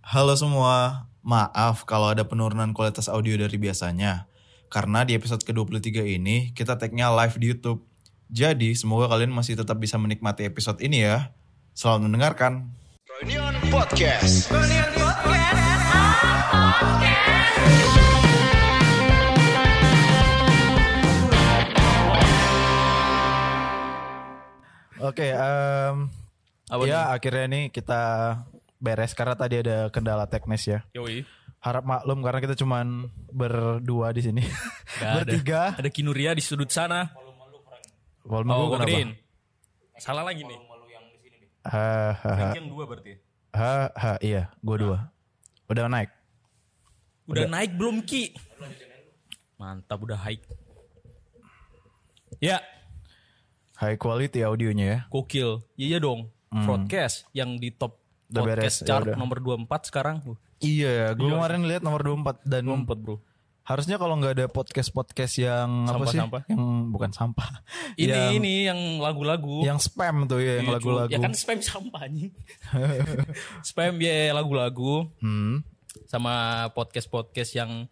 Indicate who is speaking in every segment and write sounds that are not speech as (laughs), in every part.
Speaker 1: Halo semua, maaf kalau ada penurunan kualitas audio dari biasanya. Karena di episode ke-23 ini, kita tag-nya live di Youtube. Jadi, semoga kalian masih tetap bisa menikmati episode ini ya. Selamat mendengarkan.
Speaker 2: Reunion Podcast.
Speaker 1: Oke, em,
Speaker 3: Apa
Speaker 1: ya akhirnya nih kita beres karena tadi ada kendala teknis ya.
Speaker 3: Yoi.
Speaker 1: Harap maklum karena kita cuman berdua di
Speaker 3: (laughs)
Speaker 1: sini.
Speaker 3: Gak
Speaker 1: Bertiga.
Speaker 3: Ada, ada Kinuria di sudut sana.
Speaker 1: Volume gua
Speaker 3: Oh, gua
Speaker 1: kenapa?
Speaker 3: gedein. Salah lagi nih.
Speaker 1: Ha, ha, ha,
Speaker 3: Yang dua berarti. ya?
Speaker 1: ha, ha, iya, gua dua. Udah naik.
Speaker 3: Udah, naik belum Ki? Mantap udah high. Ya,
Speaker 1: High quality audionya ya.
Speaker 3: gokil. Iya iya dong. Broadcast yang di top
Speaker 1: Hmm. Udah beres,
Speaker 3: podcast
Speaker 1: ya
Speaker 3: chart
Speaker 1: udah.
Speaker 3: nomor 24 sekarang. Uh,
Speaker 1: Iya, gue kemarin lihat nomor 24 dan
Speaker 3: 24, Bro.
Speaker 1: harusnya kalau nggak ada podcast-podcast yang apa sih?
Speaker 3: Sampah-sampah.
Speaker 1: Yang bukan sampah.
Speaker 3: Ini
Speaker 1: yang,
Speaker 3: ini yang lagu-lagu.
Speaker 1: yang spam tuh ya, yang
Speaker 3: Iya, cuy.
Speaker 1: lagu-lagu.
Speaker 3: Ya kan spam sampah
Speaker 1: (laughs)
Speaker 3: anjing. spam ya lagu-lagu
Speaker 1: Hmm.
Speaker 3: sama podcast-podcast yang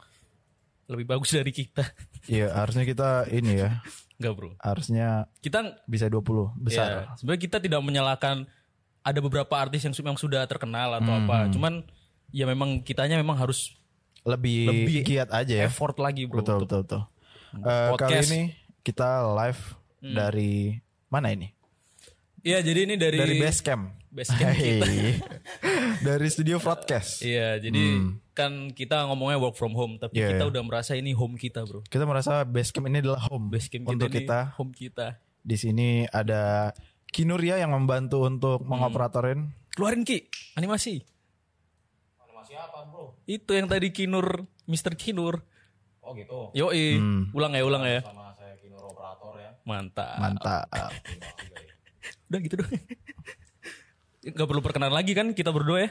Speaker 3: lebih bagus dari kita. (laughs)
Speaker 1: Iya, harusnya kita ini ya.
Speaker 3: Enggak, Bro.
Speaker 1: Harusnya
Speaker 3: Kita
Speaker 1: bisa 20
Speaker 3: Ya,
Speaker 1: besar.
Speaker 3: sebenarnya kita tidak menyalahkan ada beberapa artis yang, su- yang sudah terkenal atau apa.
Speaker 1: Hmm.
Speaker 3: Cuman ya memang kitanya memang harus
Speaker 1: Lebih,
Speaker 3: Lebih
Speaker 1: giat aja ya.
Speaker 3: effort lagi bro.
Speaker 1: Betul, betul,
Speaker 3: untuk-
Speaker 1: betul. Eh, kali
Speaker 3: Podcast. Hmm.
Speaker 1: ini kita live dari mana ini?
Speaker 3: Iya jadi ini dari,
Speaker 1: Dari Basecamp.
Speaker 3: Basecamp
Speaker 1: (laughs)
Speaker 3: kita.
Speaker 1: Hei. dari studio broadcast.
Speaker 3: Iya jadi kan kita ngomongnya work from home tapi
Speaker 1: Hmm. Iya,
Speaker 3: kita
Speaker 1: iya.
Speaker 3: udah merasa ini home kita bro.
Speaker 1: Kita merasa Basecamp ini adalah home
Speaker 3: Basecamp kita,
Speaker 1: untuk
Speaker 3: ini
Speaker 1: kita
Speaker 3: home kita.
Speaker 1: Di sini ada Kinuria yang membantu untuk mengoperatorin.
Speaker 3: Keluarin ki animasi. Animasi apa bro? Itu yang tadi Kinur, Mr. Kinur.
Speaker 4: Oh gitu.
Speaker 3: Yoi,
Speaker 1: Hmm.
Speaker 3: ulang ya ulang ya.
Speaker 4: Sama saya Kinur operator ya.
Speaker 3: Mantap.
Speaker 1: Mantap.
Speaker 3: Udah gitu (laughs) doang. Gak perlu perkenalan lagi kan kita berdua ya?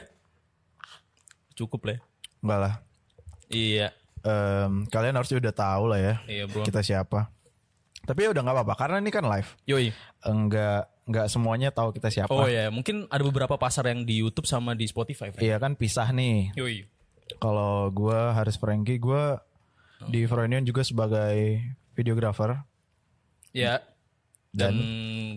Speaker 3: Cukup lah. ya.
Speaker 1: Enggak lah.
Speaker 3: Iya.
Speaker 1: Em, kalian harusnya udah tahu lah ya
Speaker 3: Iya bro.
Speaker 1: kita siapa. Tapi ya udah nggak apa-apa karena ini kan live.
Speaker 3: Yoi.
Speaker 1: Enggak enggak semuanya tahu kita siapa.
Speaker 3: Oh iya, mungkin ada beberapa pasar yang di YouTube sama di Spotify. Frank.
Speaker 1: Iya kan pisah nih.
Speaker 3: Yoi.
Speaker 1: Kalau gua harus Frankie, gua di Freudian juga sebagai videographer.
Speaker 3: Ya. Dan,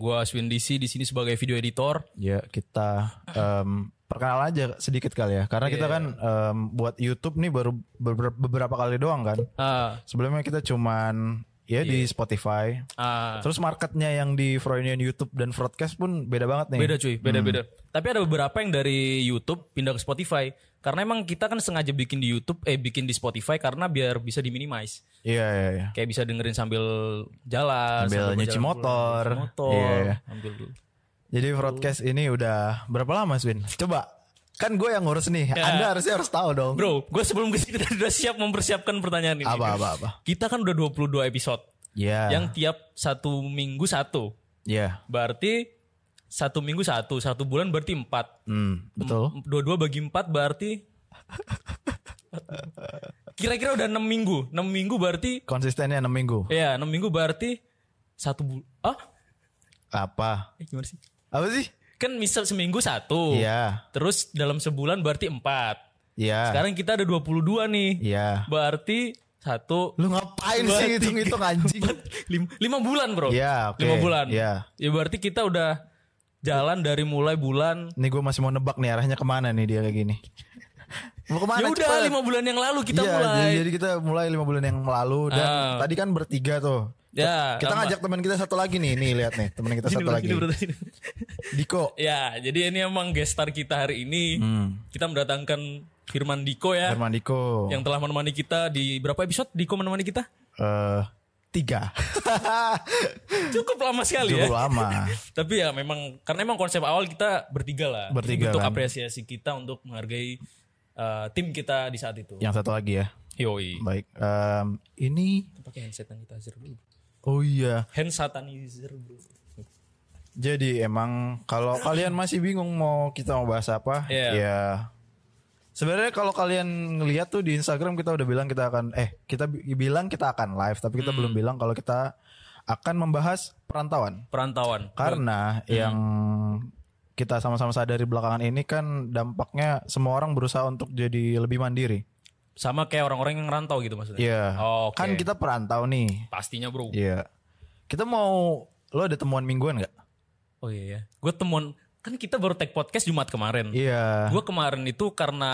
Speaker 3: gua Aswin DC di sini sebagai video editor.
Speaker 1: Ya kita em, perkenalan aja sedikit kali ya. Karena kita kan em, buat YouTube nih baru beber- beberapa kali doang kan.
Speaker 3: Ah,
Speaker 1: Sebelumnya kita cuman ya di Spotify.
Speaker 3: Iya. ah.
Speaker 1: Terus marketnya yang di Freudian YouTube dan broadcast pun beda banget nih.
Speaker 3: Beda cuy, beda-beda. Tapi ada beberapa yang dari YouTube pindah ke Spotify. Karena emang kita kan sengaja bikin di YouTube, eh bikin di Spotify karena biar bisa diminimize.
Speaker 1: Iya iya iya.
Speaker 3: Kayak bisa dengerin sambil jalan,
Speaker 1: Sambil nyuci
Speaker 3: berjalan
Speaker 1: motor.
Speaker 3: pulang, nyuci motor,
Speaker 1: Iya, iya.
Speaker 3: ambil dulu.
Speaker 1: Jadi broadcast ini udah berapa lama Swin? Coba kan gue yang ngurus nih. Anda harusnya harus tahu dong.
Speaker 3: Ya. Bro, gue sebelum kesini tadi udah siap mempersiapkan pertanyaan ini.
Speaker 1: Apa apa apa.
Speaker 3: Kita kan udah 22 episode.
Speaker 1: Iya.
Speaker 3: Yang tiap satu minggu satu.
Speaker 1: Iya.
Speaker 3: Berarti satu minggu satu. Satu bulan berarti empat.
Speaker 1: Hmm, betul.
Speaker 3: Dua-dua bagi empat berarti... (laughs) Kira-kira udah enam minggu. Enam minggu berarti...
Speaker 1: Konsistennya 6 minggu.
Speaker 3: Ya, enam minggu berarti... Satu bulan... Ah?
Speaker 1: Apa?
Speaker 3: Eh, gimana sih?
Speaker 1: Apa sih?
Speaker 3: Kan misal seminggu satu.
Speaker 1: Iya.
Speaker 3: Terus dalam sebulan berarti empat.
Speaker 1: Iya.
Speaker 3: Sekarang kita ada 22 nih.
Speaker 1: Iya.
Speaker 3: Berarti satu
Speaker 1: Lu ngapain
Speaker 3: Dua,
Speaker 1: sih
Speaker 3: tiga,
Speaker 1: hitung-hitung
Speaker 3: (laughs)
Speaker 1: anjing?
Speaker 3: empat, lim- lima bulan bro.
Speaker 1: Iya, oke.
Speaker 3: Lima bulan.
Speaker 1: Iya.
Speaker 3: Ya berarti kita udah jalan dari mulai bulan.
Speaker 1: Nih gue masih mau nebak nih arahnya kemana nih dia kayak gini. Mau kemana?
Speaker 3: Ya udah
Speaker 1: cepet?
Speaker 3: lima bulan yang lalu kita
Speaker 1: Iya,
Speaker 3: mulai.
Speaker 1: Jadi, jadi kita mulai lima bulan yang lalu dan
Speaker 3: Ah.
Speaker 1: tadi kan bertiga tuh.
Speaker 3: Ya,
Speaker 1: iya. kita
Speaker 3: sama.
Speaker 1: ngajak teman kita satu lagi nih, nih lihat nih teman kita
Speaker 3: Sini,
Speaker 1: satu
Speaker 3: bro,
Speaker 1: lagi.
Speaker 3: sini, bro, sini.
Speaker 1: Diko
Speaker 3: ya jadi ini emang guest star kita hari ini. Kita mendatangkan Firman Diko ya.
Speaker 1: Herman Hmm. Diko.
Speaker 3: Yang telah menemani kita di berapa episode Diko menemani kita?
Speaker 1: Eh,
Speaker 3: (laughs)
Speaker 1: tiga.
Speaker 3: Cukup lama sekali ya.
Speaker 1: Cukup lama.
Speaker 3: Tapi ya memang karena emang konsep awal kita bertiga lah.
Speaker 1: Bertiga,
Speaker 3: Untuk
Speaker 1: kan.
Speaker 3: apresiasi kita untuk menghargai eh, tim kita di saat itu.
Speaker 1: Yang satu lagi ya.
Speaker 3: Yoi.
Speaker 1: Baik. Em, ini
Speaker 3: Pakai hand sanitizer dulu.
Speaker 1: oh iya.
Speaker 3: Hand sanitizer bro.
Speaker 1: Jadi emang kalau kalian masih bingung mau kita mau bahas apa,
Speaker 3: Iya.
Speaker 1: ya Sebenarnya kalau kalian ngelihat tuh di Instagram kita udah bilang kita akan eh kita bi- bilang kita akan live tapi
Speaker 3: Hmm.
Speaker 1: kita belum bilang kalau kita akan membahas perantauan.
Speaker 3: Perantauan.
Speaker 1: Karena yang kita sama-sama sadari belakangan ini kan dampaknya semua orang berusaha untuk jadi lebih mandiri.
Speaker 3: Sama kayak orang-orang yang ngerantau gitu maksudnya.
Speaker 1: Iya.
Speaker 3: Oh, oke.
Speaker 1: Kan kita perantau nih.
Speaker 3: Pastinya bro.
Speaker 1: Iya. Kita mau lo ada temuan mingguan nggak?
Speaker 3: Oh iya ya. Gue temuan, kan kita baru take podcast Jumat kemarin.
Speaker 1: Iya.
Speaker 3: Gue kemarin itu karena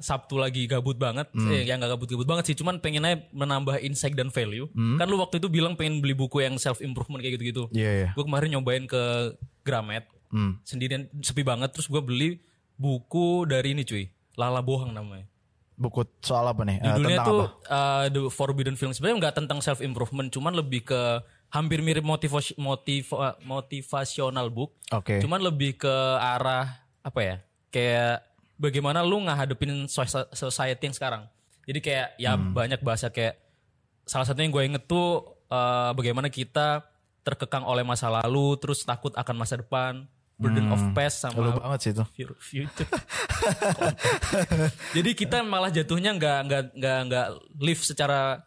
Speaker 3: Sabtu lagi gabut banget,
Speaker 1: Hmm.
Speaker 3: eh, yang gak gabut-gabut banget sih, cuman pengen aja menambah insight dan value.
Speaker 1: Hmm.
Speaker 3: Kan lu waktu itu bilang pengen beli buku yang self improvement kayak gitu-gitu.
Speaker 1: Iya, iya.
Speaker 3: Gue kemarin nyobain ke Gramet,
Speaker 1: Hmm.
Speaker 3: sendirian sepi banget, terus gue beli buku dari ini cuy, Lala Bohang namanya.
Speaker 1: Buku soal apa nih? Eh,
Speaker 3: Judulnya
Speaker 1: tentang
Speaker 3: tuh
Speaker 1: apa?
Speaker 3: uh, The Forbidden Feeling sebenarnya nggak tentang self improvement, cuman lebih ke hampir mirip motivasi motiva, motivational book,
Speaker 1: Oke.
Speaker 3: cuman lebih ke arah apa ya? Kayak bagaimana lu ngadepin soci- society yang sekarang. Jadi kayak ya banyak bahasa kayak salah satunya yang gue inget tuh uh, bagaimana kita terkekang oleh masa lalu, terus takut akan masa depan, burden of past sama
Speaker 1: Lu banget sih itu.
Speaker 3: Fur- future. Jadi kita malah jatuhnya nggak nggak nggak nggak live secara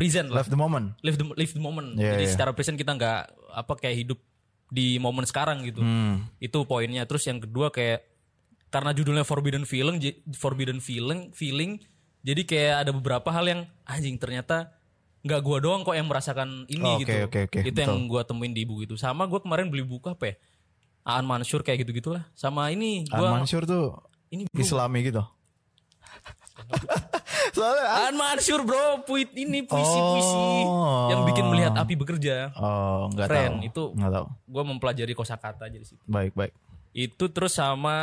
Speaker 3: present lah.
Speaker 1: Love the moment.
Speaker 3: Live the live the moment.
Speaker 1: Iya,
Speaker 3: Jadi
Speaker 1: iya.
Speaker 3: secara present kita nggak apa kayak hidup di momen sekarang gitu. Itu poinnya. Terus yang kedua kayak karena judulnya Forbidden Feeling, j- Forbidden Feeling, feeling. Jadi kayak ada beberapa hal yang anjing ternyata nggak gua doang kok yang merasakan ini
Speaker 1: Oh, Oke,
Speaker 3: gitu.
Speaker 1: oke, oke.
Speaker 3: Itu yang gua temuin di buku itu. Sama gua kemarin beli buku apa ya? Aan Mansur kayak gitu-gitulah. Sama ini
Speaker 1: An
Speaker 3: gua
Speaker 1: Mansur tuh
Speaker 3: ini bro.
Speaker 1: Islami
Speaker 3: (laughs)
Speaker 1: gitu. Soalnya
Speaker 3: Aan Mansur bro, puit ini puisi-puisi
Speaker 1: Oh.
Speaker 3: yang bikin melihat api bekerja.
Speaker 1: oh nggak
Speaker 3: Keren,
Speaker 1: tahu.
Speaker 3: itu
Speaker 1: nggak tahu.
Speaker 3: Gua mempelajari kosakata aja di situ.
Speaker 1: Baik baik.
Speaker 3: Itu terus sama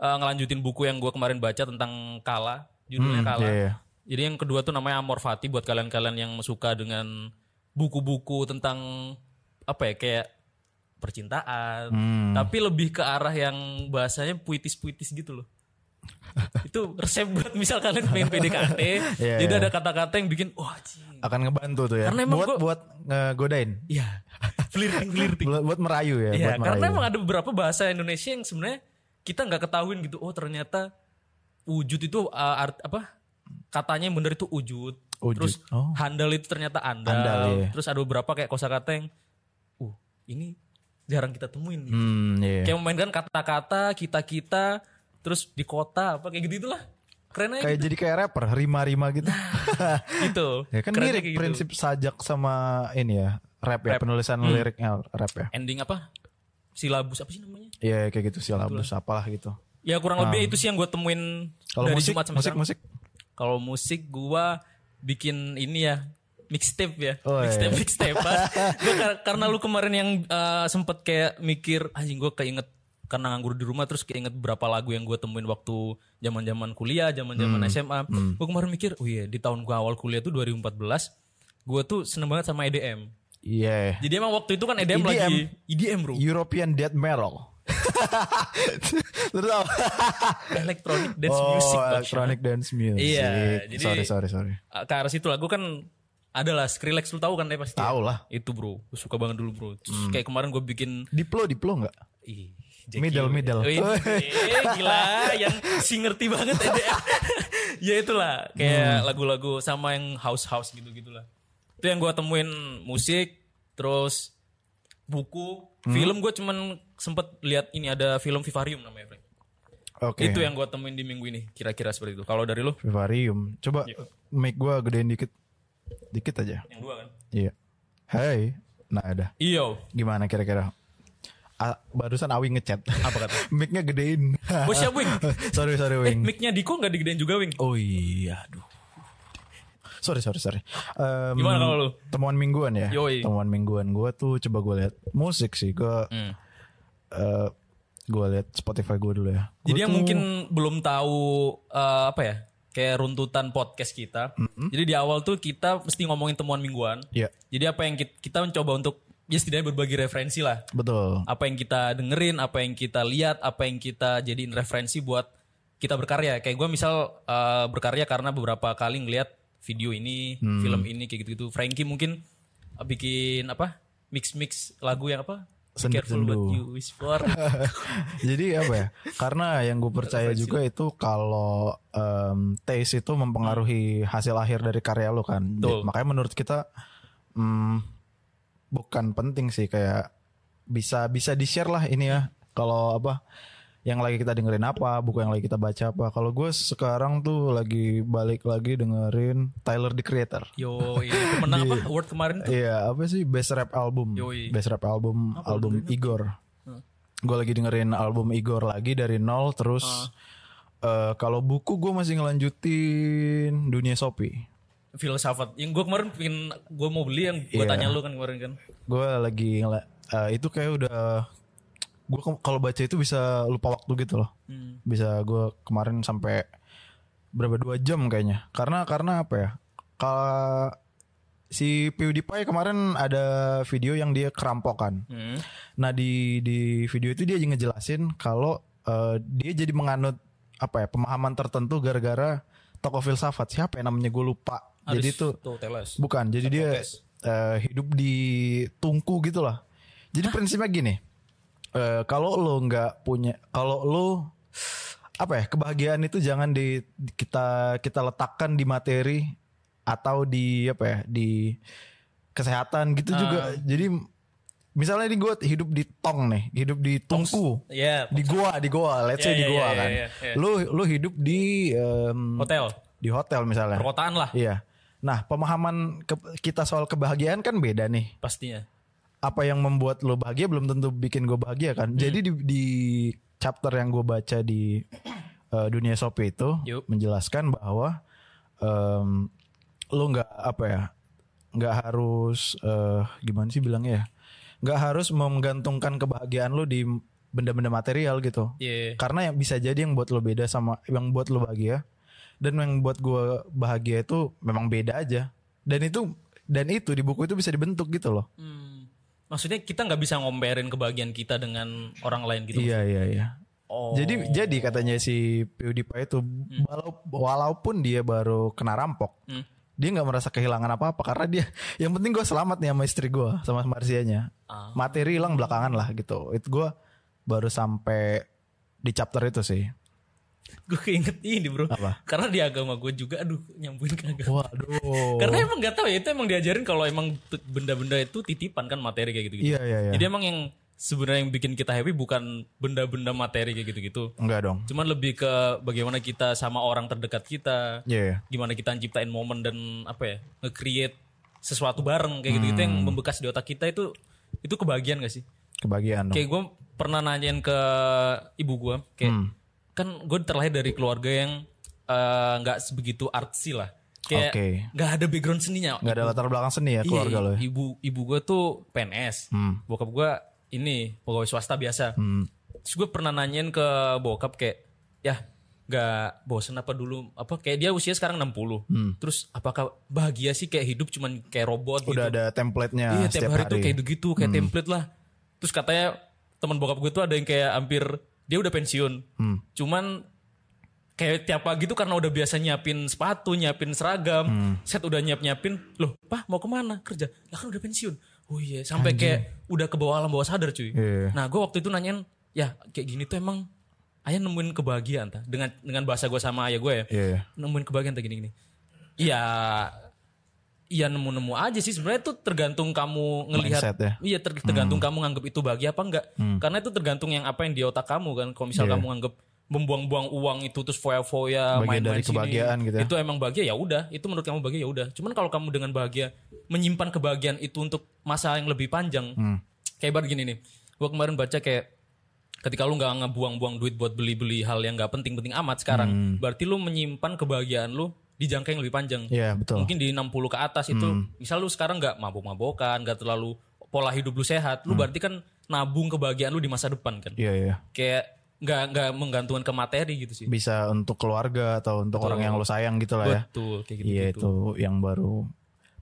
Speaker 3: eh, ngelanjutin buku yang gua kemarin baca tentang Kala, judulnya
Speaker 1: Hmm,
Speaker 3: Kala.
Speaker 1: iya, iya.
Speaker 3: Jadi yang kedua tuh namanya Amor Fati buat kalian-kalian yang suka dengan buku-buku tentang apa ya kayak percintaan,
Speaker 1: Hmm.
Speaker 3: tapi lebih ke arah yang bahasanya puitis-puitis
Speaker 1: (laughs)
Speaker 3: gitu loh. itu resep buat misal kalian main PDKT,
Speaker 1: (laughs) Iya,
Speaker 3: jadi
Speaker 1: iya.
Speaker 3: ada kata-kata yang bikin wah cing.
Speaker 1: Akan ngebantu tuh ya.
Speaker 3: Karena emang
Speaker 1: buat
Speaker 3: gua-
Speaker 1: buat ngegodain. (laughs)
Speaker 3: Iya, gitu. flirting flirting.
Speaker 1: Buat, buat merayu ya.
Speaker 3: Iya,
Speaker 1: buat
Speaker 3: karena
Speaker 1: merayu.
Speaker 3: emang ada beberapa bahasa Indonesia yang sebenarnya kita nggak ketahuin gitu. Oh ternyata wujud itu uh, art- apa katanya yang bener itu wujud.
Speaker 1: Wujud,
Speaker 3: Terus
Speaker 1: oh.
Speaker 3: handal itu ternyata andal.
Speaker 1: Andal, iya.
Speaker 3: Terus ada beberapa kayak kosakata yang, uh ini jarang kita temuin. gitu.
Speaker 1: Hmm, iya.
Speaker 3: Kayak memainkan kata-kata kita kita, terus di kota apa kayak gitu itulah. Keren aja
Speaker 1: Kayak jadi kayak rapper, rima-rima gitu.
Speaker 3: gitu.
Speaker 1: (laughs) ya kan
Speaker 3: Kerennya
Speaker 1: mirip
Speaker 3: kayak gitu.
Speaker 1: prinsip sajak sama ini ya, rap ya,
Speaker 3: Rap. Hmm.
Speaker 1: penulisan liriknya rap ya.
Speaker 3: ending apa? Silabus apa sih namanya?
Speaker 1: Iya kayak gitu silabus apalah gitu.
Speaker 3: Ya kurang lebih itu sih yang gue temuin
Speaker 1: Kalau
Speaker 3: dari
Speaker 1: musik,
Speaker 3: Jumat sampai
Speaker 1: musik,
Speaker 3: sekarang.
Speaker 1: musik.
Speaker 3: Kalau musik gua bikin ini ya mixtape ya.
Speaker 1: Oh, iya.
Speaker 3: mixtape mixtape. Gua kar- karena lu kemarin yang eh, sempet kayak mikir anjing gua keinget karena nganggur di rumah terus keinget berapa lagu yang gua temuin waktu zaman-zaman kuliah, zaman-zaman
Speaker 1: Hmm.
Speaker 3: SMA. Gua kemarin mikir, oh iya di tahun gua awal kuliah tuh 2014 gua tuh seneng banget sama EDM.
Speaker 1: Iya.
Speaker 3: Jadi emang waktu itu kan EDM,
Speaker 1: EDM.
Speaker 3: lagi EDM bro,
Speaker 1: European Death Metal. Terus apa?
Speaker 3: electronic dance music.
Speaker 1: oh,
Speaker 3: bro.
Speaker 1: electronic dance music.
Speaker 3: Iya, jadi-
Speaker 1: sorry, sorry, sorry.
Speaker 3: Uh, ke arah situ lah. Gue kan adalah Skrillex lu tahu kan ya pasti.
Speaker 1: Tahu lah.
Speaker 3: Itu bro, gue suka banget dulu bro. Terus kayak kemarin gue bikin
Speaker 1: Diplo, diplo nggak?
Speaker 3: ih,
Speaker 1: Middle, middle.
Speaker 3: Wih, eh, gila yang si ngerti banget EDM. (laughs) ya itulah kayak lagu-lagu sama yang house-house gitu-gitulah. Itu yang gue temuin musik, terus buku, film gue cuman sempet lihat ini ada film Vivarium namanya. Frank.
Speaker 1: Oke.
Speaker 3: Itu yang gue temuin di minggu ini, kira-kira seperti itu. Kalau dari lu?
Speaker 1: Vivarium. Coba
Speaker 3: Iya.
Speaker 1: mic gua gedein dikit. Dikit aja.
Speaker 3: Yang dua kan?
Speaker 1: Iya. Hai. Nah, ada.
Speaker 3: Iyo,
Speaker 1: Gimana kira-kira? A- barusan Awi ngechat.
Speaker 3: apa kata?
Speaker 1: (laughs) Mic-nya gedein.
Speaker 3: (laughs) Bos siap Wing.
Speaker 1: sorry, sorry,
Speaker 3: Eh,
Speaker 1: Wing.
Speaker 3: mic-nya Diko nggak digedein juga, Wing?
Speaker 1: Oh iya, aduh. Sorry, sorry, sorry. Em,
Speaker 3: Gimana kalau lu?
Speaker 1: Temuan mingguan ya?
Speaker 3: Yoi.
Speaker 1: Temuan mingguan gue tuh coba gue lihat musik sih. Gue
Speaker 3: Hmm.
Speaker 1: eh gue lihat Spotify gue dulu ya. Gua
Speaker 3: Jadi yang
Speaker 1: tuh-
Speaker 3: mungkin belum tahu eh, apa ya? Kayak runtutan podcast kita. Jadi di awal tuh kita mesti ngomongin temuan mingguan.
Speaker 1: Iya,
Speaker 3: Jadi apa yang kita, kita mencoba untuk ya setidaknya berbagi referensi lah.
Speaker 1: betul.
Speaker 3: Apa yang kita dengerin, apa yang kita lihat, apa yang kita jadiin referensi buat kita berkarya. Kayak gue misal eh, berkarya karena beberapa kali ngeliat video ini, film ini kayak gitu-gitu. Frankie mungkin eh, bikin apa? Mix-mix lagu yang apa? Be
Speaker 1: Sendu-
Speaker 3: careful what
Speaker 1: sendu.
Speaker 3: you wish for.
Speaker 1: Jadi apa ya? Karena yang gue percaya juga itu kalau em, taste itu mempengaruhi hasil akhir dari karya lo kan.
Speaker 3: Betul.
Speaker 1: Makanya menurut kita mm, bukan penting sih kayak bisa bisa di share lah ini ya kalau apa yang lagi kita dengerin apa, buku yang lagi kita baca apa. Kalau gue sekarang tuh lagi balik lagi dengerin Tyler the Creator.
Speaker 3: Yo, ini pemenang apa? Award kemarin tuh.
Speaker 1: Iya, apa sih best rap album?
Speaker 3: Yoi.
Speaker 1: Best rap album album Igor. Gue lagi dengerin album Igor lagi dari nol terus eh, kalau buku gue masih ngelanjutin Dunia Sopi.
Speaker 3: Filsafat. Yang gue kemarin pingin gue mau beli yang
Speaker 1: Iya.
Speaker 3: gue tanya lu kan kemarin kan.
Speaker 1: Gue lagi ngela- eh, itu kayak udah gue kalau baca itu bisa lupa waktu gitu loh. Bisa gue kemarin sampai berapa dua jam kayaknya. Karena karena apa ya? Kalau si PewDiePie kemarin ada video yang dia kerampokan.
Speaker 3: Hmm.
Speaker 1: Nah di di video itu dia ngejelasin kalau eh, dia jadi menganut apa ya pemahaman tertentu gara-gara tokoh filsafat siapa ya namanya gue lupa. jadi itu
Speaker 3: tuh teles.
Speaker 1: bukan. Jadi dia eh, hidup di tungku gitu lah. Jadi prinsipnya gini. eh, kalau lo nggak punya kalau lo apa ya kebahagiaan itu jangan di di- kita kita letakkan di materi atau di apa ya di kesehatan gitu juga. Jadi misalnya ini gue hidup di tong nih, hidup di tungku.
Speaker 3: Iya.
Speaker 1: Di goa, di goa, let's say
Speaker 3: Iya,
Speaker 1: di
Speaker 3: iya,
Speaker 1: goa
Speaker 3: iya,
Speaker 1: kan.
Speaker 3: iya, iya.
Speaker 1: Lu lu hidup di em,
Speaker 3: Hotel.
Speaker 1: di hotel misalnya.
Speaker 3: Perkotaan lah
Speaker 1: Iya. Nah, pemahaman ke- kita soal kebahagiaan kan beda nih.
Speaker 3: pastinya.
Speaker 1: Apa yang membuat lo bahagia belum tentu bikin gue bahagia kan. Jadi di, di chapter yang gue baca di eh, dunia Shopee itu
Speaker 3: Yup.
Speaker 1: menjelaskan bahwa em, lo nggak apa ya, nggak harus eh, gimana sih bilangnya ya, nggak harus menggantungkan kebahagiaan lo di benda-benda material gitu.
Speaker 3: Iya.
Speaker 1: Karena yang bisa jadi yang buat lo beda sama yang buat lo bahagia dan yang buat gue bahagia itu memang beda aja. Dan itu dan itu di buku itu bisa dibentuk gitu loh.
Speaker 3: Hmm. Maksudnya kita nggak bisa ngomperin kebahagiaan kita dengan orang lain gitu.
Speaker 1: Iya iya iya.
Speaker 3: Oh.
Speaker 1: Jadi jadi katanya si PewDiePie itu walau- walaupun dia baru kena rampok,
Speaker 3: Hmm.
Speaker 1: dia nggak merasa kehilangan apa-apa karena dia (laughs) yang penting gue selamat nih sama istri gue sama Marsianya.
Speaker 3: Ah.
Speaker 1: Materi hilang belakangan lah gitu. Itu gue baru sampai di chapter itu sih.
Speaker 3: gue keinget ini bro.
Speaker 1: Apa?
Speaker 3: Karena di agama gue juga, aduh nyambungin ke agama.
Speaker 1: Waduh.
Speaker 3: Karena emang gak tahu ya itu emang diajarin kalau emang t- benda-benda itu titipan kan materi kayak gitu-gitu.
Speaker 1: Iya iya iya.
Speaker 3: (laughs) Jadi emang yang sebenarnya yang bikin kita happy bukan benda-benda materi kayak gitu-gitu.
Speaker 1: Enggak dong.
Speaker 3: Cuman lebih ke bagaimana kita sama orang terdekat kita,
Speaker 1: Iya. iya.
Speaker 3: gimana kita ciptain momen dan apa ya, nge-create sesuatu bareng kayak gitu-gitu yang membekas di otak kita itu itu kebahagiaan gak sih?
Speaker 1: Hmm. Kebahagiaan dong.
Speaker 3: Kayak gue pernah nanyain ke ibu gue, kayak kan gue terlahir dari keluarga yang eh, nggak sebegitu artsy lah, kayak
Speaker 1: Oke.
Speaker 3: nggak ada background seninya.
Speaker 1: Nggak ada latar belakang seni ya keluarga
Speaker 3: Iya,
Speaker 1: lo. ya? Hmm.
Speaker 3: Ibu ibu gue tuh PNS, bokap gue ini pegawai swasta biasa. Terus gue pernah nanyain ke bokap kayak, ya nggak bosen apa dulu apa kayak dia usia sekarang 60
Speaker 1: Hmm.
Speaker 3: terus apakah bahagia sih kayak hidup cuman kayak robot gitu
Speaker 1: Udah ada template-nya
Speaker 3: Iya tiap
Speaker 1: setiap
Speaker 3: hari,
Speaker 1: hari. Hmm.
Speaker 3: tuh kayak gitu kayak template lah. Terus katanya teman bokap gue tuh ada yang kayak hampir dia udah pensiun.
Speaker 1: Hmm.
Speaker 3: Cuman kayak tiap pagi tuh karena udah biasa nyiapin sepatu, nyiapin seragam,
Speaker 1: Hmm.
Speaker 3: set udah nyiap nyiapin. Loh, pah mau kemana kerja? Lah kan udah pensiun. Oh iya, sampai kayak udah ke bawah alam bawah sadar cuy.
Speaker 1: Iya.
Speaker 3: Nah gue waktu itu nanyain, ya kayak gini tuh emang ayah nemuin kebahagiaan ta? dengan dengan bahasa gue sama ayah gue ya
Speaker 1: Iya. iya.
Speaker 3: nemuin kebahagiaan kayak gini-gini. Iya, iya nemu-nemu aja sih sebenarnya itu tergantung kamu ngelihat.
Speaker 1: Mindset ya. Hmm.
Speaker 3: Iya ter- tergantung kamu nganggap itu bahagia apa enggak. Karena itu tergantung yang apa yang di otak kamu kan. Kalau misal kamu nganggap membuang-buang uang itu terus foya-foya
Speaker 1: Iya. Bagian
Speaker 3: main-main
Speaker 1: dari
Speaker 3: sini,
Speaker 1: kebahagiaan gitu ya.
Speaker 3: Itu emang bahagia ya udah, itu menurut kamu bahagia ya udah. Cuman kalau kamu dengan bahagia menyimpan kebahagiaan itu untuk masa yang lebih panjang.
Speaker 1: Hmm.
Speaker 3: Kayak ibarat gini nih. Gua kemarin baca kayak ketika lu nggak ngebuang-buang duit buat beli-beli hal yang nggak penting-penting amat sekarang,
Speaker 1: Hmm.
Speaker 3: berarti lu menyimpan kebahagiaan lu di jangka yang lebih panjang.
Speaker 1: Iya, Hmm. betul.
Speaker 3: Mungkin di 60 ke atas itu, misal lu sekarang nggak mabuk-mabukan, nggak terlalu pola hidup lu sehat,
Speaker 1: Hmm.
Speaker 3: lu berarti kan nabung kebahagiaan lu di masa depan kan.
Speaker 1: Iya iya.
Speaker 3: Kayak nggak nggak menggantungkan ke materi gitu sih.
Speaker 1: Bisa untuk keluarga atau untuk orang yang lo sayang gitu lah ya.
Speaker 3: Betul kayak gitu.
Speaker 1: Iya itu yang baru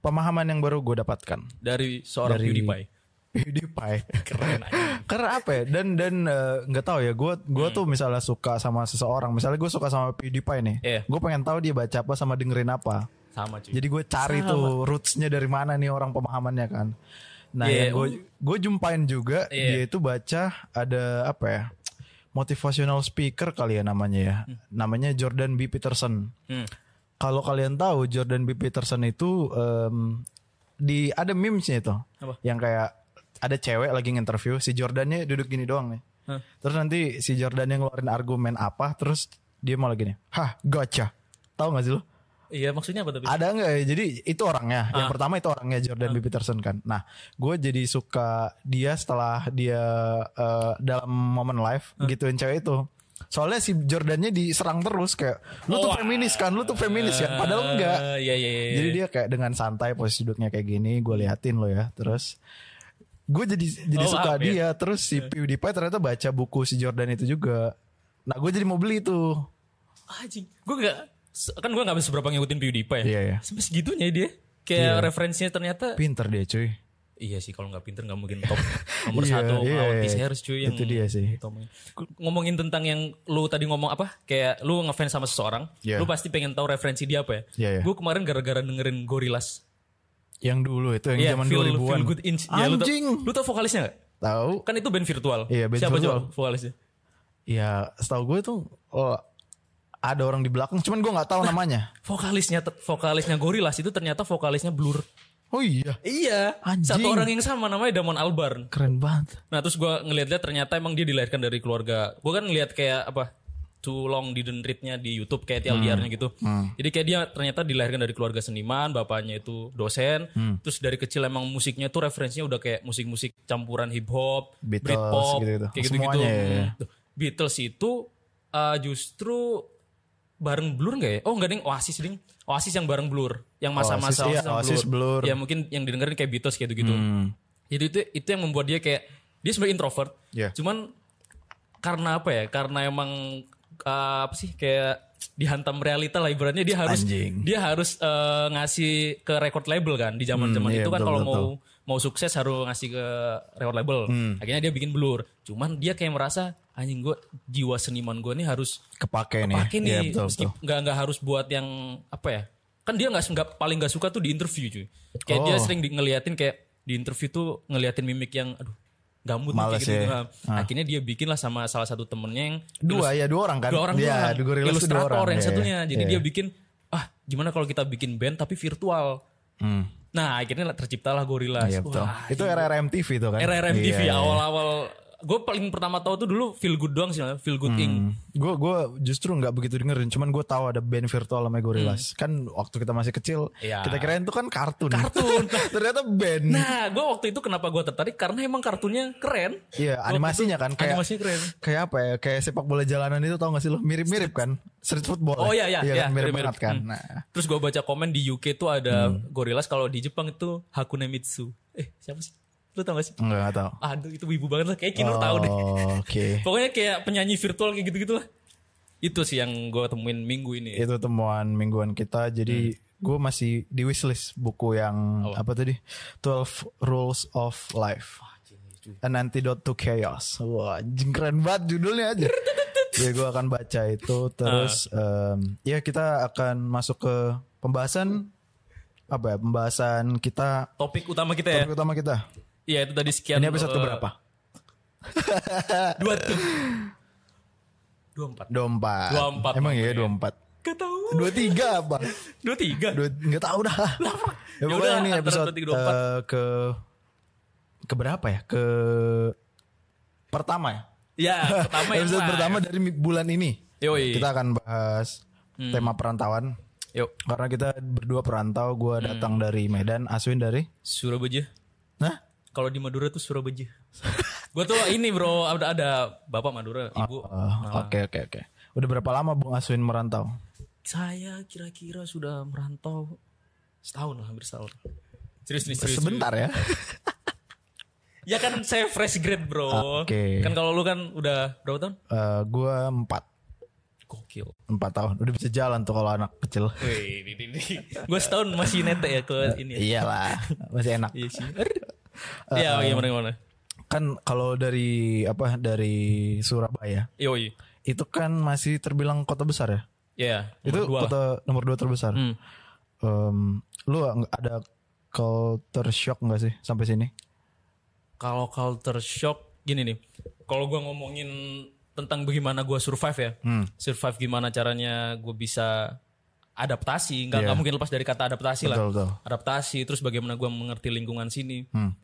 Speaker 1: pemahaman yang baru gue dapatkan.
Speaker 3: Dari seorang
Speaker 1: Dari-
Speaker 3: PewDiePie. (laughs)
Speaker 1: PewDiePie.
Speaker 3: Keren aja.
Speaker 1: Karena apa ya? Dan dan eh, nggak tahu ya. Gue gue
Speaker 3: Hmm.
Speaker 1: tuh misalnya suka sama seseorang. Misalnya gue suka sama PewDiePie nih.
Speaker 3: Iya.
Speaker 1: Gue pengen tahu dia baca apa sama dengerin apa.
Speaker 3: Sama cuy.
Speaker 1: Jadi gue cari tuh rootsnya dari mana nih orang pemahamannya kan. Nah,
Speaker 3: Iya,
Speaker 1: yang gue gue jumpain juga
Speaker 3: Iya.
Speaker 1: dia itu baca ada apa ya? Motivational speaker kali ya namanya ya. Namanya Jordan B Peterson.
Speaker 3: Hmm.
Speaker 1: Kalau kalian tahu Jordan B Peterson itu em, di ada memesnya itu.
Speaker 3: Apa?
Speaker 1: Yang kayak ada cewek lagi nginterview si Jordannya duduk gini doang nih.
Speaker 3: Hah.
Speaker 1: Terus nanti si Jordan yang ngeluarin argumen apa, terus dia malah gini, hah gacha. Tahu gak sih lo?
Speaker 3: Iya Ah. maksudnya apa tapi?
Speaker 1: Ada nggak ya? Jadi itu orangnya. Yang pertama itu orangnya Jordan B. Peterson kan. Nah, gue jadi suka dia setelah dia eh, dalam momen live
Speaker 3: Ah.
Speaker 1: gituin cewek itu. Soalnya si Jordannya diserang terus kayak lu tuh feminis kan, lu tuh feminis kan. Padahal enggak.
Speaker 3: Eh, Iya iya iya.
Speaker 1: Jadi dia kayak dengan santai posisi duduknya kayak gini, gue liatin lo ya. Terus gue jadi jadi
Speaker 3: Oh,
Speaker 1: suka
Speaker 3: paham ya.
Speaker 1: dia. Terus si PewDiePie ternyata baca buku si Jordan itu juga. Nah gue jadi mau beli tuh.
Speaker 3: Ah, Anjing, gue gak kan gue gak seberapa ngikutin PewDiePie ya.
Speaker 1: Iya, iya.
Speaker 3: Sampai segitunya dia. Kayak referensinya ternyata
Speaker 1: Pinter dia cuy.
Speaker 3: Iya sih kalau nggak pinter
Speaker 1: (laughs)
Speaker 3: nggak mungkin top nomor
Speaker 1: Iya,
Speaker 3: satu
Speaker 1: iya,
Speaker 3: autis
Speaker 1: iya.
Speaker 3: harus cuy yang
Speaker 1: Itu dia sih.
Speaker 3: itu omongin. Ngomongin tentang yang lu tadi ngomong apa kayak lu ngefans sama seseorang,
Speaker 1: Iya.
Speaker 3: lu pasti pengen tahu referensi dia apa ya.
Speaker 1: Iya, iya.
Speaker 3: Gue kemarin gara-gara dengerin Gorillaz.
Speaker 1: Yang dulu itu yang
Speaker 3: Iya,
Speaker 1: zaman
Speaker 3: Feel-
Speaker 1: 2000-an.
Speaker 3: Feel good inch. Ya, lu, tau,
Speaker 1: Anjing.
Speaker 3: lu tau vokalisnya gak?
Speaker 1: Tahu?
Speaker 3: Kan itu band virtual.
Speaker 1: Iya, band
Speaker 3: Siapa
Speaker 1: virtual.
Speaker 3: coba vokalisnya?
Speaker 1: Ya setahu gue tuh oh, ada orang di belakang. Cuman gue nggak tahu namanya.
Speaker 3: Vokalisnya ter- vokalisnya Gorillaz itu ternyata vokalisnya Blur.
Speaker 1: (laughs) Oh iya.
Speaker 3: Iya.
Speaker 1: Anjing.
Speaker 3: Satu orang yang sama namanya Damon Albarn.
Speaker 1: Keren banget.
Speaker 3: Nah terus gue ngeliat-liat ternyata emang dia dilahirkan dari keluarga. Gue kan ngeliat kayak apa Too Long Didn't Read-nya di YouTube kayak
Speaker 1: Hmm.
Speaker 3: TLDR-nya gitu. Jadi kayak dia ternyata dilahirkan dari keluarga seniman, bapaknya itu dosen.
Speaker 1: Hmm.
Speaker 3: Terus dari kecil emang musiknya tuh referensinya udah kayak musik-musik campuran hip hop,
Speaker 1: Beatles,
Speaker 3: Britpop,
Speaker 1: gitu-gitu.
Speaker 3: kayak gitu-gitu.
Speaker 1: Semuanya ya,
Speaker 3: Hmm. Tuh, Beatles itu uh, justru bareng Blur nggak ya? Oh nggak ding, Oasis ding. Oasis yang bareng Blur, yang masa-masa
Speaker 1: Oasis, iya,
Speaker 3: sama
Speaker 1: Oasis, Blur.
Speaker 3: Ya mungkin yang didengerin kayak Beatles kayak gitu.
Speaker 1: Hmm.
Speaker 3: Jadi itu itu yang membuat dia kayak dia sebenarnya introvert.
Speaker 1: Iya.
Speaker 3: Cuman karena apa ya? Karena emang uh, apa sih kayak dihantam realita lah ibaratnya dia harus
Speaker 1: Anjing.
Speaker 3: dia harus uh, ngasih ke record label kan di zaman-zaman
Speaker 1: Hmm, iya,
Speaker 3: itu kan
Speaker 1: betul,
Speaker 3: kalau
Speaker 1: betul. Hmm.
Speaker 3: mau mau sukses harus ngasih ke record label. Akhirnya dia bikin blur. Cuman dia kayak merasa anjing gue jiwa seniman gue nih harus
Speaker 1: Kepake, nih.
Speaker 3: pakai
Speaker 1: Iya,
Speaker 3: nih
Speaker 1: betul,
Speaker 3: meskip-
Speaker 1: betul.
Speaker 3: nggak nggak harus buat yang apa ya kan dia nggak nggak paling nggak suka tuh di interview cuy kayak dia
Speaker 1: Oh.
Speaker 3: sering di- ngeliatin kayak di interview tuh ngeliatin mimik yang aduh gambut nih,
Speaker 1: Males
Speaker 3: kayak gitu-gitu.
Speaker 1: ya.
Speaker 3: Nah, akhirnya dia bikin lah sama salah satu temennya yang
Speaker 1: Dua
Speaker 3: ilus-
Speaker 1: ya dua orang kan.
Speaker 3: dua orang
Speaker 1: Iya,
Speaker 3: doang.
Speaker 1: Gorillaz tuh dua
Speaker 3: ilustrator
Speaker 1: orang.
Speaker 3: yang
Speaker 1: Iya,
Speaker 3: satunya jadi
Speaker 1: iya.
Speaker 3: dia bikin ah gimana kalau kita bikin band tapi virtual nah akhirnya lah- terciptalah Gorillaz
Speaker 1: Hmm, Iya betul.
Speaker 3: Wah,
Speaker 1: itu RRM TV tuh kan.
Speaker 3: RRM TV
Speaker 1: Iya, iya.
Speaker 3: awal-awal gue paling pertama tahu tuh dulu Feel Good doang sih Feel
Speaker 1: Hmm.
Speaker 3: Good Inc
Speaker 1: Gue gue justru nggak begitu dengerin, cuman gue tahu ada band virtual sama Gorillaz. Kan waktu kita masih kecil,
Speaker 3: Hmm. Iya.
Speaker 1: kita kirain itu kan kartun.
Speaker 3: Kartun.
Speaker 1: (laughs) Ternyata band.
Speaker 3: Nah, gue waktu itu kenapa gue tertarik karena emang kartunya keren.
Speaker 1: Iya,
Speaker 3: Waktu
Speaker 1: animasinya
Speaker 3: itu
Speaker 1: kan kayak
Speaker 3: animasinya keren.
Speaker 1: Kayak apa ya? Kayak sepak bola jalanan itu tau gak sih lo? Mirip-mirip kan? Street football.
Speaker 3: Oh iya iya iya,
Speaker 1: kan? mirip,
Speaker 3: mirip-mirip.
Speaker 1: banget kan.
Speaker 3: Hmm.
Speaker 1: Nah,
Speaker 3: Terus gue baca komen di UK tuh ada
Speaker 1: Hmm.
Speaker 3: Gorillaz kalau di Jepang itu Hakune Mitsu. Eh, siapa sih? Lu tau gak sih?
Speaker 1: enggak enggak tahu.
Speaker 3: Aduh, itu wibu banget lah. Kayak
Speaker 1: oh,
Speaker 3: Kinur tahu deh.
Speaker 1: Oke.
Speaker 3: Pokoknya kayak penyanyi virtual kayak gitu-gitu lah. Itu sih yang gue temuin minggu ini.
Speaker 1: Itu temuan mingguan kita. Jadi
Speaker 3: Hmm.
Speaker 1: gue masih di wishlist buku yang
Speaker 3: Oh.
Speaker 1: apa tadi? 12 Rules of Life. An Antidote to Chaos. Wah, anjing keren banget judulnya
Speaker 3: (laughs)
Speaker 1: aja. Jadi gue akan baca itu terus
Speaker 3: Ah.
Speaker 1: em, ya kita akan masuk ke pembahasan apa ya? Pembahasan kita
Speaker 3: Topik utama kita ya.
Speaker 1: topik utama kita.
Speaker 3: Iya, itu tadi sekian.
Speaker 1: Ini episode
Speaker 3: eh,
Speaker 1: keberapa?
Speaker 3: Dua tuh. Dua empat.
Speaker 1: 24.
Speaker 3: 24,
Speaker 1: Emang
Speaker 3: makanya.
Speaker 1: iya 24.
Speaker 3: Gak tau.
Speaker 1: 23 apa?
Speaker 3: Dua tiga.
Speaker 1: Dua, nggak tahu dah. ya,
Speaker 3: Ya
Speaker 1: pokoknya
Speaker 3: udah,
Speaker 1: ini
Speaker 3: antara
Speaker 1: episode
Speaker 3: 23, 24.
Speaker 1: eh, ke ke berapa ya? Ke pertama ya.
Speaker 3: Ya, pertama yang
Speaker 1: episode
Speaker 3: live.
Speaker 1: pertama dari mi- bulan ini.
Speaker 3: Yoi.
Speaker 1: Kita akan bahas
Speaker 3: Hmm.
Speaker 1: tema perantauan.
Speaker 3: Yuk,
Speaker 1: Karena kita berdua perantau, gue
Speaker 3: Hmm.
Speaker 1: datang dari Medan, Aswin dari.
Speaker 3: Surabaya.
Speaker 1: Nah,
Speaker 3: Kalau di Madura tuh (laughs) Surabaya. gue tuh ini bro ada ada bapak Madura, ibu.
Speaker 1: eh,
Speaker 3: Ah.
Speaker 1: oke oke oke. Udah berapa lama Bung Aswin merantau?
Speaker 3: Saya kira-kira sudah merantau setahun lah hampir setahun. Serius nih serius.
Speaker 1: Sebentar ya.
Speaker 3: serius. Ya kan saya fresh grade bro.
Speaker 1: Oke.
Speaker 3: Kan kalau lu kan udah berapa tahun?
Speaker 1: Eh, gue empat
Speaker 3: Gokil.
Speaker 1: empat tahun. Udah bisa jalan tuh kalau anak
Speaker 3: (laughs)
Speaker 1: kecil.
Speaker 3: Wih, di, di, di. gue setahun masih nete ya ke ini. Ya.
Speaker 1: Iyalah, masih enak.
Speaker 3: Iya sih. Iya gimana gimana.
Speaker 1: Kan kalau dari apa dari Surabaya
Speaker 3: Yoi.
Speaker 1: itu kan masih terbilang kota besar ya.
Speaker 3: Ya.
Speaker 1: itu
Speaker 3: nomor dua lah.
Speaker 1: kota nomor dua terbesar.
Speaker 3: Hmm.
Speaker 1: Em, lu nggak ada culture shock nggak sih sampai sini?
Speaker 3: kalau culture shock gini nih kalau gua ngomongin tentang bagaimana gua survive ya
Speaker 1: Hmm.
Speaker 3: survive gimana caranya gue bisa adaptasi nggak nggak
Speaker 1: Iya.
Speaker 3: mungkin lepas dari kata
Speaker 1: Betul,
Speaker 3: adaptasi Iya lah
Speaker 1: betul.
Speaker 3: adaptasi terus bagaimana gua mengerti lingkungan sini
Speaker 1: Hmm.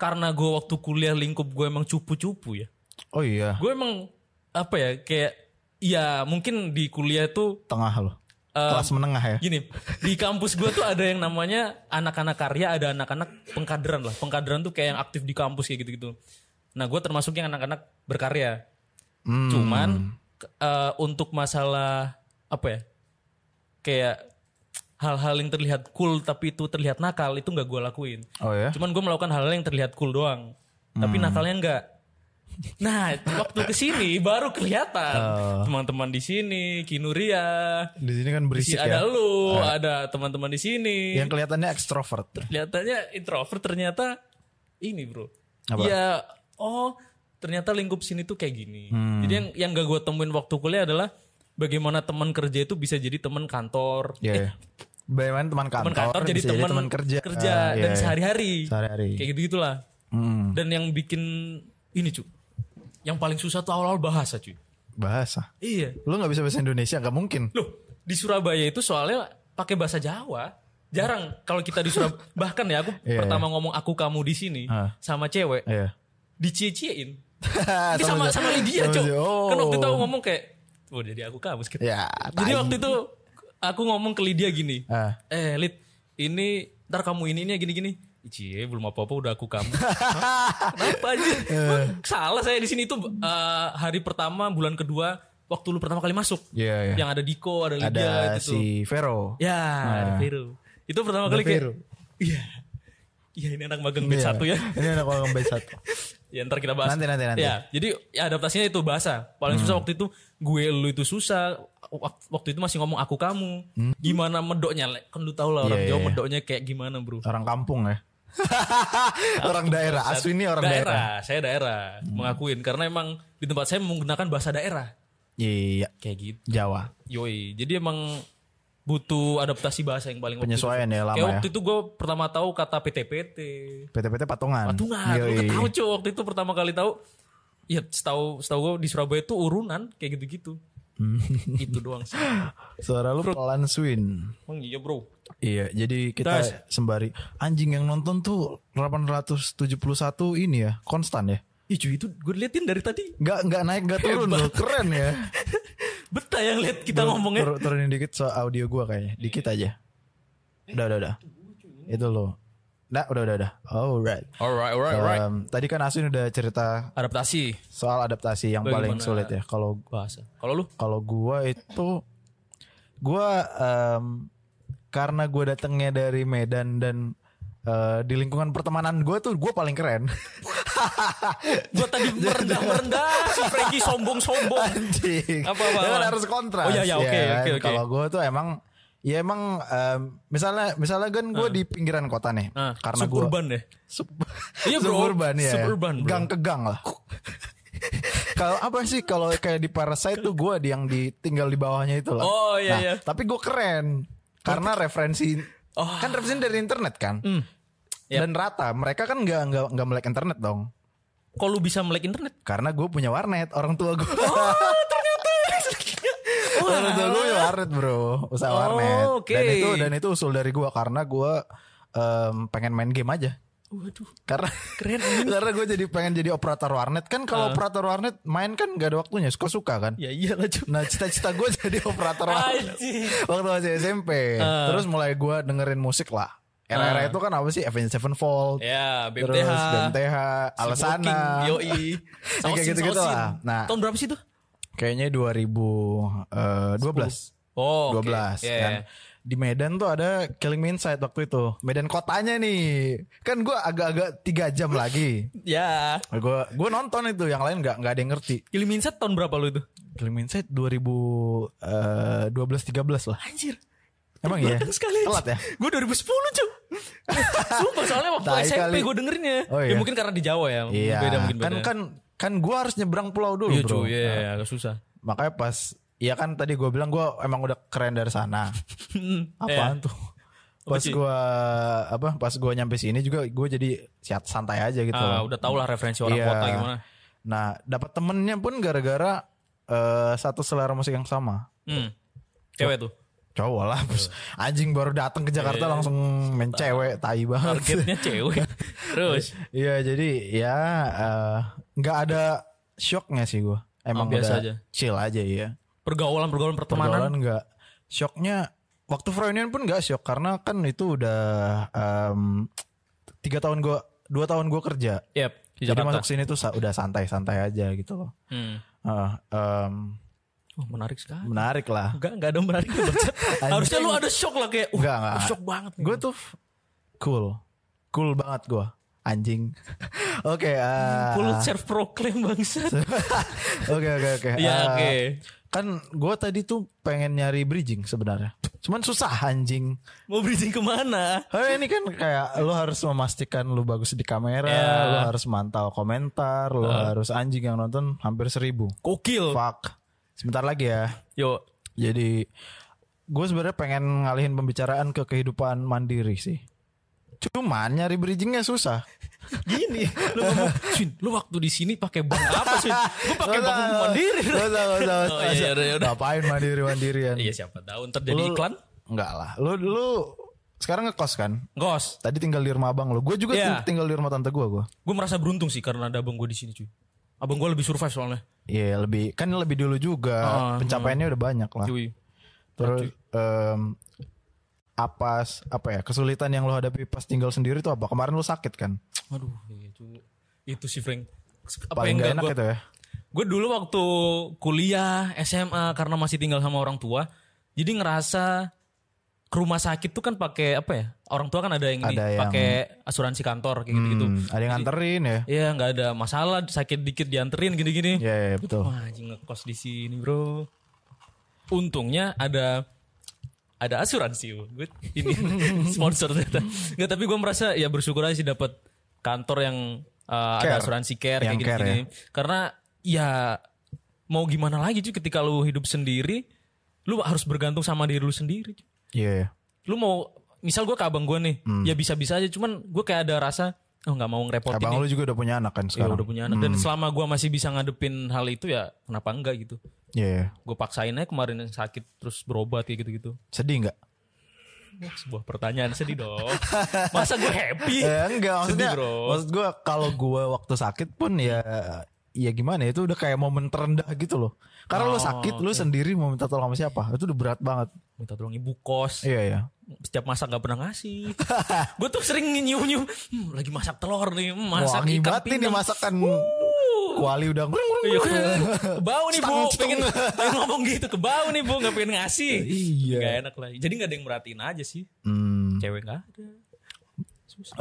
Speaker 3: karena gue waktu kuliah lingkup gue emang cupu-cupu ya
Speaker 1: Oh iya,
Speaker 3: Gue emang apa ya kayak ya mungkin di kuliah tuh
Speaker 1: tengah loh.
Speaker 3: eh,
Speaker 1: Kelas menengah ya.
Speaker 3: gini di kampus gue tuh ada yang namanya anak-anak karya ada anak-anak pengkaderan lah pengkaderan tuh kayak yang aktif di kampus kayak gitu-gitu nah gue termasuk yang anak-anak berkarya
Speaker 1: Hmm.
Speaker 3: cuman ke- eh, untuk masalah apa ya kayak hal-hal yang terlihat cool tapi itu terlihat nakal itu nggak gue lakuin
Speaker 1: Oh ya.
Speaker 3: cuman gue melakukan hal-hal yang terlihat cool doang tapi nakalnya enggak nah waktu kesini baru kelihatan teman-teman di sini Kinuria
Speaker 1: Di sini kan
Speaker 3: Si
Speaker 1: berisik
Speaker 3: ada
Speaker 1: ya.
Speaker 3: lu, ada teman-teman di sini.
Speaker 1: Yang kelihatannya ekstrovert.
Speaker 3: Eh. Kelihatannya introvert ternyata ini, Bro.
Speaker 1: Apa?
Speaker 3: Ya, oh, ternyata lingkup sini tuh kayak gini.
Speaker 1: Hmm.
Speaker 3: Jadi yang yang gak gue temuin waktu kuliah adalah bagaimana teman kerja itu bisa jadi teman kantor.
Speaker 1: Iya. ya. Bagaimana teman kantor,
Speaker 3: Teman kantor jadi
Speaker 1: bisa
Speaker 3: teman
Speaker 1: kerja.
Speaker 3: kerja
Speaker 1: Ah, iya,
Speaker 3: dan
Speaker 1: iya.
Speaker 3: sehari-hari.
Speaker 1: Sehari-hari.
Speaker 3: Kayak gitu-gitulah.
Speaker 1: Hmm,
Speaker 3: Dan yang bikin ini, cu Yang paling susah tuh awal-awal bahasa, cuy.
Speaker 1: bahasa.
Speaker 3: Iya.
Speaker 1: Lu nggak bisa bahasa Indonesia, nggak mungkin.
Speaker 3: Loh, di Surabaya itu soalnya pakai bahasa Jawa. Jarang kalau kita di
Speaker 1: (laughs)
Speaker 3: Surabaya. bahkan ya aku
Speaker 1: Iya,
Speaker 3: pertama ngomong aku kamu di sini
Speaker 1: Ah.
Speaker 3: sama cewek
Speaker 1: Iya.
Speaker 3: dicie-ciein.
Speaker 1: (laughs)
Speaker 3: Ini
Speaker 1: sama,
Speaker 3: sama sama Lydia,
Speaker 1: sama
Speaker 3: Cok.
Speaker 1: dia.
Speaker 3: Kan waktu itu aku
Speaker 1: Oh.
Speaker 3: ngomong kayak, "Oh, jadi aku kamu sekitar."
Speaker 1: Ya,
Speaker 3: jadi
Speaker 1: tai.
Speaker 3: waktu itu aku ngomong ke Lydia gini.
Speaker 1: Ah.
Speaker 3: Eh, Lid, ini ntar kamu ininya gini-gini. Cie, belum apa-apa udah aku
Speaker 1: (laughs)
Speaker 3: kamu. Kenapa
Speaker 1: Eh.
Speaker 3: aja? Salah saya di sini itu eh, hari pertama, bulan kedua, waktu lu pertama kali masuk.
Speaker 1: Iya, iya.
Speaker 3: Yang ada Diko, ada Lydia
Speaker 1: Ada
Speaker 3: itu tuh.
Speaker 1: si Vero.
Speaker 3: Ya, ada
Speaker 1: Nah.
Speaker 3: Vero. Itu pertama kali kayak,
Speaker 1: Vero.
Speaker 3: iya. Iya ini anak magang batch satu ya. (laughs)
Speaker 1: Ini anak orang batch satu.
Speaker 3: Ya ntar kita bahas.
Speaker 1: Nanti, nanti, nanti. Hmm.
Speaker 3: Ya, jadi ya, adaptasinya itu bahasa. Paling susah waktu itu gue lu itu susah. Wak- Waktu itu masih ngomong aku kamu. Gimana medoknya? Le? Kan lu tau lah orang
Speaker 1: Hmm. Iya,
Speaker 3: Jawa
Speaker 1: iya.
Speaker 3: medoknya kayak gimana bro.
Speaker 1: Orang kampung
Speaker 3: (laughs)
Speaker 1: ya. orang daerah. Asli ini orang daerah. Hmm.
Speaker 3: Saya daerah. Mengakuin. Karena emang di tempat saya menggunakan bahasa daerah.
Speaker 1: Iya,
Speaker 3: Kayak gitu.
Speaker 1: Jawa.
Speaker 3: Yoi. Jadi emang butuh adaptasi bahasa yang paling waktu itu.
Speaker 1: Penyesuaian ya
Speaker 3: Kayak
Speaker 1: lama ya.
Speaker 3: waktu itu gue pertama tahu kata PT-PT.
Speaker 1: PT-PT patungan.
Speaker 3: Patungan.
Speaker 1: Yoi.
Speaker 3: Gue tahu cuy waktu itu pertama kali tahu. Ya setahu setahu gue di Surabaya itu urunan kayak gitu-gitu.
Speaker 1: Hmm.
Speaker 3: itu doang sih.
Speaker 1: Suara lu pelan swin.
Speaker 3: Emang iya bro.
Speaker 1: Iya, jadi kita
Speaker 3: Tas.
Speaker 1: sembari anjing yang nonton tuh 871 ini ya, konstan ya.
Speaker 3: Ih cuy itu gue liatin dari tadi.
Speaker 1: Nggak nggak naik nggak turun
Speaker 3: Hebat.
Speaker 1: loh, keren ya.
Speaker 3: (laughs) Betah yang lihat kita ngomongnya.
Speaker 1: Tur- turunin dikit so audio gua kayaknya, dikit aja. Udah udah udah. Itu loh. Nah, udah udah udah. Alright.
Speaker 3: Alright, alright,
Speaker 1: Um, tadi kan Aswin udah cerita
Speaker 3: Adaptasi
Speaker 1: soal adaptasi yang paling
Speaker 3: Bagaimana?
Speaker 1: sulit ya. Kalau
Speaker 3: bahasa. Kalau lu?
Speaker 1: kalau gua itu gua em, karena gua datangnya dari Medan dan eh, di lingkungan pertemanan gua tuh gua paling keren.
Speaker 3: Gue tadi merendah-merendah. Si Frankie sombong-sombong.
Speaker 1: Anjing.
Speaker 3: Apa, apa,
Speaker 1: Ya kan
Speaker 3: apa?
Speaker 1: harus kontras.
Speaker 3: Oh, iya, iya, oke,
Speaker 1: kan?
Speaker 3: oke, oke.
Speaker 1: Kalau gua tuh emang ya emang em, misalnya misalnya kan gua di pinggiran kota nih.
Speaker 3: Nah,
Speaker 1: Karena gua
Speaker 3: Ah. suburban deh.
Speaker 1: Sub-
Speaker 3: (laughs) Iya, bro.
Speaker 1: Suburban ya.
Speaker 3: Suburban, bro.
Speaker 1: Gang ke gang lah. (laughs) kalau apa sih kalau kayak di Parasite tuh gue yang ditinggal di bawahnya itu loh.
Speaker 3: Oh, iya,
Speaker 1: Nah,
Speaker 3: iya.
Speaker 1: Tapi gue keren karena referensi
Speaker 3: Oh. Mm, iya.
Speaker 1: kan referensi dari internet kan.
Speaker 3: Hmm. Yap.
Speaker 1: Dan rata mereka kan nggak nggak nggak melek internet dong.
Speaker 3: Kalau lu bisa melek internet.
Speaker 1: Karena gue punya warnet orang tua gue.
Speaker 3: Oh, Wah.
Speaker 1: (laughs) orang tua gue punya warnet bro, usaha
Speaker 3: Oh,
Speaker 1: warnet.
Speaker 3: oke.
Speaker 1: Dan itu dan itu usul dari gue karena gue em, pengen main game aja.
Speaker 3: Waduh.
Speaker 1: Karena
Speaker 3: (laughs) Keren.
Speaker 1: (laughs)
Speaker 3: Ah.
Speaker 1: Karena gue jadi pengen jadi operator warnet kan kalau operator warnet main kan gak ada waktunya suka suka kan.
Speaker 3: Ya iyalah cuy.
Speaker 1: Nah cita-cita gue (laughs) jadi operator warnet
Speaker 3: Anjing.
Speaker 1: waktu masih SMP.
Speaker 3: Ah.
Speaker 1: Terus mulai gue dengerin musik lah. Era-era itu kan apa sih Avenged Sevenfold.
Speaker 3: Ya, BMTH.
Speaker 1: Terus BMTH,
Speaker 3: Si
Speaker 1: Alesana.
Speaker 3: Walking, Yoi.
Speaker 1: (laughs) Kayak
Speaker 3: Saosin,
Speaker 1: gitu-gitu
Speaker 3: Saosin.
Speaker 1: lah. Nah.
Speaker 3: Tahun berapa sih itu?
Speaker 1: Kayaknya eh, 2012.
Speaker 3: Oh,
Speaker 1: 12
Speaker 3: oke. Ya,
Speaker 1: kan.
Speaker 3: ya.
Speaker 1: Di Medan tuh ada Killing Me Inside waktu itu. Medan kotanya nih. Kan gue agak-agak 3 jam lagi.
Speaker 3: Ya.
Speaker 1: Gue gue nonton itu, yang lain nggak nggak ada yang ngerti.
Speaker 3: Killing Inside tahun berapa lu itu?
Speaker 1: Killing Me Inside 2012 13 lah.
Speaker 3: Anjir.
Speaker 1: Emang iya.
Speaker 3: Belakang sekali.
Speaker 1: Telat ya.
Speaker 3: Gue 2010 cuy.
Speaker 1: (laughs)
Speaker 3: Sumpah soalnya waktu
Speaker 1: Tai
Speaker 3: SMP
Speaker 1: kali.
Speaker 3: gue dengerinnya.
Speaker 1: Oh,
Speaker 3: Ya
Speaker 1: iya.
Speaker 3: mungkin karena di Jawa ya.
Speaker 1: Iya.
Speaker 3: Beda mungkin
Speaker 1: kan
Speaker 3: beda.
Speaker 1: kan kan gua harus nyebrang pulau dulu,
Speaker 3: Iya
Speaker 1: Bro. Nah.
Speaker 3: cuy, iya iya, agak susah.
Speaker 1: Makanya pas Iya kan tadi gua bilang gua emang udah keren dari sana. Hmm,
Speaker 3: (laughs) Iya.
Speaker 1: Apaan tuh? Eh, (laughs) Pas
Speaker 3: sih?
Speaker 1: gua apa? Pas gua nyampe sini juga gua jadi siat santai aja gitu.
Speaker 3: Ah,
Speaker 1: loh.
Speaker 3: udah tau lah referensi orang
Speaker 1: Iya.
Speaker 3: kota gimana.
Speaker 1: Nah, dapat temennya pun gara-gara eh, satu selera musik yang sama.
Speaker 3: Hmm. Cewek
Speaker 1: (laughs)
Speaker 3: tuh.
Speaker 1: Cowok lah, bos.
Speaker 3: Iya.
Speaker 1: anjing baru datang ke Jakarta langsung main cewek, tai banget. (laughs)
Speaker 3: Targetnya cewek. Terus.
Speaker 1: Iya jadi ya eh, nggak ada shock nggak sih gue? Emang
Speaker 3: Oh,
Speaker 1: udah
Speaker 3: biasa aja.
Speaker 1: chill aja ya.
Speaker 3: Pergaulan pergaulan pertemanan.
Speaker 1: Pergaulan nggak shocknya waktu Froynian pun nggak shock karena kan itu udah em, tiga tahun gue dua tahun gue kerja.
Speaker 3: Yep, di
Speaker 1: Jadi
Speaker 3: Jakarta.
Speaker 1: masuk sini tuh sa- udah santai-santai aja gitu loh.
Speaker 3: Hmm.
Speaker 1: Ah, em,
Speaker 3: Oh, menarik sekali.
Speaker 1: menarik lah.
Speaker 3: Enggak, enggak ada yang
Speaker 1: (laughs)
Speaker 3: menarik Bacot. Harusnya lu ada shock lah kayak, uh,
Speaker 1: Enggak, enggak.
Speaker 3: shock banget. nih.
Speaker 1: Gue tuh f- cool, cool banget gue. Anjing. (laughs) Oke. eh,
Speaker 3: Full self proclaim bangsat.
Speaker 1: Oke oke oke.
Speaker 3: (laughs) Iya,
Speaker 1: Eh,
Speaker 3: oke.
Speaker 1: Kan gue tadi tuh pengen nyari bridging sebenarnya. Cuman susah anjing.
Speaker 3: Mau bridging kemana?
Speaker 1: Oh ini kan kayak lo harus memastikan lo bagus di kamera,
Speaker 3: Ya. Uh.
Speaker 1: lo harus mantau komentar, lo harus anjing yang nonton hampir seribu.
Speaker 3: Kokil.
Speaker 1: Fuck. Sebentar lagi ya.
Speaker 3: Yo,
Speaker 1: Jadi gue sebenarnya pengen ngalihin pembicaraan ke kehidupan mandiri sih. Cuman nyari bridgingnya susah. (laughs)
Speaker 3: gini. Lu ngomong, Swin, lu waktu di sini pakai bank apa, Swin? Gua pakai bank
Speaker 1: Nggak usah,
Speaker 3: mandiri.
Speaker 1: nggak usah,
Speaker 3: (laughs)
Speaker 1: nggak usah, nggak
Speaker 3: Oh, iya,
Speaker 1: usah.
Speaker 3: iya, iya, udah.
Speaker 1: Ngapain mandiri mandirian?
Speaker 3: Iya, siapa tahu ntar jadi
Speaker 1: Lu-
Speaker 3: iklan.
Speaker 1: Enggak lah. Lu lu sekarang ngekos kan?
Speaker 3: Gos,
Speaker 1: Tadi tinggal di rumah abang lo. Gue juga
Speaker 3: Iya.
Speaker 1: ting- tinggal di rumah tante gue gue.
Speaker 3: gue merasa beruntung sih karena ada abang gue di sini cuy. Abang gue lebih survive soalnya.
Speaker 1: Iya lebih kan lebih dulu juga.
Speaker 3: Ah,
Speaker 1: Pencapaiannya udah banyak lah.
Speaker 3: Cuy.
Speaker 1: Terus em, apa s- apa ya kesulitan yang lo hadapi pas tinggal sendiri tuh apa? Kemarin lo sakit kan?
Speaker 3: Aduh, iya, cuy. Itu sih Frank. Apa
Speaker 1: Paling
Speaker 3: yang
Speaker 1: gak enak
Speaker 3: gua-
Speaker 1: itu ya.
Speaker 3: Gue dulu waktu kuliah SMA karena masih tinggal sama orang tua, jadi ngerasa ke rumah sakit tuh kan pakai apa ya? Orang tua kan ada yang ini
Speaker 1: Ada yang-
Speaker 3: pakai asuransi kantor kayak gitu-gitu.
Speaker 1: Hmm, ada yang nganterin ya?
Speaker 3: Iya nggak ada masalah sakit dikit dianterin gini-gini.
Speaker 1: Iya iya, betul.
Speaker 3: Wah anjing ngekos di sini bro. Untungnya ada ada asuransi gue ini (laughs) sponsor ternyata. Nggak tapi gue merasa ya bersyukur aja sih dapat kantor yang uh,
Speaker 1: Care.
Speaker 3: ada asuransi care
Speaker 1: Yang
Speaker 3: kayak
Speaker 1: care
Speaker 3: gini-gini. Karena ya mau gimana lagi cuy ketika lu hidup sendiri lu harus bergantung sama diri lu sendiri. cuy
Speaker 1: Iya. iya.
Speaker 3: lu mau misal gue ke abang gue nih
Speaker 1: Hmm.
Speaker 3: ya bisa-bisa aja cuman gue kayak ada rasa oh nggak mau ngerepotin
Speaker 1: Abang
Speaker 3: nih.
Speaker 1: lo juga udah punya anak kan
Speaker 3: ya
Speaker 1: sekarang?
Speaker 3: udah punya anak dan selama gue masih bisa ngadepin hal itu ya kenapa enggak gitu
Speaker 1: Iya. iya.
Speaker 3: gue paksain aja kemarin yang sakit terus berobat kayak gitu-gitu
Speaker 1: Sedih nggak?
Speaker 3: Wah, sebuah pertanyaan sedih
Speaker 1: (laughs)
Speaker 3: dong masa gue happy
Speaker 1: Eh, enggak maksudnya
Speaker 3: sedih bro
Speaker 1: maksud gue kalau gue waktu sakit pun ya ya gimana ya, itu udah kayak momen terendah gitu loh karena lo
Speaker 3: Oh,
Speaker 1: sakit lo sendiri mau minta tolong sama siapa itu udah berat banget
Speaker 3: minta tolong ibu kos
Speaker 1: iya iya
Speaker 3: setiap masak nggak pernah
Speaker 1: (laughs)
Speaker 3: ngasih gue tuh sering nyium nyium lagi masak telur nih hmm, masak
Speaker 1: wangi
Speaker 3: ikan
Speaker 1: banget nih
Speaker 3: pindang.
Speaker 1: masakan kuali udah
Speaker 3: Iya, kebau nih bu,
Speaker 1: Stang,
Speaker 3: pengen, pengen ngomong gitu, kebau nih bu, nggak pengen ngasih.
Speaker 1: Iya.
Speaker 3: Gak enak lah. Jadi nggak ada yang merhatiin aja sih.
Speaker 1: Hmm.
Speaker 3: Cewek nggak ada.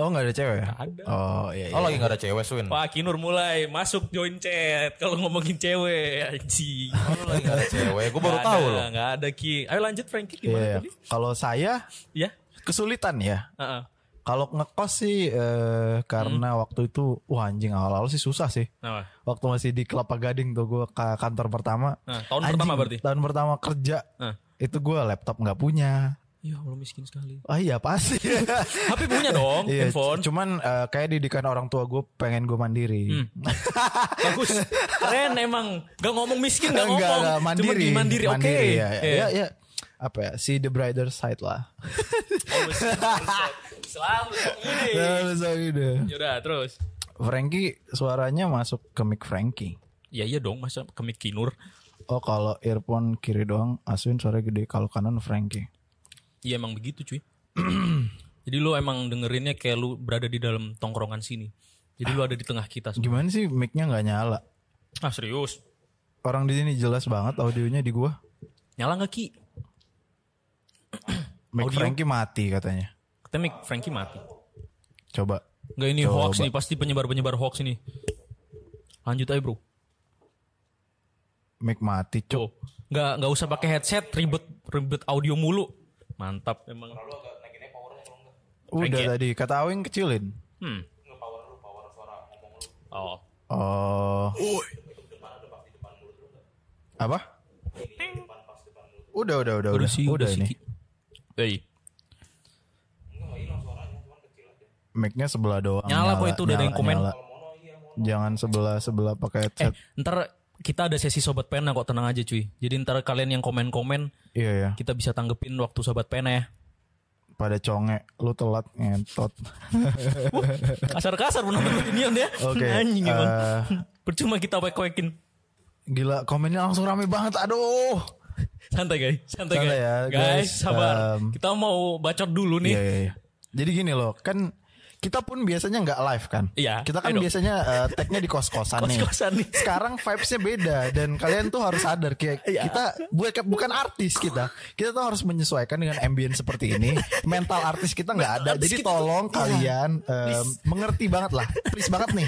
Speaker 1: oh nggak ada cewek ya?
Speaker 3: Nggak ada.
Speaker 1: oh iya, iya.
Speaker 4: Oh lagi gak ada cewek Swin?
Speaker 3: Wah Kinur mulai masuk join chat kalau ngomongin cewek anjing.
Speaker 1: (laughs)
Speaker 4: Oh, lagi gak ada cewek, gue baru
Speaker 3: Nggak
Speaker 4: tahu
Speaker 3: ada,
Speaker 4: loh.
Speaker 3: Nggak ada Ki. Ayo lanjut Frankie
Speaker 1: Iya,
Speaker 3: gimana
Speaker 1: iya.
Speaker 3: tadi?
Speaker 1: kalau saya
Speaker 3: Ya.
Speaker 1: kesulitan ya
Speaker 3: Heeh.
Speaker 1: kalau ngekos sih eh, karena
Speaker 3: Hmm.
Speaker 1: waktu itu wah anjing awal-awal sih susah sih
Speaker 3: Nah,
Speaker 1: waktu masih di Kelapa Gading tuh gue ke kantor pertama.
Speaker 3: Nah, tahun pertama berarti?
Speaker 1: Tahun pertama kerja.
Speaker 3: Nah.
Speaker 1: Itu gue laptop nggak punya.
Speaker 3: ya Allah miskin sekali.
Speaker 1: Ah iya pasti.
Speaker 3: (laughs) HP (laughs) punya dong,
Speaker 1: Iya,
Speaker 3: handphone.
Speaker 1: c- cuman eh, kayak didikan orang tua gue pengen gue mandiri.
Speaker 3: Hmm. Bagus. Keren emang. Gak ngomong miskin, gak
Speaker 1: Enggak,
Speaker 3: ngomong.
Speaker 1: enggak, mandiri.
Speaker 3: Cuma di mandiri, oke.
Speaker 1: ya, ya,
Speaker 3: Iya.
Speaker 1: ya, ya. Apa ya? See the brighter side lah.
Speaker 3: Always mindset. Selalu ini. Yaudah terus.
Speaker 1: Nah, gitu. Frankie suaranya masuk ke mic Frankie.
Speaker 3: Ya iya dong masa kemik kinur.
Speaker 1: Oh kalau earphone kiri doang Aswin suara gede kalau kanan Frankie.
Speaker 3: Iya emang begitu cuy. (clears throat) Jadi lu emang dengerinnya kayak lu berada di dalam tongkrongan sini. Jadi lu ada di tengah kita. semua.
Speaker 1: Gimana sih micnya nggak nyala?
Speaker 3: Ah serius?
Speaker 1: Orang di sini jelas banget audionya di gua.
Speaker 3: Nyala nggak ki?
Speaker 1: Mic Frankie mati katanya.
Speaker 3: Katanya mic Frankie mati.
Speaker 1: Coba.
Speaker 3: Nggak ini
Speaker 1: Coba.
Speaker 3: hoax nih pasti penyebar-penyebar hoax ini. Lanjut aja bro.
Speaker 1: Mic mati, cuk.
Speaker 3: Tuh. Nggak nggak usah pakai headset ribet ribet audio mulu. Mantap emang. Oh, ya?
Speaker 1: Udah tadi kata Awing kecilin.
Speaker 3: Hmm. Oh.
Speaker 1: Oh. Apa? Udah, udah, udah, udah.
Speaker 3: Udah sih,
Speaker 1: udah,
Speaker 3: udah sih,
Speaker 1: ini.
Speaker 3: Ki. Hey,
Speaker 1: Mic-nya sebelah doang.
Speaker 3: Nyala kok itu, udah ada yang komen.
Speaker 1: Jangan sebelah sebelah pakai
Speaker 3: Eh,
Speaker 1: headset.
Speaker 3: ntar kita ada sesi sobat pena kok tenang aja cuy. Jadi ntar kalian yang komen-komen
Speaker 1: Iya, ya. (laughs)
Speaker 3: kita bisa tanggepin waktu sobat pena ya.
Speaker 1: pada conge lu telat ngentot
Speaker 3: Kasar-kasar penonton Minion ya.
Speaker 1: oke
Speaker 3: (laughs) Anjing emang.
Speaker 1: eh,
Speaker 3: (laughs) Percuma kita wek-wekin.
Speaker 1: gila komennya langsung rame banget aduh
Speaker 3: Santai guys, santai,
Speaker 1: Santai
Speaker 3: guys.
Speaker 1: ya,
Speaker 3: guys,
Speaker 1: guys.
Speaker 3: sabar.
Speaker 1: Um,
Speaker 3: kita mau bacot dulu nih.
Speaker 1: Iya, iya, iya. Jadi gini loh, kan kita pun biasanya nggak live kan.
Speaker 3: Iya,
Speaker 1: Kita kan
Speaker 3: ayo dong.
Speaker 1: biasanya eh, tag-nya di
Speaker 3: (laughs)
Speaker 1: kos-kosan nih.
Speaker 3: Kos-kosan nih.
Speaker 1: Sekarang vibes-nya beda dan kalian tuh harus sadar kayak
Speaker 3: Iya.
Speaker 1: kita bukan bukan artis kita. Kita tuh harus menyesuaikan dengan ambience seperti ini. Mental artis kita nggak ada.
Speaker 3: artis
Speaker 1: Jadi
Speaker 3: kita tuh-
Speaker 1: tolong
Speaker 3: iya.
Speaker 1: kalian eh, mengerti banget lah. Please banget nih.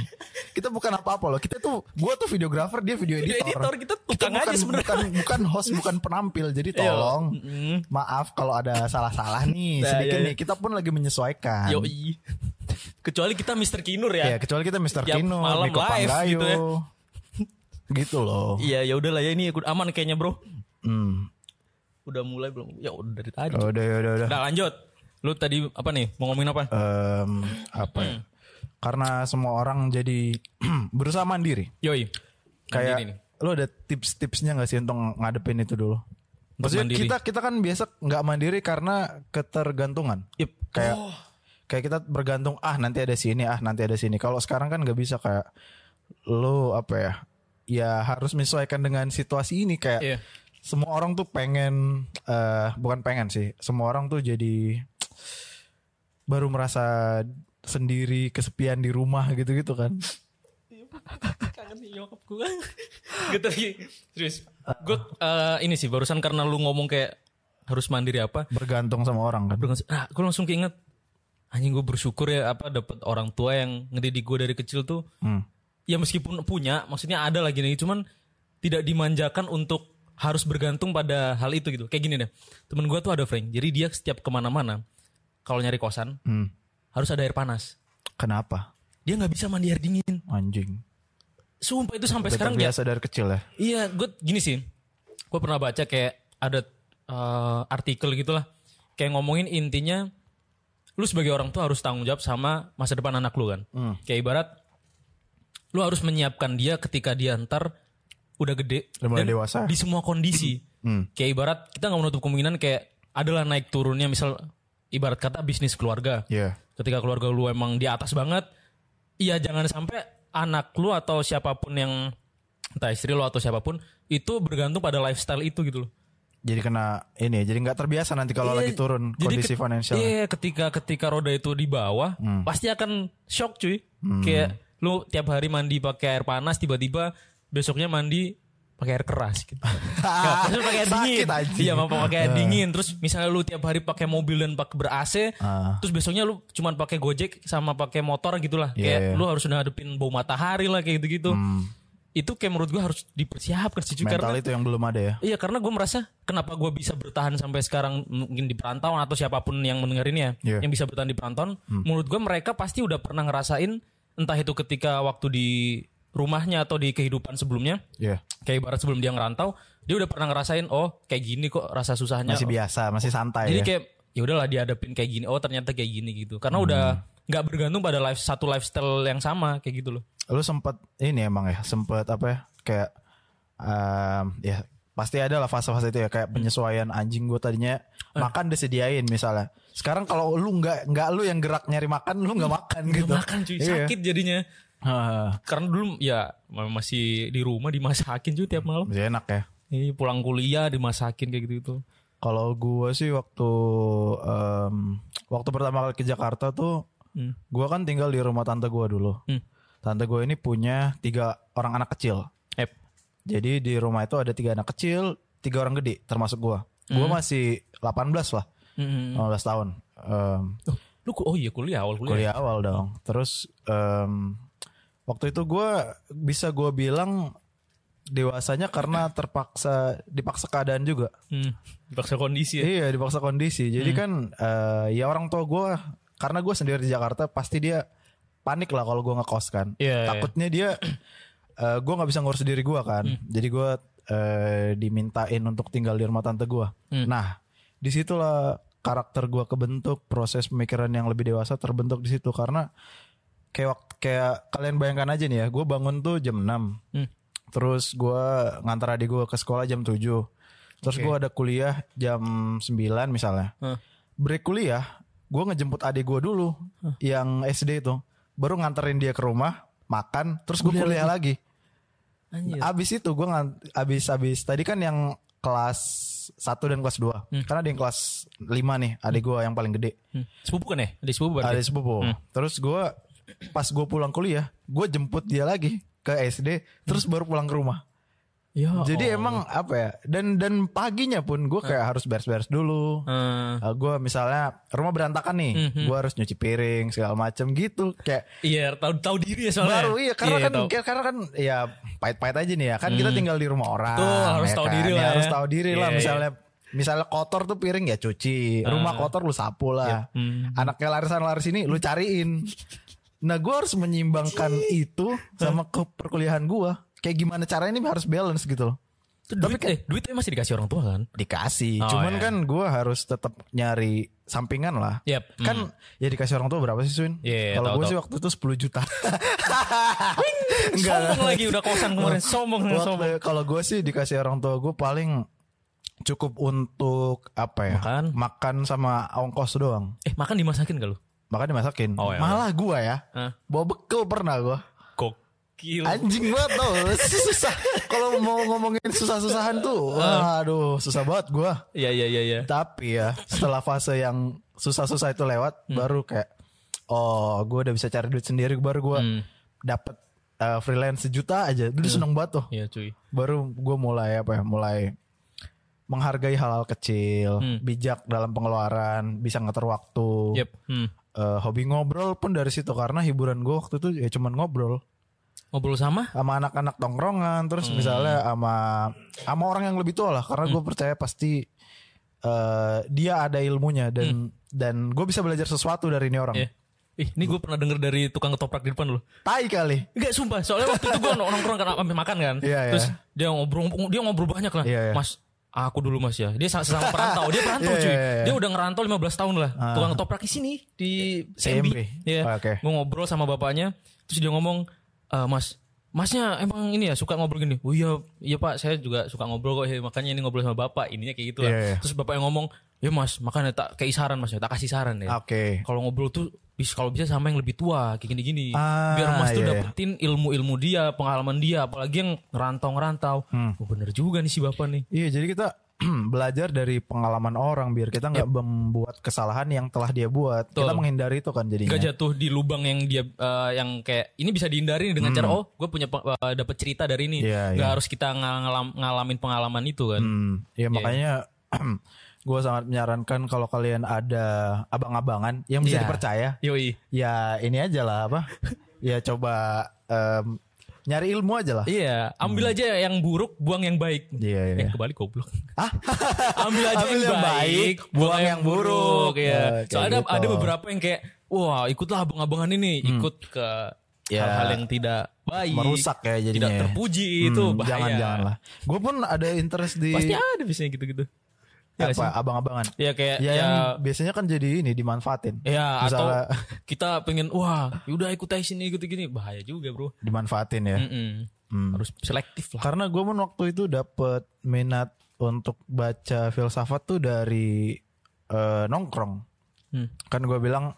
Speaker 1: Kita bukan apa-apa loh. Kita tuh gua tuh videografer, dia video
Speaker 3: Video
Speaker 1: editor.
Speaker 3: editor, kita tukang aja
Speaker 1: bukan-
Speaker 3: sebenarnya.
Speaker 1: bukan bukan host, bukan penampil. Jadi
Speaker 3: Iya.
Speaker 1: tolong
Speaker 3: Mm-mm.
Speaker 1: maaf kalau ada salah-salah nih
Speaker 3: Nah,
Speaker 1: sedikit
Speaker 3: iya, iya.
Speaker 1: nih kita pun lagi menyesuaikan
Speaker 3: Yoi. Kecuali kita Mr. Kinur
Speaker 1: ya
Speaker 3: ya.
Speaker 1: kecuali kita Mr.
Speaker 3: Tiap
Speaker 1: Kino
Speaker 3: malam
Speaker 1: Niko
Speaker 3: live
Speaker 1: Panggayu
Speaker 3: gitu
Speaker 1: gitu,
Speaker 3: ya.
Speaker 1: loh
Speaker 3: Iya, ya udahlah ya ini aku- aman kayaknya, Bro.
Speaker 1: hmm.
Speaker 3: Udah mulai belum? Ya udah dari tadi.
Speaker 1: udah udah udah
Speaker 3: Udah lanjut. Lu tadi apa nih? Mau ngomongin apa?
Speaker 1: Em, apa ya?
Speaker 3: Hmm.
Speaker 1: karena semua orang jadi (clears throat) berusaha mandiri
Speaker 3: Yoi.
Speaker 1: kayak
Speaker 3: Mandiri nih.
Speaker 1: lo ada tips-tipsnya nggak sih untuk ngadepin itu dulu
Speaker 3: Untuk
Speaker 1: Maksudnya
Speaker 3: mandiri.
Speaker 1: kita kita kan biasa nggak mandiri karena ketergantungan
Speaker 3: Yep.
Speaker 1: kayak
Speaker 3: Oh,
Speaker 1: kayak kita bergantung ah nanti ada sini ah nanti ada sini kalau sekarang kan nggak bisa kayak lo apa ya ya harus menyesuaikan dengan situasi ini kayak
Speaker 3: Iya.
Speaker 1: semua orang tuh pengen eh bukan pengen sih semua orang tuh jadi baru merasa sendiri kesepian di rumah gitu-gitu kan
Speaker 3: kangen nih nyokap (laughs) gue gitu lagi serius gue eh, ini sih barusan karena lu ngomong kayak harus mandiri apa
Speaker 1: bergantung sama orang kan
Speaker 3: nah, gue langsung keinget anjing gue bersyukur ya apa dapat orang tua yang ngedidik gue dari kecil tuh
Speaker 1: Hmm.
Speaker 3: ya meskipun punya maksudnya ada lagi nih cuman tidak dimanjakan untuk harus bergantung pada hal itu gitu kayak gini deh temen gue tuh ada Frank jadi dia setiap kemana-mana kalau nyari kosan
Speaker 1: Hmm.
Speaker 3: harus ada air panas
Speaker 1: kenapa
Speaker 3: dia nggak bisa mandi air dingin
Speaker 1: anjing
Speaker 3: sumpah itu sampai
Speaker 1: Udah
Speaker 3: sekarang dia
Speaker 1: terbiasa dari kecil ya
Speaker 3: Iya, gue gini sih. Gue pernah baca kayak ada eh, artikel gitulah. Kayak ngomongin intinya lu sebagai orang tua harus tanggung jawab sama masa depan anak lu kan.
Speaker 1: Hmm.
Speaker 3: Kayak ibarat lu harus menyiapkan dia ketika dia ntar udah gede
Speaker 1: Udah mulai dewasa. Hmm.
Speaker 3: di semua
Speaker 1: (clears throat)
Speaker 3: kondisi. Kayak ibarat kita nggak menutup kemungkinan kayak adalah naik turunnya misal ibarat kata bisnis keluarga
Speaker 1: Iya.
Speaker 3: ketika keluarga lu emang di atas banget iya jangan sampai anak lu atau siapapun yang entah istri lu atau siapapun itu bergantung pada lifestyle itu gitu loh
Speaker 1: Jadi kena ini, ya, jadi nggak terbiasa nanti kalau
Speaker 3: Iya,
Speaker 1: lagi turun
Speaker 3: jadi
Speaker 1: kondisi Hmm.
Speaker 3: ket-
Speaker 1: finansial.
Speaker 3: iya ketika ketika roda itu di bawah pasti akan shock cuy
Speaker 1: Hmm.
Speaker 3: kayak lu tiap hari mandi pakai air panas tiba-tiba besoknya mandi pakai air keras
Speaker 1: (laughs)
Speaker 3: gitu. Nggak, maksudnya pakai air dingin.
Speaker 1: Sakit anjing.
Speaker 3: Iya, mau pakai air dingin. Terus misalnya lu tiap hari pakai mobil dan pakai ber AC,
Speaker 1: Ah.
Speaker 3: terus besoknya lu cuman pakai Gojek sama pakai motor gitulah.
Speaker 1: Iya,
Speaker 3: kayak
Speaker 1: iya. Hmm.
Speaker 3: lu harus ngadepin bau matahari lah kayak gitu-gitu. Itu kayak menurut gua harus dipersiapkan sih cuy
Speaker 1: Mental
Speaker 3: karena
Speaker 1: itu yang belum ada ya.
Speaker 3: Iya karena gue merasa kenapa gue bisa bertahan sampai sekarang mungkin di perantauan atau siapapun yang mendengar ini ya
Speaker 1: Iya. Hmm.
Speaker 3: yang bisa bertahan di perantauan, menurut gue mereka pasti udah pernah ngerasain entah itu ketika waktu di rumahnya atau di kehidupan sebelumnya,
Speaker 1: Iya.
Speaker 3: kayak ibarat sebelum dia ngerantau, dia udah pernah ngerasain oh kayak gini kok rasa susahnya.
Speaker 1: Masih biasa, masih santai
Speaker 3: Ya, Jadi
Speaker 1: ya.
Speaker 3: kayak ya udahlah dihadapin kayak gini, oh ternyata kayak gini gitu. Karena udah
Speaker 1: Hmm.
Speaker 3: nggak bergantung pada life satu lifestyle yang sama kayak gitu loh.
Speaker 1: Lu sempat ini emang ya, sempat apa ya? Kayak em, ya pasti ada lah fase-fase itu ya kayak penyesuaian anjing gue tadinya
Speaker 3: Eh.
Speaker 1: makan disediain misalnya. Sekarang kalau lu nggak nggak lu yang gerak nyari makan, lu nggak makan gitu.
Speaker 3: Nggak makan cuy,
Speaker 1: Iya.
Speaker 3: sakit jadinya.
Speaker 1: Hah,
Speaker 3: Karena dulu ya masih di rumah dimasakin cuy tiap malam.
Speaker 1: masih enak ya.
Speaker 3: Iya pulang kuliah dimasakin kayak gitu gitu.
Speaker 1: Kalau gue sih waktu em, waktu pertama kali ke Jakarta tuh,
Speaker 3: Hmm.
Speaker 1: gue kan tinggal di rumah tante gue dulu.
Speaker 3: Hmm.
Speaker 1: Tante gue ini punya tiga orang anak kecil.
Speaker 3: Ep.
Speaker 1: Jadi di rumah itu ada tiga anak kecil, tiga orang gede, termasuk gue. Gue masih 18 lah, 18 tahun. Em,
Speaker 3: Oh, lu ku- oh iya kuliah awal kuliah.
Speaker 1: kuliah awal dong. Terus em, waktu itu gue bisa gue bilang dewasanya karena terpaksa dipaksa keadaan juga.
Speaker 3: Hmm. Dipaksa kondisi ya.
Speaker 1: Iya dipaksa kondisi. Jadi kan eh, ya orang tua gue karena gue sendiri di Jakarta pasti dia panik lah kalau gue ngekos kan.
Speaker 3: Iya,
Speaker 1: Takutnya dia eh, gue nggak bisa ngurus diri gue kan.
Speaker 3: Hmm.
Speaker 1: Jadi gue eh, dimintain untuk tinggal di rumah tante gue.
Speaker 3: Hmm.
Speaker 1: Nah disitulah karakter gue kebentuk proses pemikiran yang lebih dewasa terbentuk di situ karena kayak wakt- kayak kalian bayangkan aja nih ya gue bangun tuh jam 6
Speaker 3: Hmm.
Speaker 1: terus gue ngantar adik gue ke sekolah jam 7 terus gue ada kuliah jam 9 misalnya
Speaker 3: Hah.
Speaker 1: break kuliah gue ngejemput adik gue dulu yang SD itu baru nganterin dia ke rumah makan terus gue kuliah lagi Iya.
Speaker 3: Anjir.
Speaker 1: abis itu gue ngan abis abis tadi kan yang kelas 1 dan kelas 2 karena ada yang kelas 5 nih adik gue yang paling gede
Speaker 3: Hmm. Sepupu kan ya? Adik sepupu
Speaker 1: ada
Speaker 3: berarti.
Speaker 1: sepupu terus gue pas gue pulang kuliah gue jemput dia lagi ke SD terus baru pulang ke rumah
Speaker 3: Ya
Speaker 1: jadi
Speaker 3: Allah.
Speaker 1: emang apa ya dan dan paginya pun gue kayak harus beres-beres dulu
Speaker 3: Eh,
Speaker 1: gue misalnya rumah berantakan nih
Speaker 3: Mhm.
Speaker 1: gue harus nyuci piring segala macem gitu kayak
Speaker 3: iya, tahu tahu diri ya soalnya.
Speaker 1: baru iya karena kan
Speaker 3: tahu.
Speaker 1: karena kan ya pahit-pahit aja nih ya kan kita tinggal di rumah orang
Speaker 3: Mhm. Betul, harus
Speaker 1: ya
Speaker 3: tahu
Speaker 1: kan? Ya,
Speaker 3: diri lah ya.
Speaker 1: harus tahu diri lah
Speaker 3: Iya,
Speaker 1: misalnya misalnya kotor tuh piring ya cuci rumah kotor lu sapu lah
Speaker 3: Iya, mhm.
Speaker 1: anaknya larisan-laris ini lu cariin nah gue harus menyimbangkan itu sama ke perkuliahan gue kayak gimana caranya ini harus balance gitu loh
Speaker 3: Itu duit, eh, duitnya masih dikasih orang tua kan?
Speaker 1: dikasih
Speaker 3: Oh,
Speaker 1: cuman
Speaker 3: iya.
Speaker 1: kan gue harus tetap nyari sampingan lah
Speaker 3: Yap. Hmm.
Speaker 1: kan ya dikasih orang tua berapa sih Swin?
Speaker 3: Iya,
Speaker 1: Kalau
Speaker 3: tahu,
Speaker 1: gue
Speaker 3: tahu.
Speaker 1: sih waktu itu 10
Speaker 3: (laughs)
Speaker 1: juta. Enggak.
Speaker 3: Sombong lagi udah kosan kemarin, sombong sombong.
Speaker 1: Waktu- Kalau gue sih dikasih orang tua gue paling cukup untuk apa ya?
Speaker 3: Makan.
Speaker 1: sama ongkos doang.
Speaker 3: Eh, makan dimasakin gak lu?
Speaker 1: Makanya dimasakin.
Speaker 3: Oh, iya.
Speaker 1: Malah gue ya.
Speaker 3: Hah?
Speaker 1: Bawa bekal pernah gue.
Speaker 3: Gokil.
Speaker 1: Anjing banget
Speaker 3: (laughs)
Speaker 1: tau. Susah. Kalau mau ngomongin susah-susahan tuh. wah, Aduh susah banget gue.
Speaker 3: Iya, iya, iya, iya.
Speaker 1: Tapi ya setelah fase yang susah-susah itu lewat, baru kayak oh gue udah bisa cari duit sendiri, baru gue
Speaker 3: Hmm.
Speaker 1: dapet uh, freelance sejuta aja, dulu seneng banget tuh.
Speaker 3: Iya, cuy.
Speaker 1: Baru gue mulai apa ya, mulai menghargai hal-hal kecil, bijak dalam pengeluaran, bisa ngatur waktu.
Speaker 3: Yep. Hmm.
Speaker 1: Eh, hobi ngobrol pun dari situ karena hiburan gue waktu itu ya cuman ngobrol
Speaker 3: Ngobrol sama?
Speaker 1: sama anak-anak tongkrongan terus
Speaker 3: Hmm.
Speaker 1: misalnya sama sama orang yang lebih tua lah karena gue percaya pasti eh, dia ada ilmunya dan dan gue bisa belajar sesuatu dari ini orang
Speaker 3: Hmm. Iya. Ih, ini gue pernah denger dari tukang ketoprak di depan lu.
Speaker 1: tai kali
Speaker 3: Enggak sumpah, soalnya waktu itu gue nongkrong kan ambil makan kan.
Speaker 1: Iya, iya.
Speaker 3: Terus dia ngobrol dia ngobrol banyak lah.
Speaker 1: Iya, iya.
Speaker 3: Mas, aku dulu Mas ya. Dia sa- sesama perantau, dia perantau
Speaker 1: (laughs) Iya,
Speaker 3: cuy.
Speaker 1: iya, iya.
Speaker 3: Dia udah ngerantau 15 tahun lah. Tukang ketoprak di sini di
Speaker 1: CMB.
Speaker 3: CMB. Iya.
Speaker 1: Oh, oke.
Speaker 3: Gua ngobrol sama bapaknya, terus dia ngomong, "Eh, Mas, Masnya emang ini ya suka ngobrol gini. Oh iya, iya Pak, saya juga suka ngobrol kok. Hei, makanya ini ngobrol sama Bapak. Ininya kayak gitu lah.
Speaker 1: Iya, iya.
Speaker 3: Terus bapaknya ngomong, "Ya Mas, makanya tak kayak saran Mas, ya. tak kasih saran ya."
Speaker 1: oke
Speaker 3: kalau ngobrol tuh bis kalau bisa sama yang lebih tua kayak gini-gini
Speaker 1: Ah,
Speaker 3: biar mas
Speaker 1: iya,
Speaker 3: tuh
Speaker 1: iya.
Speaker 3: dapetin ilmu-ilmu dia pengalaman dia apalagi yang ngerantau-ngerantau
Speaker 1: Hmm.
Speaker 3: oh, bener juga nih si bapak nih
Speaker 1: iya jadi kita (clears throat) belajar dari pengalaman orang biar kita nggak membuat kesalahan yang telah dia buat kita
Speaker 3: Iya. Betul.
Speaker 1: menghindari itu kan jadinya
Speaker 3: gak jatuh di lubang yang dia eh, yang kayak ini bisa dihindari dengan cara oh gue punya pe- eh, dapet cerita dari
Speaker 1: Hmm.
Speaker 3: ini
Speaker 1: Iya,
Speaker 3: nggak
Speaker 1: iya.
Speaker 3: harus kita ngalam- ngalamin pengalaman itu kan
Speaker 1: Hmm, ya makanya (clears throat) gue sangat menyarankan kalau kalian ada abang-abangan yang bisa
Speaker 3: Iya.
Speaker 1: dipercaya
Speaker 3: yoi
Speaker 1: ya ini aja lah apa ya coba em, nyari ilmu aja lah
Speaker 3: iya ambil aja yang buruk buang yang baik
Speaker 1: Hmm. Iya, iya,
Speaker 3: Eh,
Speaker 1: iya.
Speaker 3: kebalik goblok (laughs) ambil aja
Speaker 1: Ambil
Speaker 3: yang,
Speaker 1: yang
Speaker 3: baik,
Speaker 1: baik, buang yang buruk.
Speaker 3: ya.
Speaker 1: Ya, kayak
Speaker 3: Soalnya ada-
Speaker 1: gitu. Hmm.
Speaker 3: ada beberapa yang kayak wah ikutlah abang-abangan ini ikut ke
Speaker 1: Ya.
Speaker 3: hal-hal yang tidak baik,
Speaker 1: merusak ya jadinya
Speaker 3: tidak
Speaker 1: ya.
Speaker 3: terpuji itu
Speaker 1: Hmm,
Speaker 3: gitu, bahaya.
Speaker 1: jangan jangan lah gue pun ada interest di
Speaker 3: Pasti ada biasanya gitu-gitu. Ya,
Speaker 1: apa
Speaker 3: sih?
Speaker 1: abang-abangan
Speaker 3: ya kayak
Speaker 1: ya,
Speaker 3: ya,
Speaker 1: yang biasanya kan jadi ini dimanfaatin
Speaker 3: ya, atau
Speaker 1: Misalnya-
Speaker 3: kita pengen wah yaudah ikut aja sini ikut gini bahaya juga bro.
Speaker 1: dimanfaatin ya
Speaker 3: Mm-mm.
Speaker 1: Hmm.
Speaker 3: Harus selektif lah.
Speaker 1: karena gue pun waktu itu dapet minat untuk baca filsafat tuh dari eh, nongkrong
Speaker 3: Hmm.
Speaker 1: kan gue bilang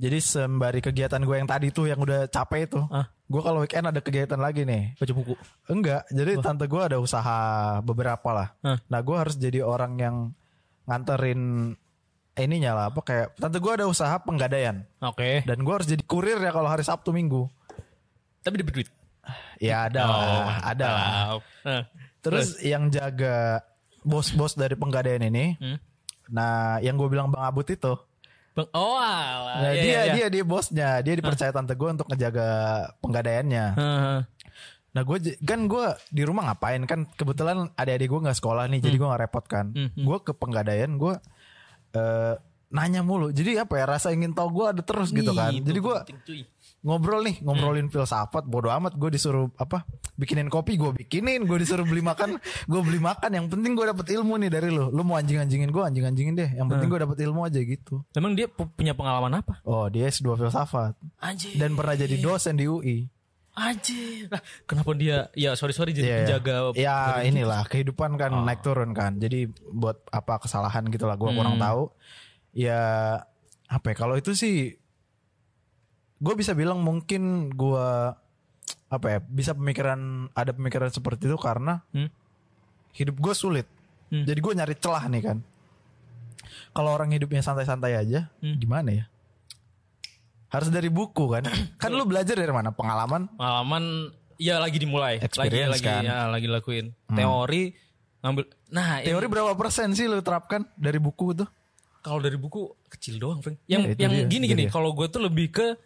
Speaker 1: jadi sembari kegiatan gue yang tadi tuh yang udah capek itu
Speaker 3: Ah.
Speaker 1: gue kalau weekend ada kegiatan lagi nih
Speaker 3: Baca buku.
Speaker 1: Enggak, jadi tante gue ada usaha beberapa lah.
Speaker 3: Hah.
Speaker 1: Nah gue harus jadi orang yang nganterin ininya lah apa kayak tante gue ada usaha penggadaian
Speaker 3: Oke.
Speaker 1: dan gue harus jadi kurir ya kalau hari Sabtu Minggu.
Speaker 3: Tapi dapat duit.
Speaker 1: Ya ada,
Speaker 3: Oh,
Speaker 1: lah, ada. lah.
Speaker 3: Nah,
Speaker 1: Terus yang jaga bos-bos dari penggadaian ini,
Speaker 3: Hmm.
Speaker 1: nah yang gue bilang Bang Abut itu,
Speaker 3: Bang, oh alah.
Speaker 1: nah,
Speaker 3: Iya,
Speaker 1: dia
Speaker 3: iya, iya.
Speaker 1: dia dia bosnya, dia dipercaya tante gue untuk ngejaga penggadaiannya.
Speaker 3: Heeh.
Speaker 1: Nah gue kan gue di rumah ngapain kan kebetulan adik-adik gue nggak sekolah nih
Speaker 3: Hmm.
Speaker 1: jadi gue nggak repot kan. Gue ke penggadaian gue eh, nanya mulu. Jadi apa ya rasa ingin tahu gue ada terus gitu kan.
Speaker 3: Itu
Speaker 1: Jadi gue
Speaker 3: penting, cuy.
Speaker 1: ngobrol nih ngobrolin
Speaker 3: Hmm.
Speaker 1: filsafat bodo amat gue disuruh apa bikinin kopi gue bikinin gue disuruh beli
Speaker 3: (laughs)
Speaker 1: makan gue beli makan yang penting gue dapet ilmu nih dari lo lo mau anjing anjingin gue anjing anjingin deh yang
Speaker 3: Hmm.
Speaker 1: penting gue dapet ilmu aja gitu
Speaker 3: Emang dia pu- punya pengalaman apa?
Speaker 1: oh dia S2 filsafat
Speaker 3: Anjir.
Speaker 1: dan pernah jadi dosen di UI
Speaker 3: Anjir. Lah, kenapa dia ya sorry sorry jadi
Speaker 1: Iya, iya.
Speaker 3: penjaga
Speaker 1: ya inilah kehidupan kan
Speaker 3: Oh.
Speaker 1: naik
Speaker 3: Hmm.
Speaker 1: turun kan jadi buat apa kesalahan gitu lah gue kurang tahu ya apa ya kalau itu sih gue bisa bilang mungkin gue apa ya bisa pemikiran ada pemikiran seperti itu karena
Speaker 3: Hmm.
Speaker 1: hidup gue sulit
Speaker 3: Hmm.
Speaker 1: jadi gue nyari celah nih kan kalau orang hidupnya santai-santai aja
Speaker 3: Hmm.
Speaker 1: gimana ya harus dari buku
Speaker 3: (coughs)
Speaker 1: kan kan lu belajar dari mana pengalaman
Speaker 3: Pengalaman ya lagi dimulai,
Speaker 5: Experience,
Speaker 3: lagi
Speaker 5: kan?
Speaker 3: lagi ya, lagi lakuin. Teori ngambil nah
Speaker 1: Hmm.
Speaker 3: ini
Speaker 1: teori berapa persen sih lu terapkan dari buku tuh
Speaker 3: kalau dari buku kecil doang, Feng. Ya, Yang
Speaker 1: itu
Speaker 3: yang
Speaker 1: dia,
Speaker 3: gini
Speaker 1: itu
Speaker 3: gini,
Speaker 1: dia.
Speaker 3: kalau gue tuh lebih ke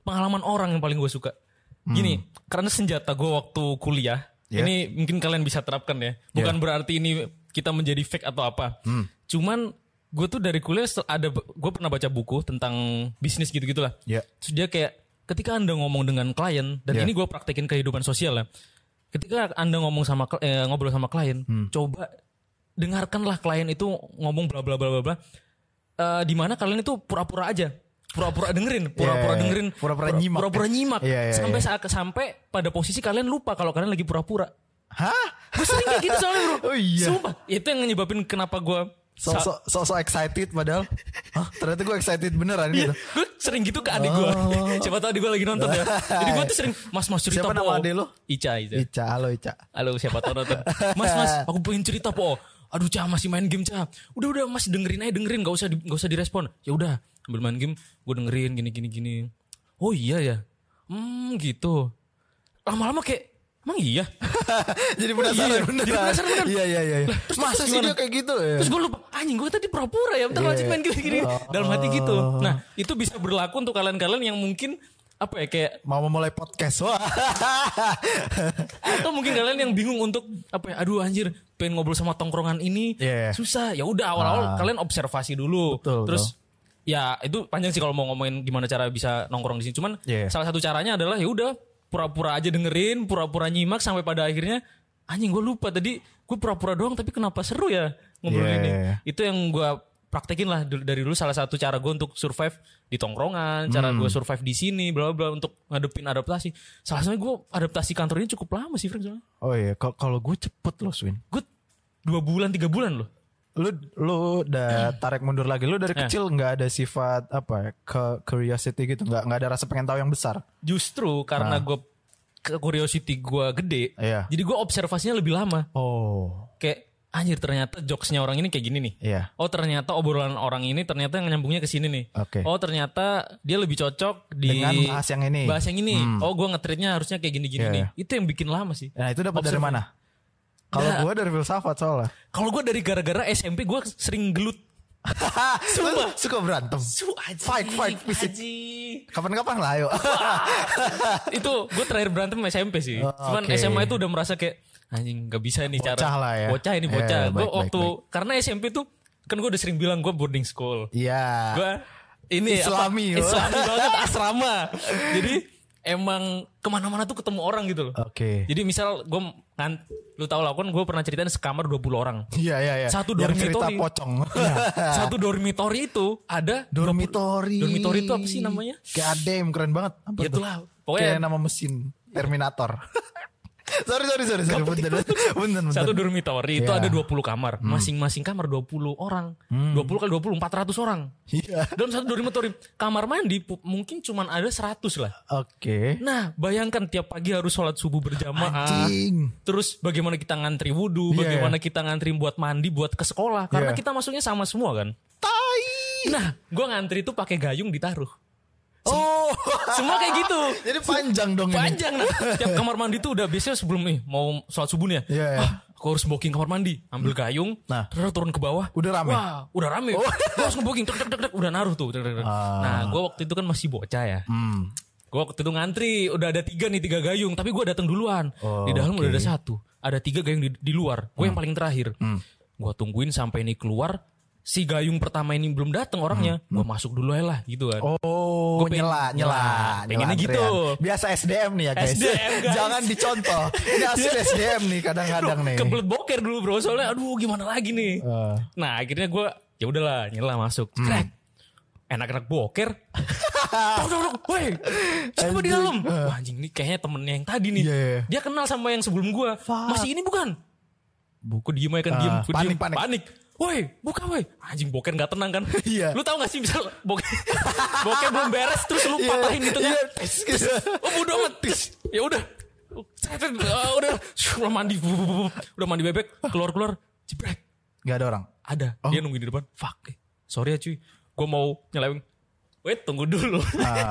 Speaker 3: pengalaman orang yang paling gue suka. Gini, karena senjata gue waktu kuliah,
Speaker 1: Ya.
Speaker 3: ini mungkin kalian bisa terapkan ya. Hmm. Bukan berarti ini kita menjadi fake atau apa. Cuman gue tuh dari kuliah sel- ada gue pernah baca buku tentang bisnis gitu gitulah.
Speaker 1: Ya.
Speaker 3: Terus dia kayak ketika anda ngomong dengan klien dan
Speaker 1: Ya.
Speaker 3: ini gue praktekin kehidupan sosial ya. Ketika anda ngomong sama kl- eh, ngobrol sama klien,
Speaker 1: Hmm.
Speaker 3: coba dengarkanlah klien itu ngomong bla bla bla bla bla. Eh, di mana kalian itu pura-pura aja, pura-pura
Speaker 1: (laughs)
Speaker 3: dengerin, pura-pura
Speaker 1: Yeah.
Speaker 3: dengerin,
Speaker 1: Ya, Pura-pura
Speaker 3: pura-
Speaker 1: nyimak.
Speaker 3: pura-pura nyimak.
Speaker 1: Iya, iya,
Speaker 3: sampai
Speaker 1: iya.
Speaker 3: saat sampai pada posisi kalian lupa kalau kalian lagi pura-pura.
Speaker 1: hah
Speaker 3: Gue sering kayak gitu soalnya bro.
Speaker 1: (laughs) Oh iya.
Speaker 3: Sumpah, itu yang nyebabin kenapa gue
Speaker 1: sosok sosok excited
Speaker 3: (laughs)
Speaker 1: padahal Hah, ternyata gue excited beneran gitu
Speaker 3: gue sering gitu ke adik gue. (laughs) Siapa tahu adik gue lagi nonton ya. Jadi gue tuh sering, mas mas cerita
Speaker 1: Oh. Siapa nama
Speaker 3: Po."
Speaker 1: adik lu?
Speaker 3: Ica, Ica.
Speaker 1: Ica halo Ica
Speaker 3: Halo siapa tahu nonton. Mas mas, aku pengen cerita po. Aduh cah masih main game cah. Udah udah mas dengerin aja dengerin, gak usah di, gak usah direspon. Ya udah, ambil main game, gue dengerin gini gini gini. Oh iya ya, hmm gitu. Lama-lama kayak, emang iya.
Speaker 1: jadi penasaran
Speaker 3: Iya,
Speaker 1: beneran.
Speaker 3: (laughs) jadi penasaran beneran.
Speaker 1: Iya iya iya. iya.
Speaker 3: terus-
Speaker 1: Masa
Speaker 3: terus
Speaker 1: sih
Speaker 3: gimana?
Speaker 1: dia kayak gitu? Ya?
Speaker 3: Terus gue lupa, anjing gue tadi pura-pura ya,
Speaker 1: Iya.
Speaker 3: bentar lanjut main game gini. Dalam hati gitu.
Speaker 1: Oh.
Speaker 3: Nah itu bisa berlaku untuk kalian-kalian yang mungkin apa ya kayak
Speaker 1: Mau memulai podcast wah. (laughs)
Speaker 3: atau mungkin kalian yang bingung untuk apa ya aduh anjir pengen ngobrol sama tongkrongan ini
Speaker 1: Iya. Ah.
Speaker 3: susah ya udah awal-awal kalian observasi dulu
Speaker 1: Betul,
Speaker 3: terus ya itu panjang sih kalau mau ngomongin gimana cara bisa nongkrong di sini cuman
Speaker 1: Iya.
Speaker 3: salah satu caranya adalah ya udah pura-pura aja dengerin pura-pura nyimak sampai pada akhirnya anjing gue lupa tadi gue pura-pura doang tapi kenapa seru ya ngobrol
Speaker 1: Iya.
Speaker 3: ini itu yang gue praktekin lah dul- dari dulu salah satu cara gue untuk survive di tongkrongan cara
Speaker 1: Hmm.
Speaker 3: gue survive di sini bla bla untuk ngadepin adaptasi salah satunya gue adaptasi kantor ini cukup lama sih Frank soalnya
Speaker 1: Oh iya, ka- kalau gue cepet loh Swin.
Speaker 3: gue dua bulan tiga bulan loh
Speaker 1: Lu lu
Speaker 3: (clears throat)
Speaker 1: udah tarik mundur lagi. Lu
Speaker 3: Eh.
Speaker 1: dari kecil nggak ada sifat apa ya, ke curiosity gitu, nggak nggak ada rasa pengen tahu yang besar.
Speaker 3: justru karena gue curiosity gue gede
Speaker 1: Ah. Iya.
Speaker 3: jadi gue observasinya lebih lama
Speaker 1: Oh,
Speaker 3: kayak anjir ternyata jokesnya orang ini kayak gini nih
Speaker 1: iya.
Speaker 3: Oh ternyata obrolan orang ini ternyata yang nyambungnya ke sini nih.
Speaker 1: Oke.
Speaker 3: Oh ternyata dia lebih cocok di
Speaker 1: Dengan bahas yang ini.
Speaker 3: Bahas yang ini. Oh gue ngetritnya harusnya kayak gini-gini
Speaker 1: Hmm. Iya,
Speaker 3: nih. Itu yang bikin lama sih.
Speaker 1: Nah, itu dapat dari
Speaker 3: Observasi.
Speaker 1: mana? Kalau gue dari filsafat soalnya.
Speaker 3: Kalau gue dari gara-gara SMP gue sering gelut.
Speaker 1: (laughs) Sumpah. (laughs) suka berantem.
Speaker 3: Su aji,
Speaker 1: Fight, fight, fisik.
Speaker 3: aji.
Speaker 1: Kapan-kapan lah (laughs) ayo.
Speaker 3: itu gue terakhir berantem SMP sih.
Speaker 1: Oh,
Speaker 3: Cuman
Speaker 1: oke.
Speaker 3: SMA itu udah merasa kayak anjing gak bisa nih cara.
Speaker 1: Bocah lah ya.
Speaker 3: Bocah ini
Speaker 1: Iya,
Speaker 3: bocah.
Speaker 1: baik,
Speaker 3: gue
Speaker 1: baik,
Speaker 3: waktu karena SMP tuh kan gue udah sering bilang gue boarding school.
Speaker 1: Iya.
Speaker 3: gue ini
Speaker 1: Islami,
Speaker 3: apa,
Speaker 1: wah. (laughs)
Speaker 3: Islami banget asrama jadi emang kemana-mana tuh ketemu orang gitu loh
Speaker 1: Oke.
Speaker 3: jadi misal gue ngan lu tau lah kan gue pernah ceritain sekamar 20 orang
Speaker 1: Iya iya iya.
Speaker 3: Satu
Speaker 1: Yang cerita
Speaker 3: dormitory. Iya.
Speaker 1: pocong. (laughs)
Speaker 3: satu dormitori itu ada
Speaker 1: Dormitori.
Speaker 3: Dormitori itu apa sih namanya?
Speaker 1: Gadem keren banget. Apa
Speaker 3: Ya
Speaker 1: tuh?
Speaker 3: itulah, pokoknya-
Speaker 1: kayak nama mesin Terminator. (laughs) sorry sorry sorry sorry. Bentar, bentar, bentar, bentar.
Speaker 3: satu dormitori itu
Speaker 1: Iya. Hmm.
Speaker 3: ada 20 kamar masing-masing kamar 20 orang 20 kali 20 400 orang
Speaker 1: Iya.
Speaker 3: dalam satu dormitori kamar mandi pu- mungkin cuman ada 100 lah
Speaker 1: Oke.
Speaker 3: nah bayangkan tiap pagi harus sholat subuh berjamaah
Speaker 1: Anjing.
Speaker 3: Terus bagaimana kita ngantri wudhu,
Speaker 1: Iya,
Speaker 3: bagaimana kita ngantri buat mandi, buat ke sekolah.
Speaker 1: Iya.
Speaker 3: Karena kita masuknya sama semua kan.
Speaker 1: Tai.
Speaker 3: Nah, gue ngantri itu pakai gayung ditaruh.
Speaker 1: Oh.
Speaker 3: Semua kayak gitu.
Speaker 1: (laughs) Jadi panjang dong ini.
Speaker 3: Panjang nah. Tiap kamar mandi tuh udah biasanya sebelum nih mau sholat subuh nih ya.
Speaker 1: Iya, iya.
Speaker 3: Ah, aku harus booking kamar mandi, ambil gayung,
Speaker 1: Nah.
Speaker 3: terus turun ke bawah.
Speaker 1: Udah rame? Oh.
Speaker 3: Wah, udah rame. Gue harus ngebooking, tek, tek, tek, tek, udah naruh tuh. tek, tek, tek.
Speaker 1: Ah.
Speaker 3: Nah, gue waktu itu kan masih bocah ya.
Speaker 1: Hmm.
Speaker 3: Gue waktu itu ngantri, udah ada tiga nih tiga gayung, tapi gue datang duluan.
Speaker 1: Oh,
Speaker 3: di dalam udah ada satu, ada tiga gayung di, di luar. Gue yang
Speaker 1: Hmm.
Speaker 3: paling terakhir. Gue tungguin sampai ini keluar. Si gayung pertama ini belum datang orangnya, gue masuk dulu aja lah gitu kan.
Speaker 1: Hmm. Oh,
Speaker 3: Gua pengen-
Speaker 1: nyela,
Speaker 3: nyela.
Speaker 1: nyela,
Speaker 3: Pengennya
Speaker 1: nyela
Speaker 3: gitu.
Speaker 1: antrian. Biasa SDM nih ya guys.
Speaker 3: SDM, guys.
Speaker 1: Jangan dicontoh. Ini
Speaker 3: (laughs)
Speaker 1: hasil SDM nih kadang-kadang nih.
Speaker 3: Kebelet boker dulu bro, soalnya aduh gimana lagi nih.
Speaker 1: Eh.
Speaker 3: Nah akhirnya gue ya udahlah nyela masuk.
Speaker 1: Hmm.
Speaker 3: Krek. Enak-enak
Speaker 1: (laughs)
Speaker 3: boker. Tok tok tok, woi. Siapa di dalam? Wah, anjing nih kayaknya temennya yang tadi nih.
Speaker 1: Ah. Iya, iya, iya.
Speaker 3: Dia kenal sama yang sebelum gue. Masih ini bukan? Buku diem aja kan diem.
Speaker 1: Ah,
Speaker 3: gua diem.
Speaker 1: panik, panik.
Speaker 3: panik. Woi, buka woi. Anjing boker gak tenang kan?
Speaker 1: Iya.
Speaker 3: Lu tau gak sih misal boker, (laughs) boker belum beres terus lu
Speaker 1: Iya.
Speaker 3: patahin gitu kan? di tengah.
Speaker 1: gitu.
Speaker 3: Oh bodo amat. Terus, Ya udah. Saya tuh, ah, udah Shhh, udah mandi. Wuh, wuh, wuh. Udah mandi bebek, keluar-keluar. Jebrek.
Speaker 1: Gak ada orang.
Speaker 3: Ada.
Speaker 1: Oh.
Speaker 3: Dia nungguin di depan. Fuck. eh, Sorry ya cuy. Gua mau nyeleweng. Wait, tunggu dulu.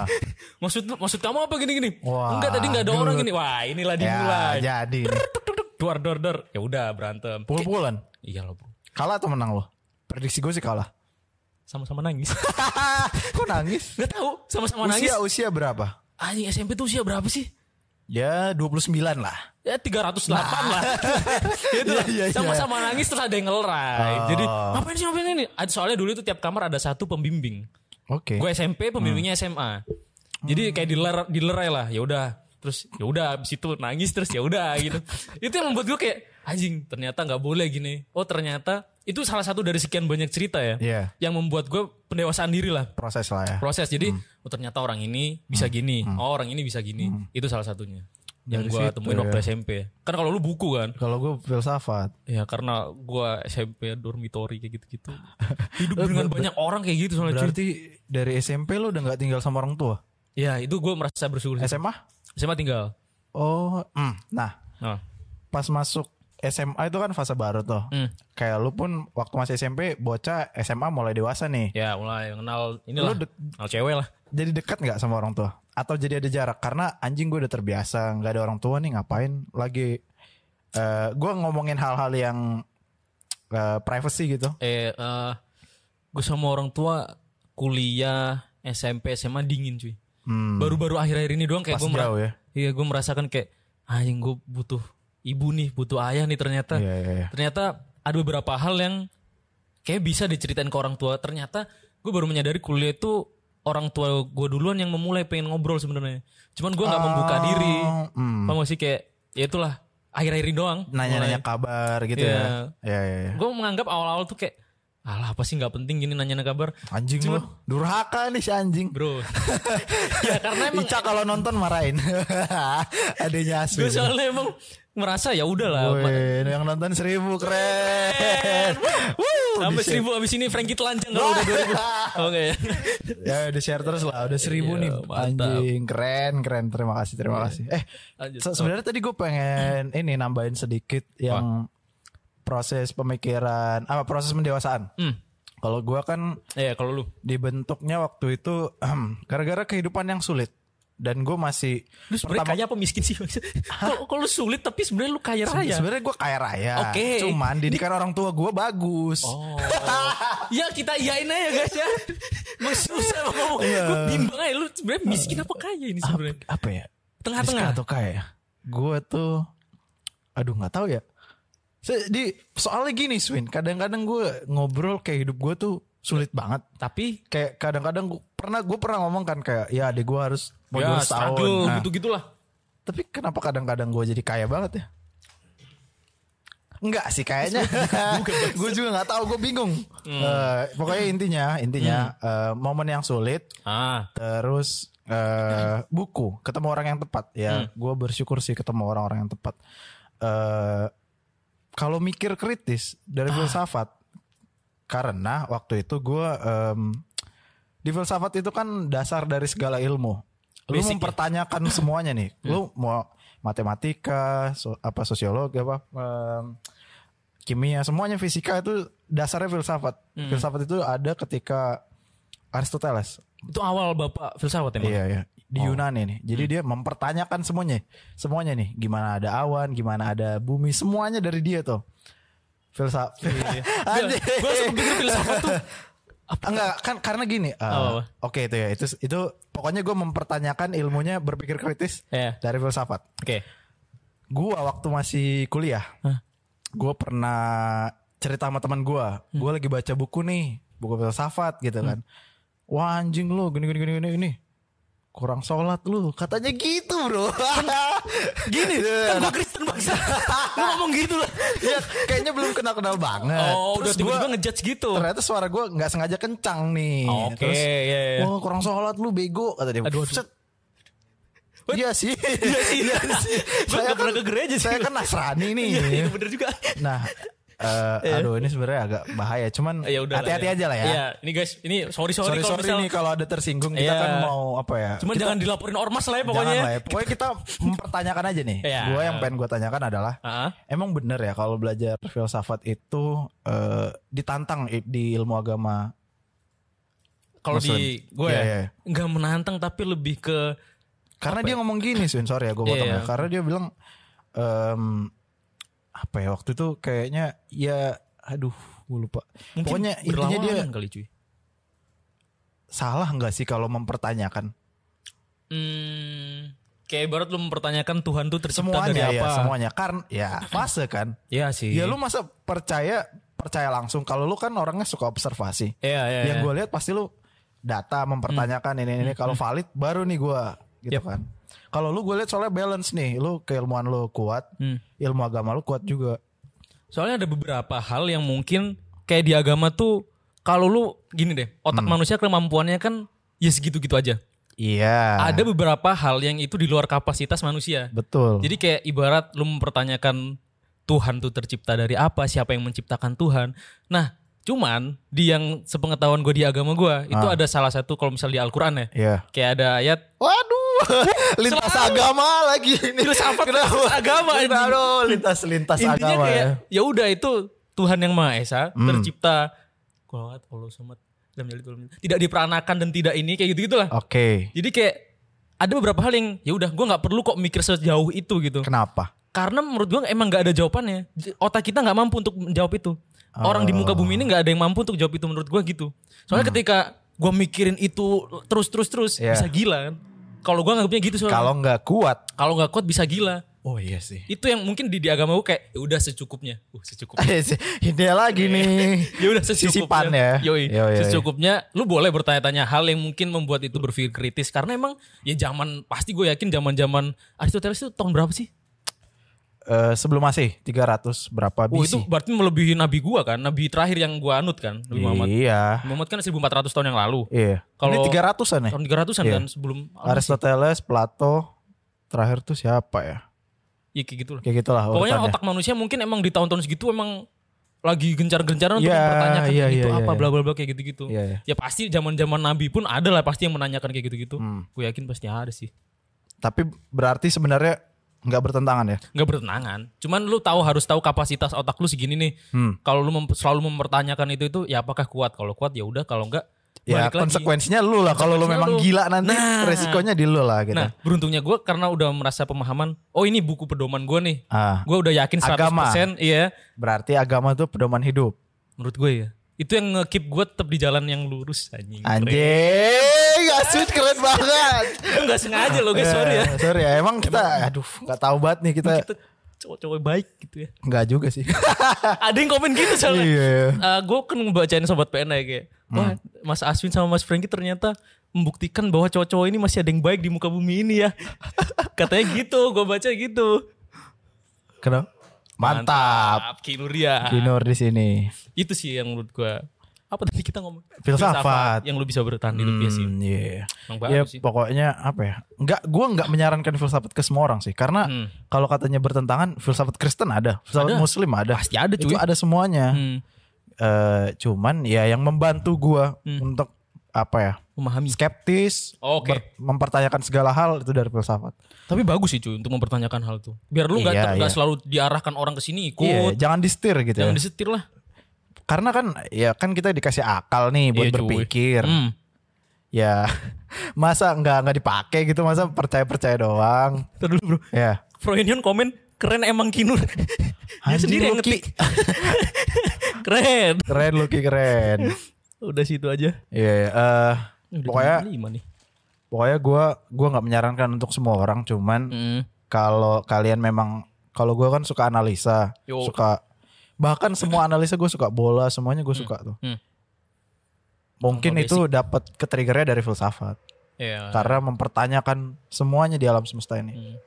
Speaker 3: (laughs) maksud maksud kamu apa gini-gini?
Speaker 1: Ah. Wah,
Speaker 3: Enggak tadi enggak ada
Speaker 1: good.
Speaker 3: orang gini. Wah, inilah dimulai.
Speaker 1: Ya, jadi nih.
Speaker 3: Tuk, tuk, tuk, Dor dor dor. Ya udah berantem.
Speaker 1: Pukul-pukulan.
Speaker 3: Iya loh, Bro.
Speaker 1: Kalah atau menang lo? Prediksi gue sih kalah. (laughs)
Speaker 3: Sama-sama nangis.
Speaker 1: Kok nangis?
Speaker 3: Gak tahu, sama-sama nangis.
Speaker 1: usia usia berapa?
Speaker 3: Anjing SMP tuh usia berapa sih?
Speaker 1: Ya 29 lah.
Speaker 3: Ya 308
Speaker 1: (laughs)
Speaker 3: lah. gitu lah.
Speaker 1: Nah. Iya, Oh. iya, iya.
Speaker 3: Sama-sama nangis terus ada yang ngelerai. Jadi ngapain sih ngapain ini? Ad- Soalnya dulu itu tiap kamar ada satu pembimbing.
Speaker 1: Oke. Hmm.
Speaker 3: Gue SMP, pembimbingnya SMA. Jadi kayak diler dilerai lah. Ya udah. Terus ya udah abis itu nangis terus ya udah
Speaker 1: (laughs)
Speaker 3: gitu. itu yang membuat gue kayak anjing ternyata nggak boleh gini. Oh ternyata itu salah satu dari sekian banyak cerita ya.
Speaker 1: Iya.
Speaker 3: Yang membuat gue pendewasaan diri lah.
Speaker 1: Proses lah ya.
Speaker 3: proses jadi oh, ternyata orang ini bisa gini oh orang ini bisa gini itu salah satunya
Speaker 1: Hmm.
Speaker 3: yang
Speaker 1: Dari
Speaker 3: gue
Speaker 1: situ
Speaker 3: temuin
Speaker 1: ya.
Speaker 3: waktu SMP kan kalau lu buku kan
Speaker 1: Kalau gue filsafat.
Speaker 3: ya karena gue SMP dormitory kayak
Speaker 1: (laughs)
Speaker 3: gitu-gitu hidup dengan banyak orang kayak gitu soalnya cuy.
Speaker 1: Berarti dari SMP lo udah nggak tinggal sama orang tua?
Speaker 3: ya itu gue merasa bersyukur sih.
Speaker 1: SMA?
Speaker 3: SMA tinggal
Speaker 1: Oh, mm. nah
Speaker 3: nah
Speaker 1: pas masuk SMA itu kan fase baru tuh.
Speaker 3: Hmm.
Speaker 1: Kayak lu pun waktu masih SMP bocah SMA mulai dewasa nih.
Speaker 3: ya mulai kenal inilah
Speaker 1: Lu de-
Speaker 3: kenal cewek lah
Speaker 1: Jadi dekat nggak sama orang tua? Atau jadi ada jarak? Karena anjing gue udah terbiasa nggak ada orang tua nih ngapain lagi? eh gue ngomongin hal-hal yang eh, privacy gitu.
Speaker 3: eh gue sama orang tua kuliah SMP SMA dingin cuy
Speaker 1: Hmm,
Speaker 3: baru-baru akhir-akhir ini doang kayak
Speaker 1: pas
Speaker 3: gue merasa
Speaker 1: jauh ya.
Speaker 3: Iya gue merasakan kayak anjing gue butuh ibu nih, butuh ayah nih ternyata.
Speaker 1: Iya iya. iya.
Speaker 3: Ternyata ada beberapa hal yang kayak bisa diceritain ke orang tua. Ternyata gue baru menyadari kuliah itu orang tua gue duluan yang memulai pengen ngobrol sebenarnya. Cuman gue nggak membuka diri.
Speaker 1: hmm.
Speaker 3: Paham gak sih kayak ya itulah akhir-akhir ini doang.
Speaker 1: Nanya-nanya kabar gitu
Speaker 3: Iya.
Speaker 1: ya. Iya iya. iya.
Speaker 3: Gue menganggap awal-awal tuh kayak alah apa sih nggak penting gini nanya kabar.
Speaker 1: Anjing lu durhaka nih si anjing.
Speaker 3: Bro. (laughs) ya
Speaker 1: (laughs)
Speaker 3: karena emang
Speaker 1: Ica kalau nonton marahin. (laughs) Adanya Aswin.
Speaker 3: gue soalnya emang merasa ya udahlah
Speaker 1: Wih, yang nonton seribu keren. Wuh,
Speaker 3: Sampai
Speaker 1: di-share.
Speaker 3: seribu abis ini Frankie telanjang kalau udah
Speaker 1: (laughs)
Speaker 3: dua ribu. Oke.
Speaker 1: Ya udah share terus lah, udah seribu
Speaker 3: Iya,
Speaker 1: nih.
Speaker 3: mantap. Iya.
Speaker 1: Anjing, keren, keren. Terima kasih, terima kasih. Eh,
Speaker 3: Lanjut.
Speaker 1: se- sebenarnya tadi gue pengen ini nambahin sedikit yang proses pemikiran, apa proses pendewasaan.
Speaker 3: Hmm.
Speaker 1: Kalau gue kan
Speaker 3: Ya kalau lu.
Speaker 1: dibentuknya waktu itu gara-gara kehidupan yang sulit dan gue masih
Speaker 3: Lu sebenarnya kaya apa miskin sih? Kalau kalau lu sulit tapi sebenarnya lu kaya
Speaker 1: Sebe-
Speaker 3: raya.
Speaker 1: Sebenarnya gue kaya raya.
Speaker 3: Oke.
Speaker 1: Cuman didikan orang tua gue bagus.
Speaker 3: Oh. ya kita iyain aja guys ya. Emang susah mau ngomong.
Speaker 1: Iya.
Speaker 3: Gue bimbang aja lu sebenarnya miskin apa kaya ini sebenarnya.
Speaker 1: Apa ya?
Speaker 3: Tengah-tengah.
Speaker 1: Miskin atau kaya? ya? Gue tuh, aduh nggak tahu ya. Se- Di soalnya gini, Swin. Kadang-kadang gue ngobrol kayak hidup gue tuh sulit banget.
Speaker 3: Tapi
Speaker 1: Kayak kadang-kadang gua- pernah gue pernah ngomong kan kayak ya adik gue harus mau
Speaker 3: ya
Speaker 1: 12 tahun.
Speaker 3: struggle
Speaker 1: Nah,
Speaker 3: gitu-gitulah.
Speaker 1: Tapi kenapa kadang-kadang gue jadi kaya banget ya? Enggak sih
Speaker 3: (laughs)
Speaker 1: kayaknya. gue juga nggak tahu, gue bingung.
Speaker 3: Hmm.
Speaker 1: Eh, pokoknya intinya, intinya eh, momen yang sulit,
Speaker 3: Ah,
Speaker 1: terus eh, buku, ketemu orang yang tepat.
Speaker 3: Hmm.
Speaker 1: Ya, gue bersyukur sih ketemu orang-orang yang tepat. Eh, Kalau mikir kritis
Speaker 3: Ah.
Speaker 1: dari filsafat, karena waktu itu gue di filsafat itu kan dasar dari segala ilmu. Lu
Speaker 3: Basic ya? Hmm.
Speaker 1: mempertanyakan
Speaker 3: (laughs)
Speaker 1: semuanya nih. Lu mau matematika, so- apa sosiologi apa em, kimia, semuanya fisika itu dasarnya filsafat.
Speaker 3: Hmm.
Speaker 1: Filsafat itu ada ketika Aristoteles.
Speaker 3: itu awal Bapak filsafat emang.
Speaker 1: Iya iya. Di Yunani nih. Jadi dia mempertanyakan semuanya. Semuanya nih, gimana ada awan, gimana ada bumi, semuanya dari dia tuh. Filsafat. (laughs) Anjing.
Speaker 3: Gue sempat pikir filsafat tuh
Speaker 1: (laughs) Enggak, kan karena gini. eh,
Speaker 3: Apa-apa?
Speaker 1: Oke itu ya, itu itu pokoknya gue mempertanyakan ilmunya berpikir kritis
Speaker 3: Iya.
Speaker 1: dari filsafat.
Speaker 3: Oke.
Speaker 1: Gua waktu masih kuliah, gue pernah cerita sama teman gue,
Speaker 3: Hmm.
Speaker 1: gue lagi baca buku nih, buku filsafat gitu kan. Wah anjing lu gini gini gini gini gini. Kurang sholat lu, katanya gitu
Speaker 3: (laughs)
Speaker 1: bro. Iya, gini,
Speaker 3: Kan gue Kristen bangsa. lu ngomong gitu lah.
Speaker 1: ya, kayaknya belum kenal kenal banget.
Speaker 3: Oh,
Speaker 1: Eh, Terus gua-
Speaker 3: udah tiba-tiba ngejudge gitu.
Speaker 1: ternyata suara gue nggak sengaja kencang nih.
Speaker 3: Oke,
Speaker 1: Terus,
Speaker 3: iya, iya.
Speaker 1: Wah kurang sholat lu bego kata dia.
Speaker 3: Aduh, aduh.
Speaker 1: Set. Iya sih. Iya sih. (laughs)
Speaker 3: Gua nggak pernah ke gereja
Speaker 1: kan
Speaker 3: sih. (laughs)
Speaker 1: Saya kan Nasrani nih.
Speaker 3: Iya, iya, bener juga.
Speaker 1: Nah, Eh, aduh ini sebenarnya agak bahaya. Cuman
Speaker 3: Ya udah.
Speaker 1: hati-hati aja lah ya.
Speaker 3: Iya, ini guys, ini sorry sorry,
Speaker 1: sorry
Speaker 3: kalau
Speaker 1: sorry
Speaker 3: misal.
Speaker 1: nih kalau ada tersinggung kita
Speaker 3: Iya.
Speaker 1: kan mau apa ya?
Speaker 3: Cuman
Speaker 1: kita-
Speaker 3: jangan dilaporin ormas lah ya
Speaker 1: jangan
Speaker 3: pokoknya.
Speaker 1: lah ya. Pokoknya kita mempertanyakan aja nih.
Speaker 3: Iya.
Speaker 1: Gue yang pengen gue tanyakan adalah
Speaker 3: Heeh.
Speaker 1: emang bener ya kalau belajar filsafat itu eh, ditantang i- di ilmu agama.
Speaker 3: Kalau
Speaker 1: Maksud-
Speaker 3: di gue
Speaker 1: Iya,
Speaker 3: ya,
Speaker 1: iya.
Speaker 3: nggak menantang tapi lebih ke
Speaker 1: Karena
Speaker 3: Apa
Speaker 1: dia ngomong gini, Sun, sorry ya gue
Speaker 3: Iya,
Speaker 1: potong
Speaker 3: iya.
Speaker 1: ya. Karena dia bilang em, apa ya waktu itu kayaknya ya aduh gue lupa.
Speaker 3: mungkin
Speaker 1: Pokoknya intinya dia
Speaker 3: berlawanan kali cuy.
Speaker 1: salah nggak sih kalau mempertanyakan
Speaker 3: Hmm, kayak barat lu mempertanyakan Tuhan tuh tercipta dari
Speaker 1: semuanya
Speaker 3: apa?
Speaker 1: ya semuanya kan
Speaker 3: (laughs)
Speaker 1: ya fase kan.
Speaker 3: Iya sih.
Speaker 1: Ya lu masa percaya percaya langsung kalau lu kan orangnya suka observasi.
Speaker 3: Iya, iya,
Speaker 1: Yang
Speaker 3: iya.
Speaker 1: gue lihat pasti lu data mempertanyakan ini ini kalau valid baru nih gue gitu
Speaker 3: Hmm. Yep.
Speaker 1: kan. Kalau lu gue lihat soalnya balance nih, lu keilmuan lu kuat,
Speaker 3: Hmm.
Speaker 1: ilmu agama lu kuat juga.
Speaker 3: Soalnya ada beberapa hal yang mungkin kayak di agama tuh kalau lu gini deh, otak manusia kemampuannya kan ya segitu-gitu aja.
Speaker 1: Iya.
Speaker 3: Ada beberapa hal yang itu di luar kapasitas manusia.
Speaker 1: Betul.
Speaker 3: Jadi kayak ibarat lu mempertanyakan Tuhan tuh tercipta dari apa, siapa yang menciptakan Tuhan. Nah, cuman di yang sepengetahuan gue di agama gue itu ada salah satu kalau misalnya di Al-Quran ya,
Speaker 1: Iya.
Speaker 3: kayak ada ayat
Speaker 1: Waduh, (laughs) lintas agama lagi ini.
Speaker 3: filsafat terus agama
Speaker 1: Kenapa?
Speaker 3: anjing.
Speaker 1: Aduh, lintas lintas
Speaker 3: Intinya
Speaker 1: agama.
Speaker 3: kayak
Speaker 1: ya. Hmm.
Speaker 3: ya udah itu Tuhan yang Maha Esa tercipta. Kalau nggak, Allah Samad, lam yalid walam yulad. Tidak diperanakan dan tidak ini kayak gitu-gitulah.
Speaker 1: Oke.
Speaker 3: Jadi kayak ada beberapa hal yang ya udah gue nggak perlu kok mikir sejauh itu gitu.
Speaker 1: Kenapa?
Speaker 3: Karena menurut gue emang nggak ada jawabannya. J- Otak kita nggak mampu untuk menjawab itu. Orang di
Speaker 1: Oh.
Speaker 3: muka bumi ini nggak ada yang mampu untuk jawab itu menurut gue gitu. Soalnya ketika gue mikirin itu terus terus terus
Speaker 1: Hmm. Iya.
Speaker 3: bisa gila kan. Kalau gue nggak punya gitu soalnya.
Speaker 1: Kalau nggak kuat.
Speaker 3: Kalau nggak kuat bisa gila.
Speaker 1: Oh iya sih.
Speaker 3: Itu yang mungkin di, di agama gue kayak ya udah secukupnya. Uh, secukupnya. (laughs)
Speaker 1: ini lagi nih.
Speaker 3: ya udah
Speaker 1: Sisipan ya.
Speaker 3: secukupnya. Yoi,
Speaker 1: Yoi, yoi.
Speaker 3: secukupnya lu boleh bertanya-tanya hal yang mungkin membuat itu berpikir kritis karena emang ya zaman pasti gue yakin zaman-zaman Aristoteles itu tahun berapa sih?
Speaker 1: (laughs) Eh, sebelum masih 300 berapa BC?
Speaker 3: Oh itu berarti melebihi nabi gua kan, nabi terakhir yang gua anut kan, Nabi Muhammad.
Speaker 1: Iya.
Speaker 3: Muhammad kan 1400 tahun yang lalu.
Speaker 1: Iya.
Speaker 3: Kalau-
Speaker 1: ini 300-an ya?
Speaker 3: Tahun 300-an
Speaker 1: Iya.
Speaker 3: kan sebelum
Speaker 1: Aristoteles, Plato, terakhir tuh siapa ya?
Speaker 3: ya kayak gitu lah.
Speaker 1: Kayak gitulah
Speaker 3: Pokoknya
Speaker 1: urutannya.
Speaker 3: otak manusia mungkin emang di tahun-tahun segitu emang lagi gencar-gencaran untuk
Speaker 1: Iya,
Speaker 3: mempertanyakan
Speaker 1: iya,
Speaker 3: itu
Speaker 1: iya,
Speaker 3: apa
Speaker 1: iya.
Speaker 3: bla bla bla kayak gitu-gitu.
Speaker 1: Iya, iya.
Speaker 3: Ya pasti zaman-zaman nabi pun ada lah pasti yang menanyakan kayak gitu-gitu.
Speaker 1: Hmm.
Speaker 3: Gue yakin pasti ada sih.
Speaker 1: Tapi berarti sebenarnya nggak bertentangan ya?
Speaker 3: nggak bertentangan. Cuman lu tahu harus tahu kapasitas otak lu segini nih.
Speaker 1: Hmm.
Speaker 3: Kalau lu mem- selalu mempertanyakan itu itu ya apakah kuat? Kalau kuat ya udah, kalau enggak
Speaker 1: Ya
Speaker 3: balik lagi.
Speaker 1: konsekuensinya lu lah kalau lu
Speaker 3: Konsekuensinya
Speaker 1: memang
Speaker 3: lu.
Speaker 1: gila nanti
Speaker 3: Nah.
Speaker 1: resikonya di lu lah gitu.
Speaker 3: Nah, beruntungnya gue karena udah merasa pemahaman, oh ini buku pedoman gue nih.
Speaker 1: Ah,
Speaker 3: Gue udah yakin 100%
Speaker 1: Agama.
Speaker 3: iya.
Speaker 1: berarti agama tuh pedoman hidup.
Speaker 3: Menurut gue ya. Itu yang nge-keep gue tetap di jalan yang lurus anjing.
Speaker 1: Ah. Anjing, Asun keren banget.
Speaker 3: Enggak sengaja loh guys, sorry ya.
Speaker 1: Eh, sorry ya, emang kita aduh nggak tahu banget nih kita
Speaker 3: Kita cowok-cowok baik gitu ya.
Speaker 1: nggak juga sih.
Speaker 3: Ada yang komen gitu soalnya.
Speaker 1: Iya.
Speaker 3: gue kan ngebacain sobat PN ya kayak
Speaker 1: Hmm.
Speaker 3: wah Mas Aswin sama Mas Franky ternyata membuktikan bahwa cowok-cowok ini masih ada yang baik di muka bumi ini ya (laughs) katanya gitu gue baca gitu
Speaker 1: Kenapa? Mantap.
Speaker 3: Mantap Kinuria
Speaker 1: Kinur di sini.
Speaker 3: itu sih yang menurut gue apa tadi kita ngomong
Speaker 1: Filsafat.
Speaker 3: yang lu bisa bertahan hidup ya sih
Speaker 1: Hmm, iya.
Speaker 3: Emang
Speaker 1: Ya,
Speaker 3: bagus sih
Speaker 1: pokoknya apa ya? Enggak, gua nggak menyarankan filsafat ke semua orang sih, karena
Speaker 3: Hmm.
Speaker 1: kalau katanya bertentangan, filsafat Kristen ada, filsafat
Speaker 3: Ada.
Speaker 1: Muslim ada,
Speaker 3: Pasti ada,
Speaker 1: itu
Speaker 3: cuy.
Speaker 1: ada semuanya.
Speaker 3: Hmm,
Speaker 1: Eh, cuman ya yang membantu gua untuk apa ya?
Speaker 3: memahami
Speaker 1: Skeptis,
Speaker 3: Hmm. Oke.
Speaker 1: ber- mempertanyakan segala hal itu dari filsafat.
Speaker 3: tapi bagus sih cuy untuk mempertanyakan hal itu biar lu nggak
Speaker 1: Iya,
Speaker 3: ter- nggak
Speaker 1: iya.
Speaker 3: selalu diarahkan orang ke
Speaker 1: Iya,
Speaker 3: sini ikut
Speaker 1: jangan distir gitu.
Speaker 3: jangan
Speaker 1: ya.
Speaker 3: disetir lah
Speaker 1: Karena kan ya kan kita dikasih akal nih buat
Speaker 3: Iya, cuy.
Speaker 1: berpikir.
Speaker 3: Hmm.
Speaker 1: Ya (laughs) masa nggak nggak dipakai gitu, masa percaya-percaya doang.
Speaker 3: Ntar dulu bro
Speaker 1: Ya.
Speaker 3: Froyenion komen keren emang Kinur. (laughs) Dia
Speaker 1: Anjing,
Speaker 3: sendiri yang
Speaker 1: lu, Ki.
Speaker 3: ngetik. (laughs) keren.
Speaker 1: Keren lu Ki,
Speaker 3: (laughs)
Speaker 1: keren.
Speaker 3: Udah situ aja.
Speaker 1: Iya, iya. Eh,
Speaker 3: Udah
Speaker 1: pokoknya
Speaker 3: jam lima nih.
Speaker 1: pokoknya gua gua nggak menyarankan untuk semua orang, cuman
Speaker 3: Hmm.
Speaker 1: kalau kalian memang kalau gua kan suka analisa,
Speaker 3: Yo.
Speaker 1: suka bahkan semua analisa gue suka bola, semuanya gue suka tuh.
Speaker 3: hmm.
Speaker 1: Mungkin
Speaker 3: Sama
Speaker 1: itu dapat ketriggernya dari filsafat
Speaker 3: Ya.
Speaker 1: karena mempertanyakan semuanya di alam semesta
Speaker 3: Hmm.
Speaker 1: ini.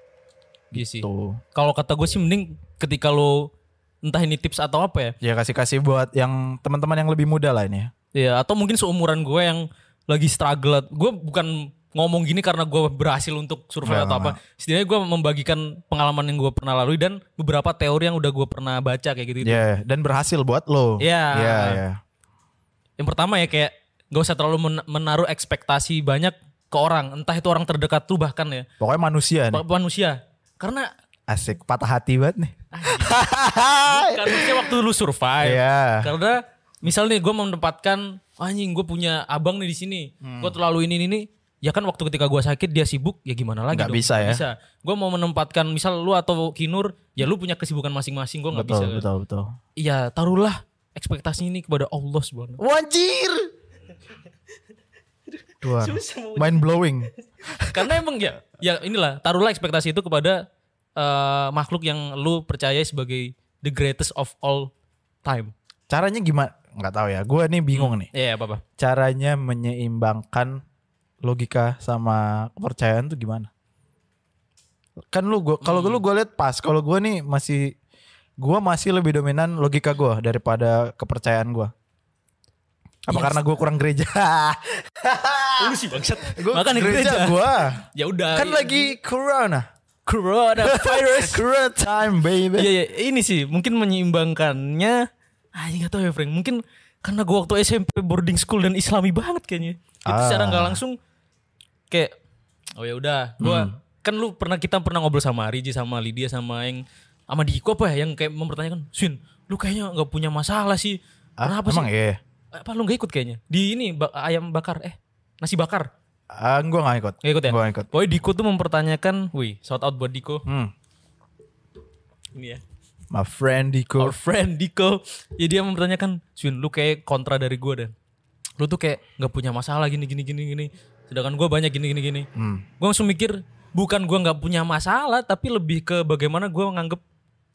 Speaker 3: Iya Mm. sih.
Speaker 1: Tuh.
Speaker 3: Kalau kata gue sih mending ketika lo entah ini tips atau apa ya.
Speaker 1: Ya kasih-kasih buat yang
Speaker 3: Iya,
Speaker 1: teman-teman yang lebih muda lah ini. ya.
Speaker 3: Ya atau mungkin seumuran gue yang lagi struggle. Gue bukan ngomong gini karena gue berhasil untuk survive atau apa. Setidaknya gue membagikan pengalaman yang gue pernah lalui dan beberapa teori yang udah gue pernah baca kayak gitu.
Speaker 1: Ya, dan berhasil buat lo.
Speaker 3: Iya.
Speaker 1: Iya, iya.
Speaker 3: Yang pertama ya kayak gak usah terlalu men- menaruh ekspektasi banyak ke orang, entah itu orang terdekat tuh bahkan ya
Speaker 1: Pokoknya manusia nih.
Speaker 3: pa- manusia. Karena
Speaker 1: Asik, patah hati banget nih.
Speaker 3: karena maksudnya kan waktu lu survive,
Speaker 1: Iya.
Speaker 3: Karena misal nih gue menempatkan "Ah, anjing gue punya abang nih di sini,
Speaker 1: Hmm.
Speaker 3: gue terlalu ini ini ini, ya kan waktu ketika gue sakit dia sibuk, ya gimana lagi?
Speaker 1: Nggak
Speaker 3: dong?
Speaker 1: bisa ya.
Speaker 3: Bisa. Gue mau menempatkan misal lu atau Kinur, ya lu punya kesibukan masing-masing, gue nggak
Speaker 1: Betul,
Speaker 3: bisa.
Speaker 1: betul, betul.
Speaker 3: Iya taruhlah ekspektasi ini kepada Allah subhanahu.
Speaker 1: Wajir. Duar. Mind blowing.
Speaker 3: Karena emang ya, ya inilah taruhlah ekspektasi itu kepada eh, makhluk yang lu percaya sebagai the greatest of all time.
Speaker 1: Caranya gimana? Nggak tahu ya. Gue nih bingung nih.
Speaker 3: Iya apa apa.
Speaker 1: Caranya menyeimbangkan logika sama kepercayaan tuh gimana? Kan lu gua kalau lu gue lihat pas, kalau gue nih masih gue masih lebih dominan logika gue daripada kepercayaan gue. Apa
Speaker 3: Yes.
Speaker 1: karena gue kurang
Speaker 3: (laughs)
Speaker 1: gereja?
Speaker 3: Lu sih bangsat.
Speaker 1: Gua
Speaker 3: Makan di gereja.
Speaker 1: gue.
Speaker 3: Ya udah.
Speaker 1: Kan lagi
Speaker 3: (laughs)
Speaker 1: corona.
Speaker 3: corona
Speaker 1: corona time baby.
Speaker 3: Iya, iya. ini sih mungkin menyeimbangkannya. Ah, nggak tahu ya Frank. Mungkin karena gua waktu SMP boarding school dan Islami banget kayaknya. Itu
Speaker 1: Ah.
Speaker 3: secara nggak langsung kayak oh ya udah. Gua
Speaker 1: Hmm.
Speaker 3: kan lu pernah kita pernah ngobrol sama Riji sama Lydia sama yang sama Diko apa ya yang kayak mempertanyakan, "Swin, lu kayaknya nggak punya masalah sih.
Speaker 1: Ah,
Speaker 3: Kenapa
Speaker 1: emang
Speaker 3: sih?
Speaker 1: iya.
Speaker 3: Apa lu nggak ikut kayaknya? Di ini ba- ayam bakar eh nasi bakar."
Speaker 1: Ah, gue gak ikut.
Speaker 3: Nggak ikut ya?
Speaker 1: Gue ikut.
Speaker 3: Pokoknya Diko tuh mempertanyakan, wih, shout out buat Diko.
Speaker 1: Hmm.
Speaker 3: Ini ya.
Speaker 1: My friend Diko.
Speaker 3: our friend Diko ya dia mempertanyakan Swin lu kayak kontra dari gue dan lu tuh kayak nggak punya masalah gini gini gini gini sedangkan gue banyak gini gini gini
Speaker 1: Hmm.
Speaker 3: gue langsung mikir bukan gue nggak punya masalah tapi lebih ke bagaimana gue nganggep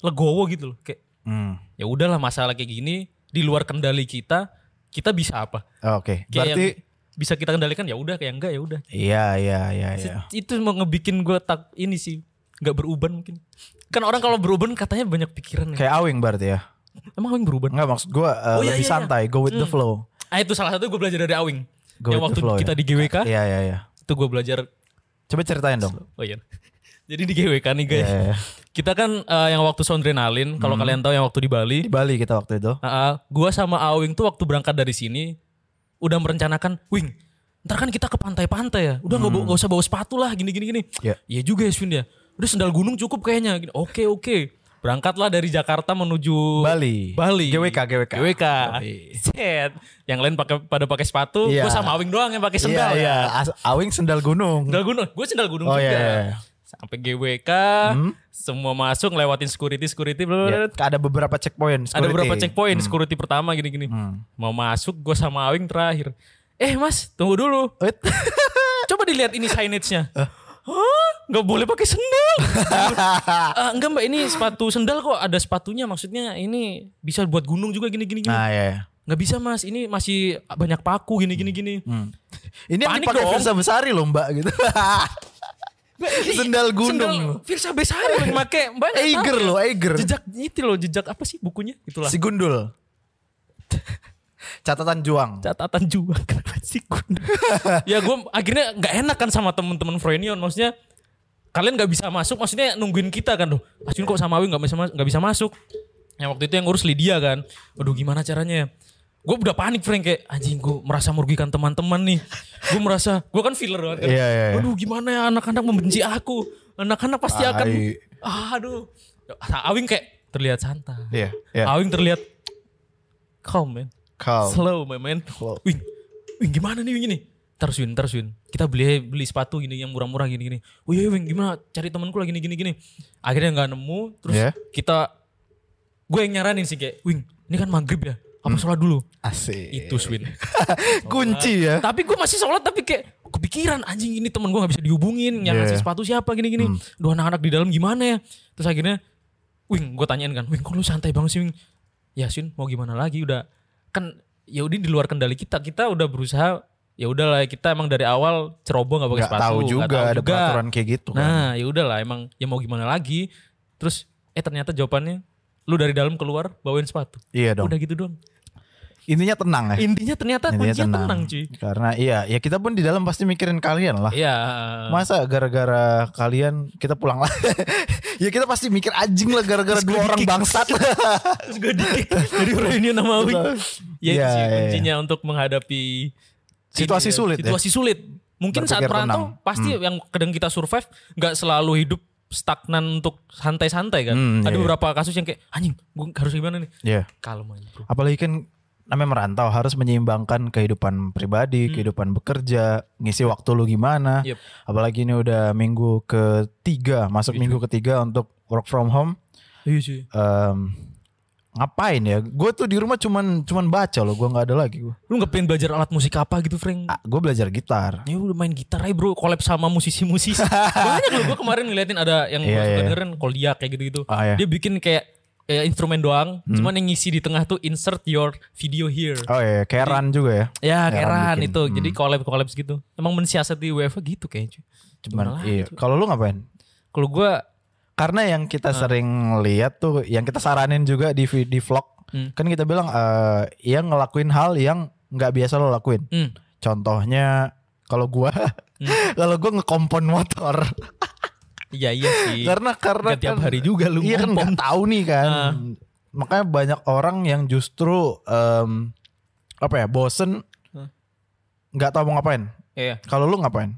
Speaker 3: legowo gitu loh kayak
Speaker 1: Hmm.
Speaker 3: ya udahlah masalah kayak gini di luar kendali kita kita bisa apa
Speaker 1: Oh, Oke.
Speaker 3: kayak
Speaker 1: Berarti
Speaker 3: yang bisa kita kendalikan ya udah kayak enggak ya udah
Speaker 1: iya iya iya iya.
Speaker 3: itu mau ngebikin gue tak ini sih nggak beruban mungkin kan orang kalau beruban katanya banyak pikiran ya.
Speaker 1: Kayak awing berarti ya.
Speaker 3: emang orang beruban
Speaker 1: Enggak maksud gue uh,
Speaker 3: Oh, iya,
Speaker 1: lebih
Speaker 3: iya, iya.
Speaker 1: santai, go with the flow.
Speaker 3: Ah itu salah satu gue belajar dari Awing.
Speaker 1: Go
Speaker 3: yang
Speaker 1: with
Speaker 3: waktu
Speaker 1: the flow,
Speaker 3: kita
Speaker 1: ya.
Speaker 3: di GWK
Speaker 1: Iya iya iya.
Speaker 3: itu gue belajar.
Speaker 1: Coba ceritain dong.
Speaker 3: Oh iya. (laughs) Jadi di GWK nih
Speaker 1: Iya,
Speaker 3: guys.
Speaker 1: iya, iya.
Speaker 3: Kita kan eh, yang waktu Sondrenalin kalau kalian tahu yang waktu di Bali.
Speaker 1: Di Bali kita waktu itu.
Speaker 3: Heeh, gua sama Awing tuh waktu berangkat dari sini udah merencanakan, "Wing, ntar kan kita ke pantai-pantai ya. Udah nggak bawa- nggak usah bawa sepatu lah gini gini gini."
Speaker 1: Hmm. Iya.
Speaker 3: Iya juga ya Swin ya. Udah sendal gunung cukup kayaknya. Gini, Oke, oke. Berangkatlah dari Jakarta menuju
Speaker 1: Bali.
Speaker 3: Bali.
Speaker 1: GWK, GWK.
Speaker 3: GWK. Set. Yang lain pakai pada pakai sepatu,
Speaker 1: Iya.
Speaker 3: gua sama Awing doang yang pakai
Speaker 1: Iya
Speaker 3: sendal.
Speaker 1: iya.
Speaker 3: ya.
Speaker 1: As- awing sendal gunung.
Speaker 3: Sendal gunung, gue sendal gunung
Speaker 1: Oh,
Speaker 3: juga.
Speaker 1: iya, iya. Hmm?
Speaker 3: Sampai GWK, semua masuk ngelewatin security,
Speaker 1: Iya.
Speaker 3: security, blablabla.
Speaker 1: Ada beberapa checkpoint.
Speaker 3: ada
Speaker 1: security. Hmm.
Speaker 3: beberapa checkpoint, security pertama gini-gini. Mau masuk, gue sama Awing terakhir. Eh mas, tunggu dulu. (laughs)
Speaker 1: Wait.
Speaker 3: Coba dilihat ini signage-nya.
Speaker 1: Eh.
Speaker 3: Hah? Gak boleh pakai sendal. Eh, enggak mbak, ini sepatu sendal kok ada sepatunya. Maksudnya ini bisa buat gunung juga gini-gini. gini.
Speaker 1: Nah, iya. iya.
Speaker 3: Nggak bisa mas, ini masih banyak paku gini-gini. gini.
Speaker 1: Hmm. Ini yang
Speaker 3: Panik
Speaker 1: dipakai
Speaker 3: dong.
Speaker 1: Firsa Besari loh, Mbak gitu. sendal gunung.
Speaker 3: Sendal Firsa Besari yang make banyak.
Speaker 1: Eiger
Speaker 3: tahu ya.
Speaker 1: loh, Eiger.
Speaker 3: Jejak itu loh, jejak apa sih bukunya? Itulah.
Speaker 1: Si Gundul. Catatan Juang.
Speaker 3: catatan juang (laughs) kenapa sih Gundul? ya gue akhirnya nggak enak kan sama temen-temen Frenion maksudnya kalian nggak bisa masuk maksudnya nungguin kita kan loh Asyun kok sama Awi nggak bisa mas- nggak bisa masuk yang waktu itu yang ngurus Lydia kan aduh gimana caranya gue udah panik Frank kayak anjing gue merasa merugikan teman-teman nih gue merasa gue kan filler banget kan
Speaker 1: Iya, iya, iya.
Speaker 3: aduh gimana ya anak-anak membenci aku anak-anak pasti akan
Speaker 1: Tai.
Speaker 3: ah, aduh Awing kayak terlihat santai
Speaker 1: Iya, iya.
Speaker 3: Awing terlihat calm man
Speaker 1: Kau.
Speaker 3: Slow my man.
Speaker 1: Slow.
Speaker 3: Wing, wing gimana nih wing ini? Ntar Swin, ntar Swin. Kita beli beli sepatu gini yang murah-murah gini gini. Oh iya wing gimana? Cari temanku lagi gini gini gini. Akhirnya nggak nemu. Terus
Speaker 1: Iya.
Speaker 3: kita, gue yang nyaranin sih kayak, wing ini kan maghrib ya. Apa sholat dulu?
Speaker 1: Asik.
Speaker 3: Itu Swin.
Speaker 1: Kunci ya.
Speaker 3: tapi gue masih sholat tapi kayak "Oh, kepikiran anjing ini temen gue nggak bisa dihubungin. Yang
Speaker 1: Iya. Hmm.
Speaker 3: ngasih sepatu siapa gini gini. Dua anak-anak di dalam gimana ya? Terus akhirnya, wing gue tanyain kan, wing kok lu santai banget sih wing? Ya Swin mau gimana lagi udah kan ya udah di luar kendali kita kita udah berusaha ya udahlah kita emang dari awal ceroboh nggak pakai
Speaker 1: Gak
Speaker 3: sepatu
Speaker 1: tahu
Speaker 3: nggak
Speaker 1: juga
Speaker 3: tahu
Speaker 1: ada
Speaker 3: juga.
Speaker 1: peraturan kayak gitu kan.
Speaker 3: Nah, ya udahlah emang ya mau gimana lagi. Terus eh ternyata jawabannya lu dari dalam keluar bawain sepatu.
Speaker 1: Iya dong.
Speaker 3: Udah gitu dong.
Speaker 1: Intinya tenang ya.
Speaker 3: Intinya ternyata
Speaker 1: Intinya
Speaker 3: kuncinya tenang, cuy.
Speaker 1: Karena iya, ya kita pun di dalam pasti mikirin kalian lah.
Speaker 3: Iya.
Speaker 1: Masa gara-gara kalian kita pulang lah. (laughs) ya kita pasti mikir anjing lah gara-gara
Speaker 3: Terus
Speaker 1: dua
Speaker 3: gua
Speaker 1: orang
Speaker 3: di-kick.
Speaker 1: bangsat.
Speaker 3: (laughs) Terus gue dikit jadi reunion sama Awi. Ya, itu
Speaker 1: Iya,
Speaker 3: sih
Speaker 1: iya, iya.
Speaker 3: kuncinya untuk menghadapi
Speaker 1: Situasi
Speaker 3: ini ya,
Speaker 1: sulit ya.
Speaker 3: Situasi sulit. Mungkin saat
Speaker 1: Berpikir
Speaker 3: perantau
Speaker 1: tenang. Hmm.
Speaker 3: pasti yang kadang kita survive nggak selalu hidup stagnan untuk santai-santai kan.
Speaker 1: Hmm, iya,
Speaker 3: Ada
Speaker 1: iya.
Speaker 3: beberapa kasus yang kayak anjing gue harus gimana nih?
Speaker 1: Iya.
Speaker 3: Kalem aja bro.
Speaker 1: Apalagi kan namanya merantau harus menyeimbangkan kehidupan
Speaker 3: Hmm.
Speaker 1: pribadi, kehidupan bekerja, ngisi waktu lu gimana.
Speaker 3: Yep.
Speaker 1: Apalagi ini udah minggu ketiga, masuk minggu ketiga untuk work from home.
Speaker 3: Iya sih.
Speaker 1: Em, ngapain ya? Gue tuh di rumah cuman cuman baca loh, gue nggak ada lagi gue.
Speaker 3: Lu nggak pengen belajar alat musik apa gitu, Frank?
Speaker 1: gue belajar gitar.
Speaker 3: Ya udah main gitar aja bro, collab sama
Speaker 1: (laughs)
Speaker 3: musisi-musisi. Banyak loh, gue kemarin ngeliatin ada yang
Speaker 1: Iya,
Speaker 3: yeah, suka
Speaker 1: iya.
Speaker 3: dengerin Kolia kayak gitu-gitu.
Speaker 1: Ah, iya. Hmm.
Speaker 3: Dia bikin kayak kayak instrumen doang, cuman yang ngisi di tengah tuh insert your video here.
Speaker 1: Oh iya, kayak Ran juga ya.
Speaker 3: Ya
Speaker 1: Heran
Speaker 3: keran
Speaker 1: bikin. Hmm.
Speaker 3: itu, jadi collab-collab gitu. Emang mensiasati UEFA gitu kayaknya. cuy.
Speaker 1: Cuman
Speaker 3: Gimana
Speaker 1: iya.
Speaker 3: lagi, cuy?
Speaker 1: Kalau lu ngapain?
Speaker 3: Kalau gue,
Speaker 1: Karena yang kita
Speaker 3: Ah.
Speaker 1: sering lihat tuh, yang kita saranin juga di vi- di vlog,
Speaker 3: Hmm.
Speaker 1: kan kita bilang eh yang ngelakuin hal yang nggak biasa lo lakuin.
Speaker 3: hmm,
Speaker 1: Contohnya kalau gua (laughs) kalau gua ngekompon motor.
Speaker 3: iya iya sih.
Speaker 1: (laughs) karena karena
Speaker 3: Nggak tiap hari juga lu
Speaker 1: Iya kan
Speaker 3: ngompon.
Speaker 1: nggak tahu nih kan.
Speaker 3: Ah.
Speaker 1: Makanya banyak orang yang justru em, apa ya, bosen
Speaker 3: Ah.
Speaker 1: nggak tahu mau ngapain.
Speaker 3: Iya,
Speaker 1: Kalau lu ngapain?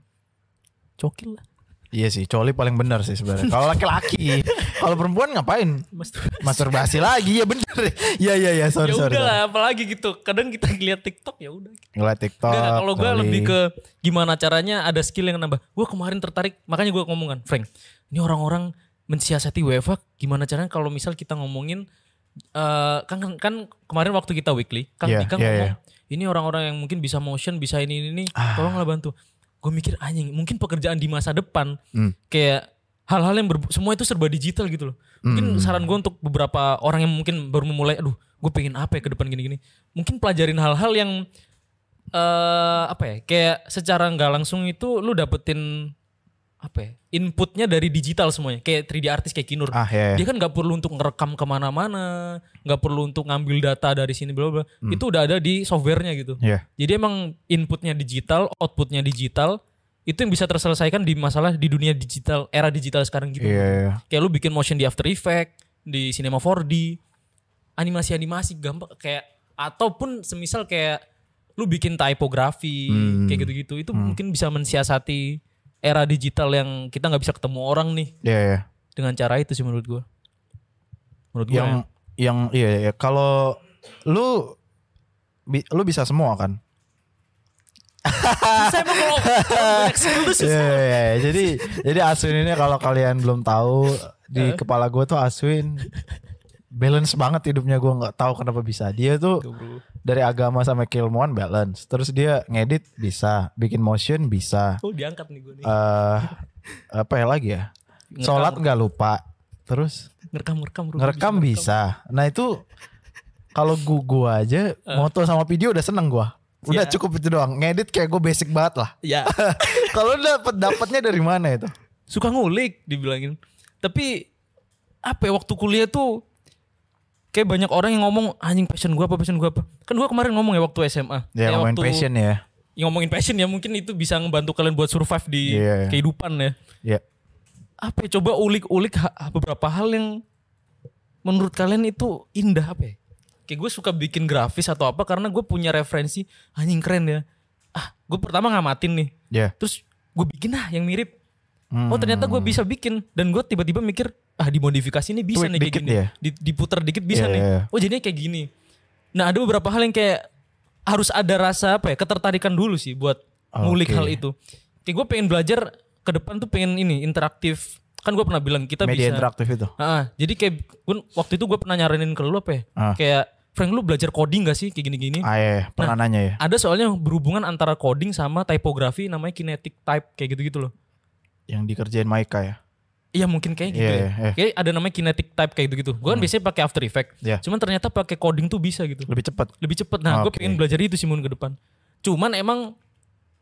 Speaker 3: cokil lah.
Speaker 1: Iya sih, coli paling benar sih sebenarnya. Kalau
Speaker 3: (laughs)
Speaker 1: laki-laki, kalau perempuan ngapain?
Speaker 3: Mas
Speaker 1: Masturbasi lagi, ya bener. (laughs) Iya iya iya, sorry
Speaker 3: (laughs) ya
Speaker 1: sorry.
Speaker 3: udah
Speaker 1: sorry.
Speaker 3: lah, apalagi gitu. Kadang kita lihat TikTok ya udah.
Speaker 1: Ngeliat TikTok.
Speaker 3: Enggak, kalau gue
Speaker 1: coli.
Speaker 3: lebih ke gimana caranya ada skill yang nambah. Gue kemarin tertarik, makanya gue ngomongan, Frank, ini orang-orang mensiasati UEFA, gimana caranya kalau misal kita ngomongin, eh kan, kan kemarin waktu kita weekly, Kang
Speaker 1: Iya,
Speaker 3: Dika
Speaker 1: iya, Ah.
Speaker 3: ngomong, ini orang-orang yang mungkin bisa motion, bisa ini, ini, ini, tolonglah bantu. Gue mikir, anjing, mungkin pekerjaan di masa depan,
Speaker 1: Hmm.
Speaker 3: kayak hal-hal yang berbu- semua itu serba digital gitu loh.
Speaker 1: Hmm.
Speaker 3: Mungkin saran gue untuk beberapa orang yang mungkin baru memulai, aduh, gue pengen apa ya ke depan gini-gini. Mungkin pelajarin hal-hal yang eh apa ya kayak secara nggak langsung itu lu dapetin apa ya inputnya dari digital semuanya kayak 3D artis kayak Kinur
Speaker 1: Ah ya.
Speaker 3: dia kan nggak perlu untuk ngerekam kemana-mana nggak perlu untuk ngambil data dari sini bla bla
Speaker 1: Hmm.
Speaker 3: itu udah ada di softwarenya gitu
Speaker 1: Iya.
Speaker 3: jadi emang inputnya digital outputnya digital itu yang bisa terselesaikan di masalah di dunia digital era digital sekarang gitu
Speaker 1: Iya. iya.
Speaker 3: kayak lu bikin motion di After Effect di Cinema 4D animasi-animasi gampang kayak ataupun semisal kayak lu bikin typografi
Speaker 1: Hmm.
Speaker 3: kayak gitu-gitu itu mungkin bisa mensiasati era digital yang kita nggak bisa ketemu orang nih
Speaker 1: Iya, iya.
Speaker 3: dengan cara itu sih menurut gua menurut gua
Speaker 1: Yang
Speaker 3: ya.
Speaker 1: yang iya iya. kalau lu bi- lu bisa semua kan?
Speaker 3: Susah emang kalau kalau (laughs) banyak skill tuh susah.
Speaker 1: Iya, iya, (laughs) iya. jadi jadi Aswin ini kalau kalian belum tahu di kepala gue tuh Aswin balance banget hidupnya gue nggak tahu kenapa bisa dia tuh dari agama sama keilmuan balance terus dia ngedit bisa bikin motion bisa
Speaker 3: oh diangkat nih gua nih
Speaker 1: eh apa ya lagi ya sholat nggak lupa terus
Speaker 3: ngerekam ngerekam bro.
Speaker 1: ngerekam bisa nah itu kalau gua, gua aja moto sama video udah seneng gua udah
Speaker 3: Iya.
Speaker 1: cukup itu doang ngedit kayak gue basic banget lah
Speaker 3: ya
Speaker 1: (laughs) kalau lu dapet dapetnya dari mana itu
Speaker 3: suka ngulik dibilangin tapi apa ya waktu kuliah tuh kayak banyak orang yang ngomong anjing passion gua apa passion gua apa kan gua kemarin ngomong ya waktu SMA
Speaker 1: Ya
Speaker 3: Kayak
Speaker 1: ngomongin
Speaker 3: waktu,
Speaker 1: passion ya.
Speaker 3: ya ngomongin passion ya mungkin itu bisa ngebantu kalian buat survive di
Speaker 1: Iya.
Speaker 3: kehidupan ya
Speaker 1: Ya.
Speaker 3: apa ya, coba ulik-ulik ha- beberapa hal yang menurut kalian itu indah apa ya? Kayak gue suka bikin grafis atau apa karena gue punya referensi anjing keren ya. Ah, gue pertama ngamatin nih.
Speaker 1: Ya.
Speaker 3: Terus gue bikin ah yang mirip.
Speaker 1: Hmm.
Speaker 3: Oh ternyata gue bisa bikin dan gue tiba-tiba mikir ah dimodifikasi ini bisa
Speaker 1: Tweak
Speaker 3: nih kayak
Speaker 1: dikit
Speaker 3: gini.
Speaker 1: ya?
Speaker 3: Di- Diputer dikit bisa
Speaker 1: Iya,
Speaker 3: nih.
Speaker 1: iya, iya.
Speaker 3: Oh jadinya kayak gini. Nah ada beberapa hal yang kayak harus ada rasa apa ya ketertarikan dulu sih buat ngulik
Speaker 1: Oke.
Speaker 3: hal itu. Kayak gue pengen belajar ke depan tuh pengen ini interaktif. Kan gue pernah bilang kita
Speaker 1: Media
Speaker 3: bisa.
Speaker 1: interaktif itu.
Speaker 3: Ah, jadi kayak gua- waktu itu gue pernah nyaranin ke lu apa ya?
Speaker 1: Ah.
Speaker 3: Kayak Frank lu belajar coding gak sih kayak gini-gini?
Speaker 1: Ah, iya, iya. pernah nanya ya.
Speaker 3: Ada soalnya berhubungan antara coding sama typografi namanya kinetic type kayak gitu-gitu loh.
Speaker 1: Yang dikerjain Maika ya.
Speaker 3: Iya mungkin kayak gitu
Speaker 1: Iya,
Speaker 3: ya.
Speaker 1: iya, iya. Hmm.
Speaker 3: Kayak ada namanya kinetic type kayak gitu-gitu. Gue kan biasanya pakai After Effects.
Speaker 1: Iya.
Speaker 3: Cuman ternyata pakai coding tuh bisa gitu.
Speaker 1: Lebih cepat.
Speaker 3: Lebih cepet. Nah, gue
Speaker 1: Oke.
Speaker 3: pengen belajar itu sih mun ke depan. Cuman emang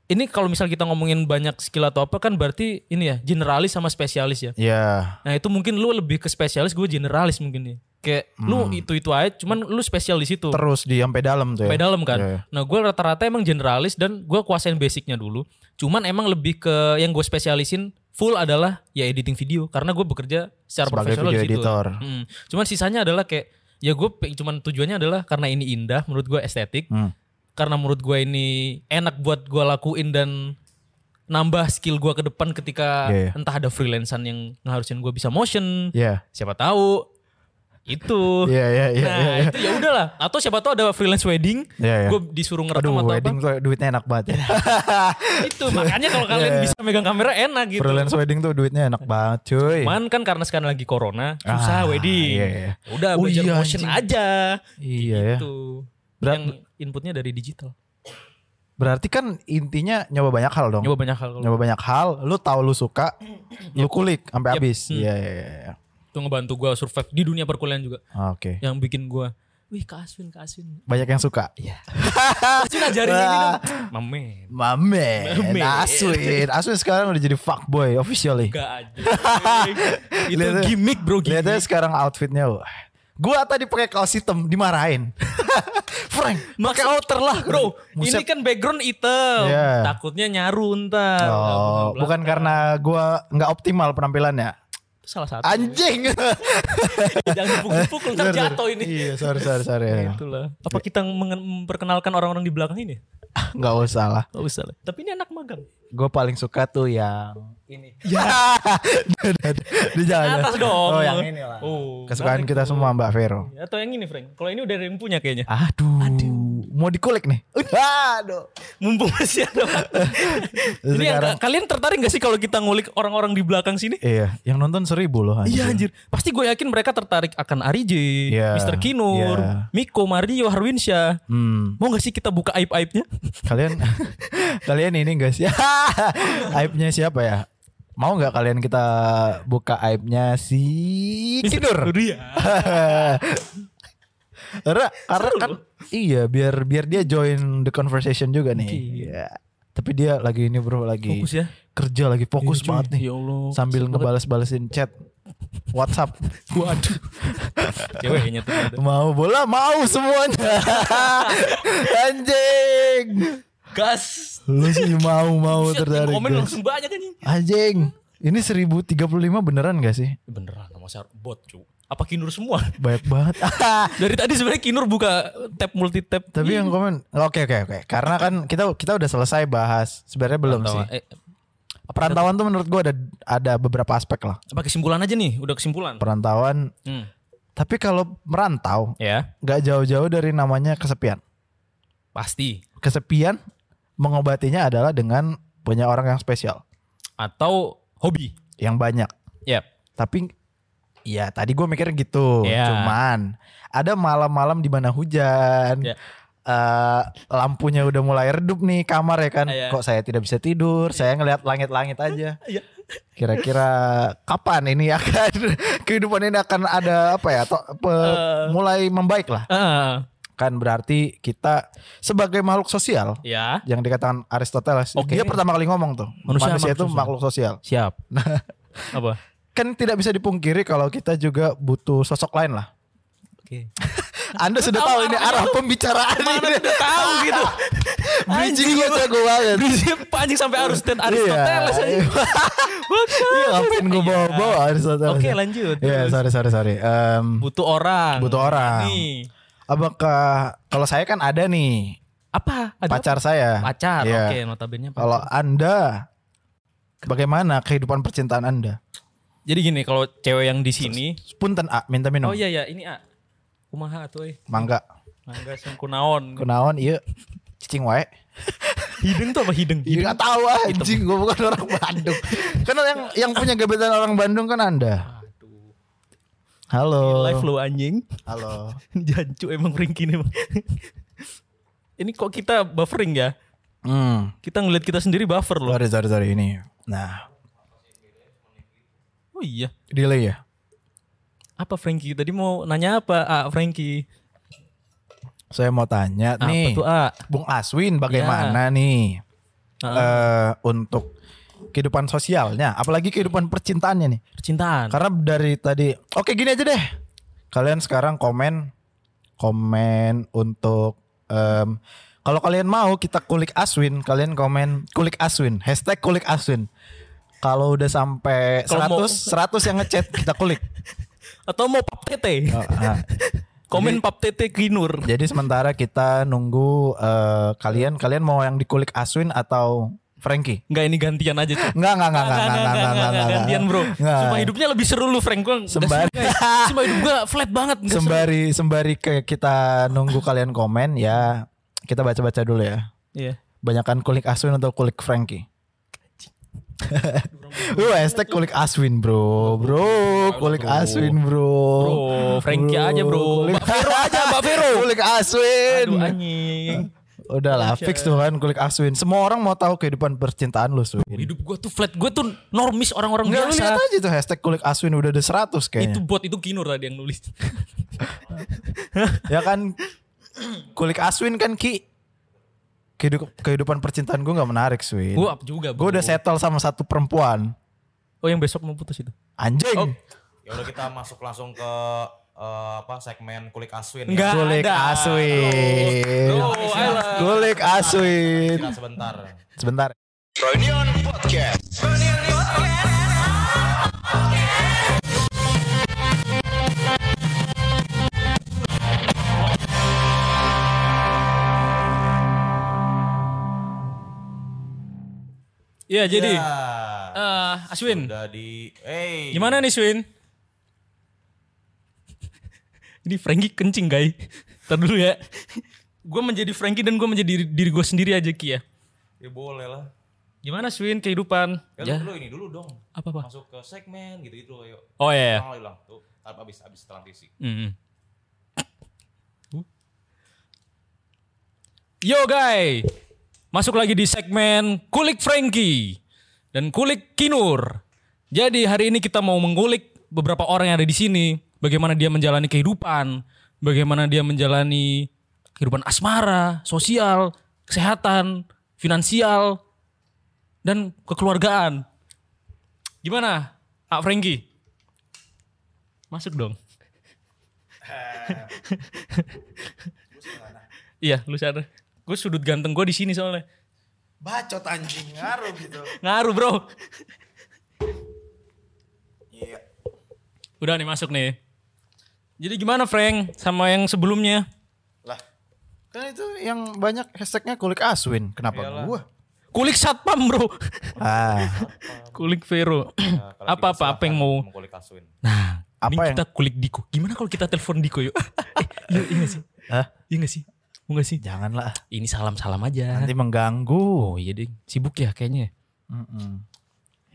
Speaker 3: ini kalau misal kita ngomongin banyak skill atau apa kan berarti ini ya generalis sama spesialis ya.
Speaker 1: Ya.
Speaker 3: Nah itu mungkin lu lebih ke spesialis gue generalis mungkin ya. kayak lu
Speaker 1: Hmm.
Speaker 3: itu itu aja cuman lu spesial di situ
Speaker 1: terus di sampai dalam tuh ya.
Speaker 3: sampai dalam kan
Speaker 1: Iya, iya.
Speaker 3: nah gue rata-rata emang generalis dan gue kuasain basicnya dulu cuman emang lebih ke yang gue spesialisin full adalah ya editing video karena gue bekerja secara
Speaker 1: Sebagai
Speaker 3: profesional
Speaker 1: video
Speaker 3: di situ
Speaker 1: editor.
Speaker 3: Mm. cuman sisanya adalah kayak ya gue cuman tujuannya adalah karena ini indah menurut gue estetik
Speaker 1: Hmm.
Speaker 3: karena menurut gue ini enak buat gue lakuin dan nambah skill gue ke depan ketika
Speaker 1: Iya, iya.
Speaker 3: entah ada freelancean yang ngeharusin gue bisa motion
Speaker 1: Iya.
Speaker 3: siapa tahu itu
Speaker 1: Iya iya iya
Speaker 3: nah
Speaker 1: iya, iya.
Speaker 3: itu ya udahlah atau siapa tahu ada freelance wedding
Speaker 1: Iya, iya.
Speaker 3: gue disuruh
Speaker 1: Aduh,
Speaker 3: ngerekam atau
Speaker 1: wedding tuh duitnya enak banget ya.
Speaker 3: apa itu makanya
Speaker 1: (laughs)
Speaker 3: kalau kalian bisa megang kamera enak (laughs)
Speaker 1: iya.
Speaker 3: gitu
Speaker 1: Freelance wedding tuh duitnya enak banget, cuy.
Speaker 3: Cuman kan karena sekarang lagi corona
Speaker 1: Ah,
Speaker 3: susah wedding Ya
Speaker 1: iya, iya.
Speaker 3: udah
Speaker 1: Oh
Speaker 3: belajar
Speaker 1: iya,
Speaker 3: motion
Speaker 1: anjing.
Speaker 3: aja
Speaker 1: Iya ya.
Speaker 3: itu
Speaker 1: Berat-
Speaker 3: yang inputnya dari digital
Speaker 1: Berarti kan intinya nyoba banyak hal dong.
Speaker 3: nyoba banyak hal kalau
Speaker 1: Nyoba banyak hal, lu tahu lu suka, lu kulik sampai
Speaker 3: Yep.
Speaker 1: habis.
Speaker 3: Hmm.
Speaker 1: Iya iya iya.
Speaker 3: itu ngebantu gue survive di dunia perkuliahan juga
Speaker 1: Oke.
Speaker 3: yang bikin gue wih kak Aswin kak Aswin
Speaker 1: Banyak yang suka. Iya.
Speaker 3: Kak Aswin ajarin ini
Speaker 1: Wah. (laughs)
Speaker 3: dong mamen
Speaker 1: Mamen,
Speaker 3: Mamen.
Speaker 1: Aswin. Aswin Nah, sekarang udah jadi fuckboy officially.
Speaker 3: enggak
Speaker 1: (laughs)
Speaker 3: aja itu gimmick bro gimmick
Speaker 1: Lihatnya sekarang outfitnya. wah. Gua tadi pakai kaos hitam dimarahin. (laughs) Frank, pakai
Speaker 3: Maksud-
Speaker 1: outer lah,
Speaker 3: Bro,
Speaker 1: Buset.
Speaker 3: ini kan background item.
Speaker 1: Iya.
Speaker 3: Takutnya nyaru ntar.
Speaker 1: Oh,
Speaker 3: Belakang.
Speaker 1: bukan karena gua nggak optimal penampilannya.
Speaker 3: Itu salah satu.
Speaker 1: Anjing.
Speaker 3: (laughs) Jangan dipukul-pukul ntar jatuh ini.
Speaker 1: Iya, sorry sorry sorry.
Speaker 3: Itulah. Apa kita mengen- memperkenalkan orang-orang di belakang ini?
Speaker 1: Nggak usah lah.
Speaker 3: Gak usah lah. Tapi ini anak magang.
Speaker 1: Gue paling suka tuh
Speaker 3: (laughs)
Speaker 1: yang
Speaker 3: Ini.
Speaker 1: ya. Di jalan.
Speaker 3: Atas dong.
Speaker 1: Oh, yang ini lah.
Speaker 3: Oh,
Speaker 1: Kesukaan
Speaker 3: menarik
Speaker 1: kita
Speaker 3: tuh.
Speaker 1: semua Mbak Vero.
Speaker 3: Atau yang ini Frank. Kalau ini udah ada yang punya
Speaker 1: Ah.
Speaker 3: kayaknya.
Speaker 1: Aduh. Mau dikulik nih. Aduh.
Speaker 3: Mumpung masih
Speaker 1: (laughs)
Speaker 3: ada. ini yang,
Speaker 1: Sekarang-
Speaker 3: kalian tertarik gak sih kalau kita ngulik orang-orang di belakang sini?
Speaker 1: Iya, yang nonton seribu loh.
Speaker 3: Iya
Speaker 1: anjing.
Speaker 3: anjir. Pasti gue yakin mereka tertarik akan Ari J,
Speaker 1: Iya.
Speaker 3: Mr. Kinur,
Speaker 1: Iya.
Speaker 3: Miko, Mario, Harwinsyah.
Speaker 1: Hmm,
Speaker 3: Mau gak sih kita buka aib-aibnya?
Speaker 1: kalian (laughs) kalian ini guys ya. (laughs) aibnya siapa ya? Mau nggak kalian kita buka aibnya si Kidur?
Speaker 3: Iya.
Speaker 1: (laughs) Karena, karena kan iya biar biar dia join the conversation juga nih. Iya. Tapi dia lagi ini bro lagi
Speaker 3: Fokus ya.
Speaker 1: kerja lagi fokus
Speaker 3: Iya, cuy.
Speaker 1: banget nih.
Speaker 3: Ya Allah, (laughs)
Speaker 1: Sambil
Speaker 3: fokus
Speaker 1: ngebales-balesin chat WhatsApp. Waduh.
Speaker 3: Ceweknya tuh. ada.
Speaker 1: mau bola mau
Speaker 3: (laughs)
Speaker 1: semuanya. Anjing.
Speaker 3: Gas.
Speaker 1: Lu sih mau-mau Oh,
Speaker 3: Buset,
Speaker 1: tertarik.
Speaker 3: Komen
Speaker 1: guys.
Speaker 3: langsung banyak anjing.
Speaker 1: Anjing. Ini 1035 beneran gak sih?
Speaker 3: Beneran sama Sar bot cu. Apa Kinur semua?
Speaker 1: Banyak banget.
Speaker 3: (laughs)
Speaker 1: (laughs)
Speaker 3: Dari tadi sebenarnya Kinur buka tab multi tab.
Speaker 1: Tapi yang komen oke oke oke. Karena kan kita kita udah selesai bahas. Sebenarnya belum sih.
Speaker 3: Perantauan. Eh,
Speaker 1: Perantauan tuh menurut gua ada ada beberapa aspek lah.
Speaker 3: apa kesimpulan aja nih? Udah kesimpulan.
Speaker 1: Perantauan.
Speaker 3: Hmm.
Speaker 1: Tapi kalau merantau
Speaker 3: Ya,
Speaker 1: nggak jauh-jauh dari namanya kesepian.
Speaker 3: pasti.
Speaker 1: Kesepian mengobatinya adalah dengan punya orang yang spesial,
Speaker 3: Atau hobi.
Speaker 1: yang banyak.
Speaker 3: Ya.
Speaker 1: Tapi ya tadi gua mikir gitu.
Speaker 3: Iya.
Speaker 1: Cuman ada malam-malam di mana hujan.
Speaker 3: Iya.
Speaker 1: eh, lampunya udah mulai redup nih kamar ya kan.
Speaker 3: Iya.
Speaker 1: Kok saya tidak bisa tidur? Saya ngelihat langit-langit aja.
Speaker 3: Iya.
Speaker 1: kira-kira kapan ini akan (laughs) kehidupan ini akan ada apa ya to- pe-
Speaker 3: Eh.
Speaker 1: mulai membaik lah
Speaker 3: Ah,
Speaker 1: kan berarti kita sebagai makhluk sosial
Speaker 3: ya.
Speaker 1: yang dikatakan Aristoteles
Speaker 3: Oke.
Speaker 1: dia pertama kali ngomong tuh
Speaker 3: Manusia
Speaker 1: manusia, itu
Speaker 3: makhluk sosial.
Speaker 1: makhluk sosial Nah,
Speaker 3: Siap. apa?
Speaker 1: kan tidak bisa dipungkiri kalau kita juga butuh sosok lain lah
Speaker 3: Oke.
Speaker 1: Anda sudah tahu ini arah pembicaraan ini
Speaker 3: Udah tahu
Speaker 1: (laughs)
Speaker 3: gitu.
Speaker 1: bridging gue jago banget
Speaker 3: Prinsip anjing sampai harus stand Aristoteles
Speaker 1: Iya.
Speaker 3: anjing. Bangsat.
Speaker 1: Iya, ngapain gue bawa-bawa Aristoteles
Speaker 3: Oke, lanjut.
Speaker 1: Iya sorry sorry sorry Em,
Speaker 3: Butuh orang.
Speaker 1: Butuh orang.
Speaker 3: Nih.
Speaker 1: Apakah kalau saya kan ada nih
Speaker 3: Apa? Ada
Speaker 1: pacar saya.
Speaker 3: apa? Pacar.
Speaker 1: Iya.
Speaker 3: Oke, notabene pacar.
Speaker 1: Kalau Anda bagaimana kehidupan percintaan Anda?
Speaker 3: Jadi gini, kalau cewek yang di sini,
Speaker 1: Punten A, minta minum.
Speaker 3: oh iya ya, ini A. Kumaha atuh euy.
Speaker 1: Mangga.
Speaker 3: Mangga sing kunaon.
Speaker 1: Kunaon iya cicing wae.
Speaker 3: Hidung tuh apa hidung?
Speaker 1: Iya nggak tahu ah, anjing gue bukan orang Bandung. Karena yang yang punya gebetan orang Bandung kan Anda. Halo.
Speaker 3: Iya, Live lu anjing. (laughs)
Speaker 1: Halo.
Speaker 3: Jancu emang ringkin emang. (laughs) ini kok kita buffering ya?
Speaker 1: Hmm.
Speaker 3: Kita ngeliat kita sendiri buffer loh.
Speaker 1: Sorry sorry sorry ini. Nah,
Speaker 3: Oh iya.
Speaker 1: delay ya.
Speaker 3: Apa Frankie? Tadi mau nanya apa? Ah, Frankie.
Speaker 1: Saya mau tanya
Speaker 3: Apa
Speaker 1: nih.
Speaker 3: tuh Iya. A?
Speaker 1: Bung Aswin bagaimana nih? ah?
Speaker 3: Ah,
Speaker 1: eh untuk kehidupan sosialnya, apalagi kehidupan percintaannya nih.
Speaker 3: Kan Percintaan.
Speaker 1: Karena dari tadi, oke gini aja deh. Kalian sekarang komen komen untuk em, kalau kalian mau kita kulik Aswin, kalian komen kulik Aswin, hashtag kulik Aswin. Kalau udah sampai
Speaker 3: Kalau mau-
Speaker 1: 100, 100 yang ngechat kita kulik.
Speaker 3: Atau mau pap tete?
Speaker 1: Oh, ah.
Speaker 3: Komen pap tete kinur.
Speaker 1: Jadi sementara kita nunggu eh, kalian, kalian mau yang dikulik Aswin atau Frankie?
Speaker 3: Enggak ini gantian aja cuy.
Speaker 1: Enggak, enggak, enggak, enggak,
Speaker 3: Nah,
Speaker 1: enggak, enggak, enggak, enggak, enggak.
Speaker 3: gantian bro.
Speaker 1: Enggak.
Speaker 3: Sumpah hidupnya lebih seru lu Frank. Gua nggak
Speaker 1: Sembari-
Speaker 3: (laughs) seru, guys. Sumpah hidup gue flat banget. nggak seru.
Speaker 1: Sembari sembari ke kita nunggu kalian komen ya, kita baca-baca dulu ya.
Speaker 3: Iya.
Speaker 1: Banyakan kulik Aswin atau kulik Frankie? Lu hashtag kulik Aswin bro, bro, kulik Aswin bro.
Speaker 3: Bro, Frankie aja bro.
Speaker 1: Kulik-
Speaker 3: Mbak Vero aja, Mbak Vero.
Speaker 1: (laughs) Kulik Aswin.
Speaker 3: Aduh anjing.
Speaker 1: Udah lah, fix tuh kan kulik Aswin. Semua orang mau tahu kehidupan percintaan lu, Swin.
Speaker 3: Hidup gue tuh flat. Gue tuh normis orang-orang
Speaker 1: Enggak lu
Speaker 3: biasa.
Speaker 1: lihat aja tuh hashtag kulik Aswin udah ada 100
Speaker 3: Itu
Speaker 1: kayaknya.
Speaker 3: bot itu Kinur tadi yang nulis.
Speaker 1: Ya kan kulik Aswin kan Ki. Kehidup- kehidupan percintaan gue nggak menarik, Swin.
Speaker 3: gue up juga.
Speaker 1: Gue udah settle sama satu perempuan.
Speaker 3: Oh yang besok mau putus itu.
Speaker 1: Anjing.
Speaker 4: Ya udah kita masuk langsung ke eh, apa segmen kulik aswin. ya.
Speaker 3: Enggak
Speaker 1: Kulik
Speaker 3: ada.
Speaker 1: Aswin.
Speaker 3: Oh, ayolah.
Speaker 1: Kulik Aswin.
Speaker 4: Ya. Kita sebentar.
Speaker 1: Sebentar.
Speaker 2: Reunion Podcast.
Speaker 3: Iya jadi.
Speaker 4: Ya.
Speaker 3: eh, Aswin.
Speaker 4: Udah di. Hey.
Speaker 3: Gimana nih Swin? (laughs) Ini Frankie kencing guys. Ntar dulu ya. gue menjadi Frankie dan gue menjadi diri, gue sendiri aja Ki ya.
Speaker 4: Ya boleh lah.
Speaker 3: Gimana Swin kehidupan?
Speaker 4: Kan
Speaker 3: Ya.
Speaker 4: lu ini dulu dong.
Speaker 3: Apa apa?
Speaker 4: Masuk ke segmen gitu-gitu loh yuk.
Speaker 3: Oh iya.
Speaker 4: Ulang, ulang. Tuh, tar abis, abis transisi.
Speaker 3: Mm-mm. Yo guys, masuk lagi di segmen kulik Frankie dan kulik Kinur. Jadi hari ini kita mau mengulik beberapa orang yang ada di sini, bagaimana dia menjalani kehidupan, bagaimana dia menjalani kehidupan asmara, sosial, kesehatan, finansial, dan kekeluargaan. Gimana, Kak Frankie? Masuk dong. Iya, lu sadar. Gue sudut ganteng gue di sini soalnya.
Speaker 5: Bacot anjing ngaruh gitu.
Speaker 3: Ngaruh, Bro.
Speaker 1: Iya.
Speaker 3: Udah nih masuk nih. Jadi gimana, Frank? Sama yang sebelumnya?
Speaker 1: Kan itu yang banyak hashtagnya kulik Aswin. Kenapa gua?
Speaker 3: Kulik satpam, Bro. (laughs)
Speaker 1: Ah,
Speaker 3: Kulik Vero.
Speaker 1: Nah,
Speaker 3: (clears throat) Apa-apa apa yang mau
Speaker 4: Mau kulik aswin.
Speaker 3: Nah,
Speaker 1: gitu Apa
Speaker 3: mending
Speaker 1: yang-
Speaker 3: kita kulik Diko. Gimana kalau kita telepon Diko yuk? (laughs) eh, iya, iya gak sih?
Speaker 1: Hah?
Speaker 3: Iya gak sih? Mau gak sih?
Speaker 1: janganlah.
Speaker 3: Ini salam-salam aja.
Speaker 1: Nanti mengganggu.
Speaker 3: Oh iya deh, sibuk ya kayaknya.
Speaker 1: Mm-mm.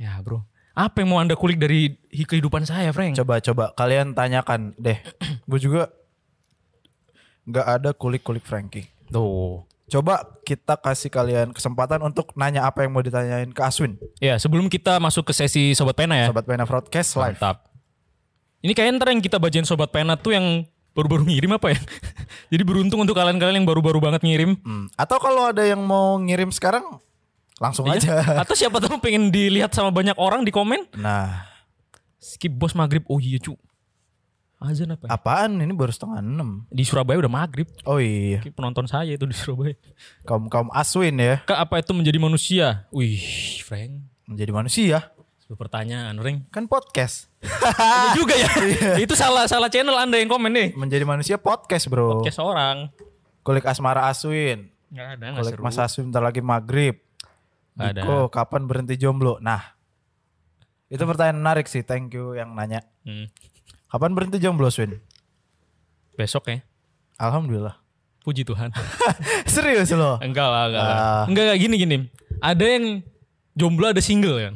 Speaker 3: Ya bro, apa yang mau anda kulik dari hi- kehidupan saya, Frank?
Speaker 1: Coba coba kalian tanyakan deh. Gue juga nggak ada kulik-kulik Frankie.
Speaker 3: Tuh.
Speaker 1: Coba kita kasih kalian kesempatan untuk nanya apa yang mau ditanyain ke Aswin,
Speaker 3: Ya sebelum kita masuk ke sesi sobat pena ya.
Speaker 1: sobat Pena Broadcast live.
Speaker 3: Mantap. Ini kayaknya ntar yang kita bacain sobat pena tuh yang baru-baru ngirim apa ya? (laughs) Jadi beruntung untuk kalian-kalian yang baru-baru banget ngirim.
Speaker 1: Hmm. Atau kalau ada yang mau ngirim sekarang langsung
Speaker 3: Iya.
Speaker 1: aja.
Speaker 3: Atau siapa tahu pengen dilihat sama banyak orang di komen.
Speaker 1: Nah,
Speaker 3: Skip bos maghrib. Oh iya cu. Azan apa? ya?
Speaker 1: apaan ini baru setengah enam?
Speaker 3: Di Surabaya udah maghrib.
Speaker 1: Oh iya,
Speaker 3: Ki, Penonton saya itu di Surabaya.
Speaker 1: kaum kaum Aswin ya
Speaker 3: Kak apa itu menjadi manusia? Wih, Frank.
Speaker 1: menjadi manusia
Speaker 3: Sebuah pertanyaan, Frank.
Speaker 1: kan
Speaker 3: (laughs)
Speaker 1: podcast
Speaker 3: Iya
Speaker 1: Ah.
Speaker 3: juga
Speaker 1: (laughs)
Speaker 3: ya. itu salah salah channel Anda yang komen nih.
Speaker 1: menjadi manusia podcast bro.
Speaker 3: Podcast orang.
Speaker 1: Kulik asmara Aswin,
Speaker 3: Enggak ada
Speaker 1: kulik
Speaker 3: enggak seru.
Speaker 1: Mas Aswin bentar lagi maghrib.
Speaker 3: Nggak ada.
Speaker 1: Diko, kapan berhenti jomblo? Nah, itu pertanyaan menarik sih. Thank you yang nanya.
Speaker 3: Hmm.
Speaker 1: Kapan berhenti jomblo, Swin?
Speaker 3: Besok ya.
Speaker 1: Alhamdulillah.
Speaker 3: Puji
Speaker 1: (laughs)
Speaker 3: Tuhan.
Speaker 1: Serius loh.
Speaker 3: enggak lah, enggak lah.
Speaker 1: Ah.
Speaker 3: Enggak enggak gini gini. Ada yang jomblo ada single kan.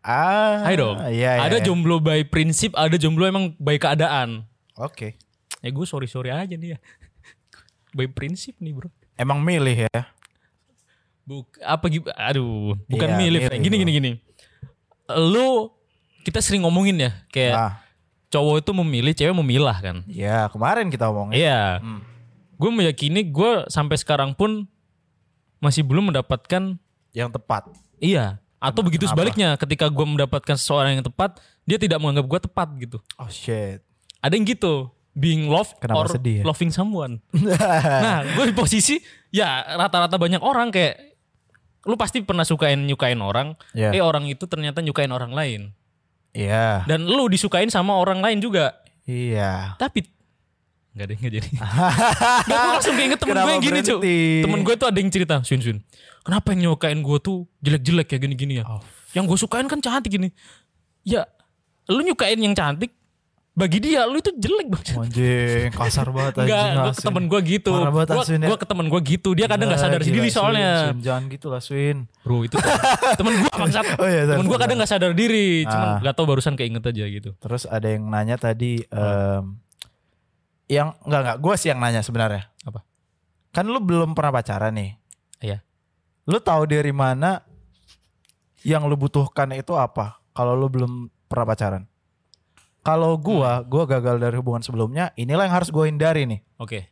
Speaker 1: Ah,
Speaker 3: Hai dong.
Speaker 1: Iya, iya,
Speaker 3: ada
Speaker 1: iya.
Speaker 3: jomblo by prinsip, ada jomblo emang by keadaan.
Speaker 1: Oke.
Speaker 3: Ya gue sorry-sorry aja nih ya. (laughs) by prinsip nih, Bro.
Speaker 1: Emang milih ya.
Speaker 3: Buk, apa gitu aduh,
Speaker 1: Iya,
Speaker 3: bukan milih.
Speaker 1: milih,
Speaker 3: Frank. Gini
Speaker 1: Bro.
Speaker 3: gini gini. Lu kita sering ngomongin ya kayak
Speaker 1: Nah,
Speaker 3: cowok itu memilih, cewek memilah kan.
Speaker 1: ya kemarin kita omongin.
Speaker 3: Iya.
Speaker 1: Hmm.
Speaker 3: Gue meyakini gue sampai sekarang pun masih belum mendapatkan
Speaker 1: Yang tepat.
Speaker 3: iya atau begitu sebaliknya ketika gue mendapatkan seseorang yang tepat dia tidak menganggap gue tepat gitu.
Speaker 1: Oh shit.
Speaker 3: Ada yang gitu. being loved
Speaker 1: Kenapa
Speaker 3: or
Speaker 1: sedih ya? (laughs)
Speaker 3: loving someone. nah, gue di posisi ya rata-rata banyak orang kayak lu pasti pernah sukain nyukain orang,
Speaker 1: Iya.
Speaker 3: eh orang itu ternyata nyukain orang lain.
Speaker 1: Iya.
Speaker 3: Dan lu disukain sama orang lain juga.
Speaker 1: Iya.
Speaker 3: Tapi nggak deh nggak
Speaker 1: (laughs)
Speaker 3: jadi. Nggak, gue langsung keinget temen gue
Speaker 1: Kenapa
Speaker 3: yang gini cuy.
Speaker 1: berhenti?
Speaker 3: Temen gue tuh ada yang cerita, Sun Sun. Kenapa yang nyukain gue tuh jelek-jelek ya gini-gini ya.
Speaker 1: Oh.
Speaker 3: Yang gue sukain kan cantik gini. Ya lu nyukain yang cantik, bagi dia lu itu jelek banget.
Speaker 1: Anjing, kasar banget anjing.
Speaker 3: Enggak, gue ke
Speaker 1: Asin.
Speaker 3: temen gue gitu.
Speaker 1: Parah banget,
Speaker 3: Gue
Speaker 1: Asin, ya.
Speaker 3: gue ke temen gue gitu. Dia kadang nggak
Speaker 1: Gila,
Speaker 3: sadar
Speaker 1: gila,
Speaker 3: diri
Speaker 1: Swin,
Speaker 3: soalnya.
Speaker 1: Swin, jangan gitu lah, Swin.
Speaker 3: Bro
Speaker 1: (laughs)
Speaker 3: itu temen- temen gue bangsat.
Speaker 1: Oh iya, sorry,
Speaker 3: temen gue
Speaker 1: sorry.
Speaker 3: kadang nggak sadar diri. Cuman
Speaker 1: Ah.
Speaker 3: nggak tahu barusan keinget aja gitu.
Speaker 1: Terus ada yang nanya tadi em, yang enggak enggak gue sih yang nanya sebenarnya.
Speaker 3: Apa?
Speaker 1: Kan lu belum pernah pacaran nih.
Speaker 3: Iya.
Speaker 1: Lu tahu dari mana yang lu butuhkan itu apa kalau lu belum pernah pacaran? Kalau gua,
Speaker 3: Hmm.
Speaker 1: gua gagal dari hubungan sebelumnya, inilah yang harus gua hindari nih.
Speaker 3: Oke.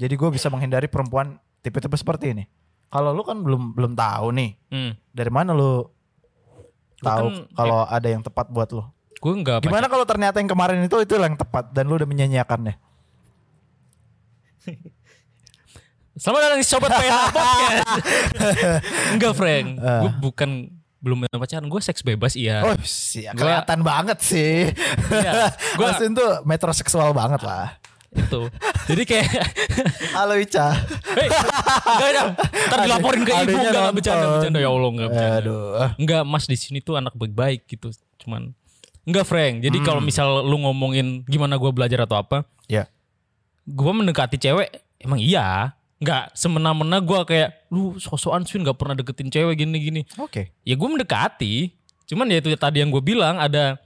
Speaker 1: Jadi gua bisa menghindari perempuan tipe-tipe seperti ini. Kalau lu kan belum belum tahu nih,
Speaker 3: Hmm.
Speaker 1: dari mana lu tahu
Speaker 3: kan-
Speaker 1: kalau ada yang tepat buat lu?
Speaker 3: Gue nggak pacar-
Speaker 1: Gimana kalau ternyata yang kemarin itu itu yang tepat dan lu udah menyanyiakannya?
Speaker 3: Selamat datang di Sobat PH
Speaker 1: (laughs)
Speaker 3: Podcast. Enggak, Frank. Gue bukan belum pernah pacaran. Gue seks bebas iya.
Speaker 1: Ah. Oh, sih,
Speaker 3: Gua-
Speaker 1: kelihatan banget sih. (laughs)
Speaker 3: Iya.
Speaker 1: Gua
Speaker 3: Gua-
Speaker 1: tuh metroseksual banget lah.
Speaker 3: Itu. Gitu. Jadi kayak (laughs)
Speaker 1: Halo Ica.
Speaker 3: Hei, enggak ada. Ntar dilaporin ke ibu
Speaker 1: Adanya
Speaker 3: enggak enggak
Speaker 1: nonton. Eh.
Speaker 3: bercanda bercanda ya Allah enggak bercanda.
Speaker 1: Aduh.
Speaker 3: Enggak, Mas di sini tuh anak baik-baik gitu. Cuman enggak, Frank. Jadi
Speaker 1: Hmm.
Speaker 3: kalau misal lu ngomongin gimana gua belajar atau apa,
Speaker 1: Ya.
Speaker 3: gue mendekati cewek emang iya nggak semena-mena gue kayak lu sosokan Swin nggak pernah deketin cewek gini-gini
Speaker 1: Oke.
Speaker 3: ya gue mendekati cuman ya itu tadi yang gue bilang ada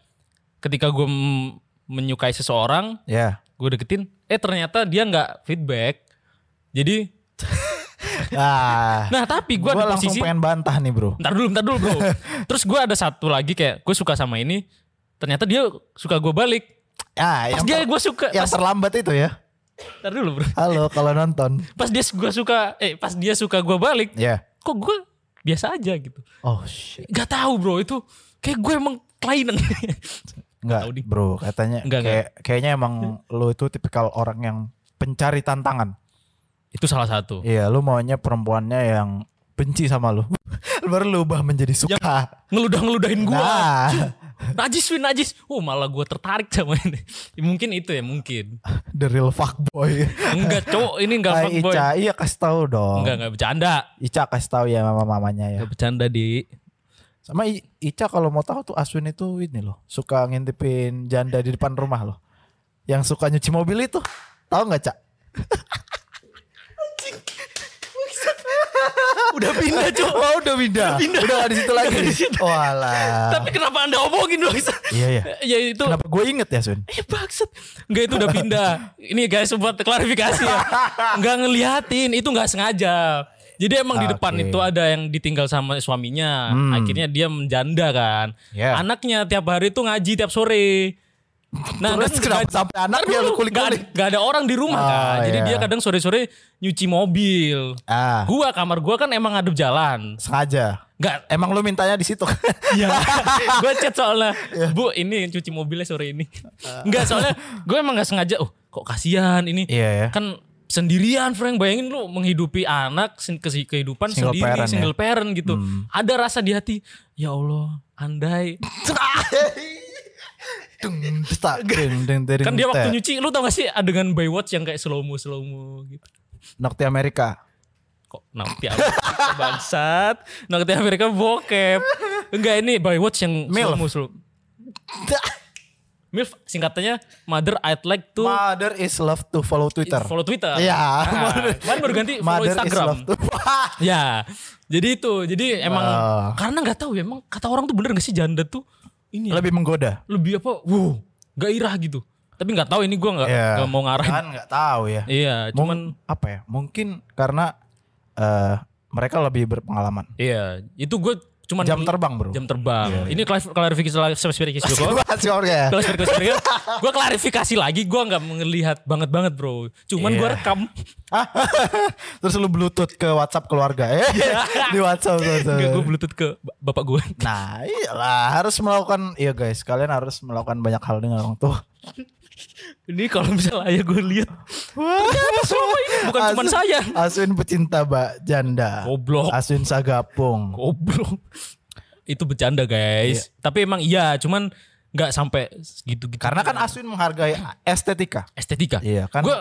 Speaker 3: ketika gue m- menyukai seseorang (laughs)
Speaker 1: Ya.
Speaker 3: gue deketin eh ternyata dia nggak feedback jadi
Speaker 1: Ah.
Speaker 3: nah tapi gue
Speaker 1: gua
Speaker 3: ada
Speaker 1: langsung
Speaker 3: posisi
Speaker 1: pengen bantah nih, Bro.
Speaker 3: ntar dulu ntar dulu bro
Speaker 1: (laughs)
Speaker 3: terus gue ada satu lagi kayak gue suka sama ini ternyata dia suka gue balik
Speaker 1: Ah,
Speaker 3: pas
Speaker 1: yang
Speaker 3: dia
Speaker 1: ter-
Speaker 3: gue suka
Speaker 1: yang
Speaker 3: pas,
Speaker 1: terlambat itu ya.
Speaker 3: ntar dulu bro
Speaker 1: Halo kalau nonton.
Speaker 3: pas dia gue suka eh pas dia suka gue balik
Speaker 1: Ya.
Speaker 3: kok gue biasa aja gitu
Speaker 1: Oh shit.
Speaker 3: Gak tahu bro itu kayak gue emang kelainan.
Speaker 1: Enggak,
Speaker 3: nih.
Speaker 1: Bro. Katanya
Speaker 3: Enggak,
Speaker 1: kayak kayaknya emang lu itu tipikal orang yang pencari tantangan.
Speaker 3: (laughs) itu salah satu.
Speaker 1: Iya, lu maunya perempuannya yang benci sama lu. (laughs) Baru lu ubah menjadi suka.
Speaker 3: Ngeludah-ngeludahin gue.
Speaker 1: Nah.
Speaker 3: Najis win najis. Oh malah gue tertarik sama ini. Ya, mungkin itu ya mungkin.
Speaker 1: (laughs) The real fuckboy.
Speaker 3: Enggak cowok ini enggak
Speaker 1: Hai,
Speaker 3: fuckboy.
Speaker 1: Ica, iya kasih tahu dong.
Speaker 3: Enggak enggak bercanda.
Speaker 1: Ica kasih tahu ya mama mamanya ya.
Speaker 3: Enggak bercanda di.
Speaker 1: Sama I- Ica kalau mau tahu tuh Aswin itu ini loh, suka ngintipin janda di depan rumah loh. Yang suka nyuci mobil itu. Tahu nggak, Cak?
Speaker 3: Udah pindah cowok.
Speaker 1: Oh, udah pindah. Udah nggak di situ lagi. Walah.
Speaker 3: Tapi kenapa anda omongin dong?
Speaker 1: Iya, iya.
Speaker 3: ya itu.
Speaker 1: Kenapa gue inget ya, Sun?
Speaker 3: Eh bangsat. Enggak itu udah pindah. Ini guys buat klarifikasi ya. Enggak ngeliatin, itu enggak sengaja. Jadi emang di
Speaker 1: Oke.
Speaker 3: depan
Speaker 1: Hmm.
Speaker 3: itu ada yang ditinggal sama suaminya. Akhirnya dia menjanda kan.
Speaker 1: Ya.
Speaker 3: Anaknya tiap hari itu ngaji tiap sore. Nah,
Speaker 1: Terus
Speaker 3: kan
Speaker 1: kenapa
Speaker 3: ngaji-
Speaker 1: sampai anaknya lu
Speaker 3: Dulu
Speaker 1: kulik-kulik?
Speaker 3: nggak- nggak ada orang di rumah kan.
Speaker 1: Oh,
Speaker 3: Jadi
Speaker 1: iya.
Speaker 3: dia kadang sore-sore nyuci mobil.
Speaker 1: Ah.
Speaker 3: Gua kamar gua kan emang ngadep jalan.
Speaker 1: Sengaja.
Speaker 3: Enggak
Speaker 1: Emang lu mintanya di situ.
Speaker 3: (laughs) Iya. gue chat soalnya,
Speaker 1: Iya.
Speaker 3: Bu ini yang cuci mobilnya sore ini. Enggak soalnya gue emang nggak sengaja. Oh kok kasihan ini.
Speaker 1: Ah. Iya
Speaker 3: (laughs)
Speaker 1: ya.
Speaker 3: Kan sendirian Frank bayangin lu menghidupi anak sen- kesi- kehidupan
Speaker 1: Single
Speaker 3: sendiri
Speaker 1: parent ya. Hmm.
Speaker 3: single parent gitu ada rasa di hati ya Allah andai
Speaker 1: Dung, desta, dung, dung, dering,
Speaker 3: kan dia
Speaker 1: desta.
Speaker 3: waktu nyuci lu tau gak sih adegan Baywatch yang kayak slow mo slow mo gitu
Speaker 1: Nokti Amerika.
Speaker 3: kok nanti Amerika bangsat nanti Amerika bokep enggak ini Baywatch yang slow
Speaker 1: Milf.
Speaker 3: mo slow MILF singkatannya mother I'd like to
Speaker 1: Mother is love to follow Twitter.
Speaker 3: Follow Twitter.
Speaker 1: Iya. (laughs)
Speaker 3: Nah, kemarin baru ganti follow
Speaker 1: Mother
Speaker 3: Instagram.
Speaker 1: is love to (laughs)
Speaker 3: Ya. Jadi itu, jadi emang
Speaker 1: Wah.
Speaker 3: karena nggak tahu ya emang kata orang tuh bener gak sih janda tuh ini ya,
Speaker 1: lebih menggoda.
Speaker 3: lebih apa? Wow, gairah gitu. Tapi nggak tahu ini gua nggak
Speaker 1: Iya.
Speaker 3: nggak mau ngarahin.
Speaker 1: Kan nggak tahu ya.
Speaker 3: Iya,
Speaker 1: Mung-
Speaker 3: cuman
Speaker 1: apa ya? Mungkin karena eh, mereka lebih berpengalaman.
Speaker 3: iya, itu gue cuman
Speaker 1: Jam terbang, Bro. Iya,
Speaker 3: Jam terbang. Ini klarif- klarifikasi klarifikasi
Speaker 1: (laughs)
Speaker 3: juga.
Speaker 1: Sorry ya.
Speaker 3: gue klarifikasi lagi, gua nggak melihat banget banget bro. Cuman
Speaker 1: Iya.
Speaker 3: gua rekam.
Speaker 1: (laughs) Terus lu bluetooth ke WhatsApp keluarga.
Speaker 3: (laughs)
Speaker 1: Eh, di WhatsApp. Nah, tuh, tuh.
Speaker 3: Enggak gue bluetooth ke ba- bapak gue.
Speaker 1: Nah, iyalah harus melakukan iya guys, kalian harus melakukan banyak hal dengan orang tua.
Speaker 3: Ini kalau misalnya ayah gue lihat, ternyata selama ini bukan cuma
Speaker 1: Asu-
Speaker 3: saya.
Speaker 1: Aswin pecinta bak janda.
Speaker 3: Goblok.
Speaker 1: Aswin sagapung.
Speaker 3: Goblok. Itu bercanda guys. Tapi emang iya, cuman nggak sampai gitu gitu.
Speaker 1: Karena kan Aswin menghargai estetika.
Speaker 3: estetika.
Speaker 1: Iya, kan-
Speaker 3: Gue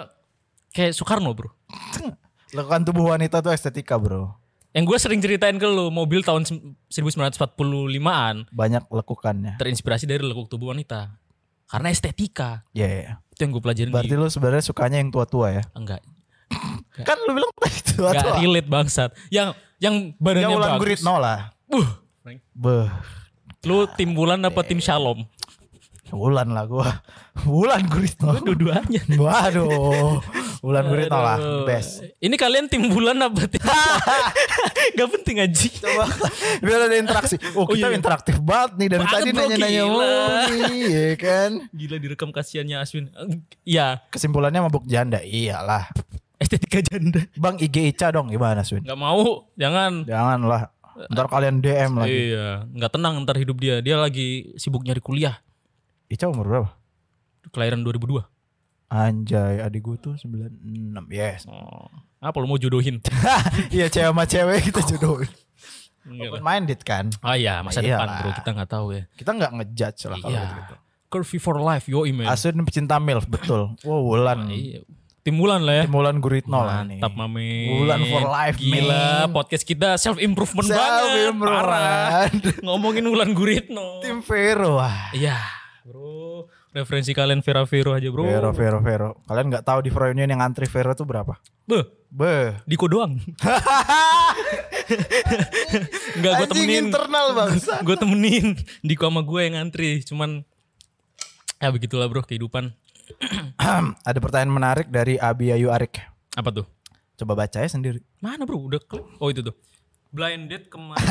Speaker 3: kayak Soekarno bro.
Speaker 1: Lekukan tubuh wanita tuh estetika bro.
Speaker 3: Yang gue sering ceritain ke lu, mobil tahun sem- 1945-an
Speaker 1: Banyak lekukannya.
Speaker 3: terinspirasi dari lekuk tubuh wanita. Karena estetika.
Speaker 1: Iya. iya.
Speaker 3: Itu yang gue pelajarin
Speaker 1: Berarti
Speaker 3: di...
Speaker 1: lu sebenarnya sukanya yang tua-tua ya?
Speaker 3: Enggak,
Speaker 1: Kan lu bilang tadi
Speaker 3: enggak
Speaker 1: tua-tua.
Speaker 3: relate bangsat. Yang yang
Speaker 1: Ya
Speaker 3: badannya
Speaker 1: ulang
Speaker 3: bagus.
Speaker 1: guritno lah.
Speaker 3: Buh.
Speaker 1: Beuh.
Speaker 3: Lu tim bulan apa tim shalom?
Speaker 1: Wulan lah gua. (laughs) Wulan guritno.
Speaker 3: Dua-duanya.
Speaker 1: (laughs) Waduh. Wulan guritno lah.
Speaker 3: Aduh.
Speaker 1: Best.
Speaker 3: Ini kalian tim bulan apa
Speaker 1: (laughs)
Speaker 3: tim? Gak penting aji.
Speaker 1: Coba biar ada interaksi. Oh,
Speaker 3: Oh,
Speaker 1: kita
Speaker 3: iya.
Speaker 1: interaktif banget nih dari
Speaker 3: Banget,
Speaker 1: tadi
Speaker 3: bro,
Speaker 1: nanya-nanya
Speaker 3: gila.
Speaker 1: mulu nih, iya kan.
Speaker 3: Gila direkam kasihannya Aswin. Iya,
Speaker 1: Kesimpulannya mabuk janda. Iyalah.
Speaker 3: estetika janda.
Speaker 1: Bang IG Ica dong gimana, Swin?
Speaker 3: Gak mau, jangan.
Speaker 1: Janganlah. Ntar kalian DM lagi.
Speaker 3: Iya, nggak tenang ntar hidup dia. Dia lagi sibuk nyari kuliah.
Speaker 1: Ica umur berapa?
Speaker 3: Kelahiran 2002.
Speaker 1: Anjay, adik gue tuh 96. Yes. (laughs)
Speaker 3: Oh, apa lu mau jodohin?
Speaker 1: Iya, cewek sama cewek kita jodohin.
Speaker 3: Enggak
Speaker 1: Open
Speaker 3: lah.
Speaker 1: minded kan.
Speaker 3: ah iya, masa depan
Speaker 1: Iyalah.
Speaker 3: bro kita nggak tahu ya.
Speaker 1: Kita nggak ngejudge lah kalau
Speaker 3: Iya.
Speaker 1: gitu.
Speaker 3: Curvy for life, yo man.
Speaker 1: Asun pecinta MILF, betul. Wow, Wulan.
Speaker 3: Iya. Tim bulan lah ya.
Speaker 1: Timulan Guritno lah nih.
Speaker 3: Mantap mami.
Speaker 1: Bulan for life,
Speaker 3: Gila,
Speaker 1: men.
Speaker 3: podcast kita self improvement banget.
Speaker 1: Self-improvement.
Speaker 3: Parah. Ngomongin Wulan Guritno.
Speaker 1: Tim Vero. Wah.
Speaker 3: Iya, Bro. Referensi kalian Vera Vero aja, Bro.
Speaker 1: Vero, Vero, Vero. Kalian nggak tahu di Froyunion yang antri Vero tuh berapa?
Speaker 3: Beh,
Speaker 1: Be.
Speaker 3: Diko doang. Enggak gue
Speaker 1: Anjing
Speaker 3: temenin.
Speaker 1: internal, bangsa.
Speaker 3: Gue temenin Diko sama gue yang ngantri, cuman ya begitulah, Bro, kehidupan.
Speaker 1: (laughs) Ada pertanyaan menarik dari Abi Ayu Arik.
Speaker 3: Apa tuh?
Speaker 1: Coba baca ya sendiri. (laughs)
Speaker 3: Mana, Bro? Udah klik. Oh, itu tuh. Blinded kemarin.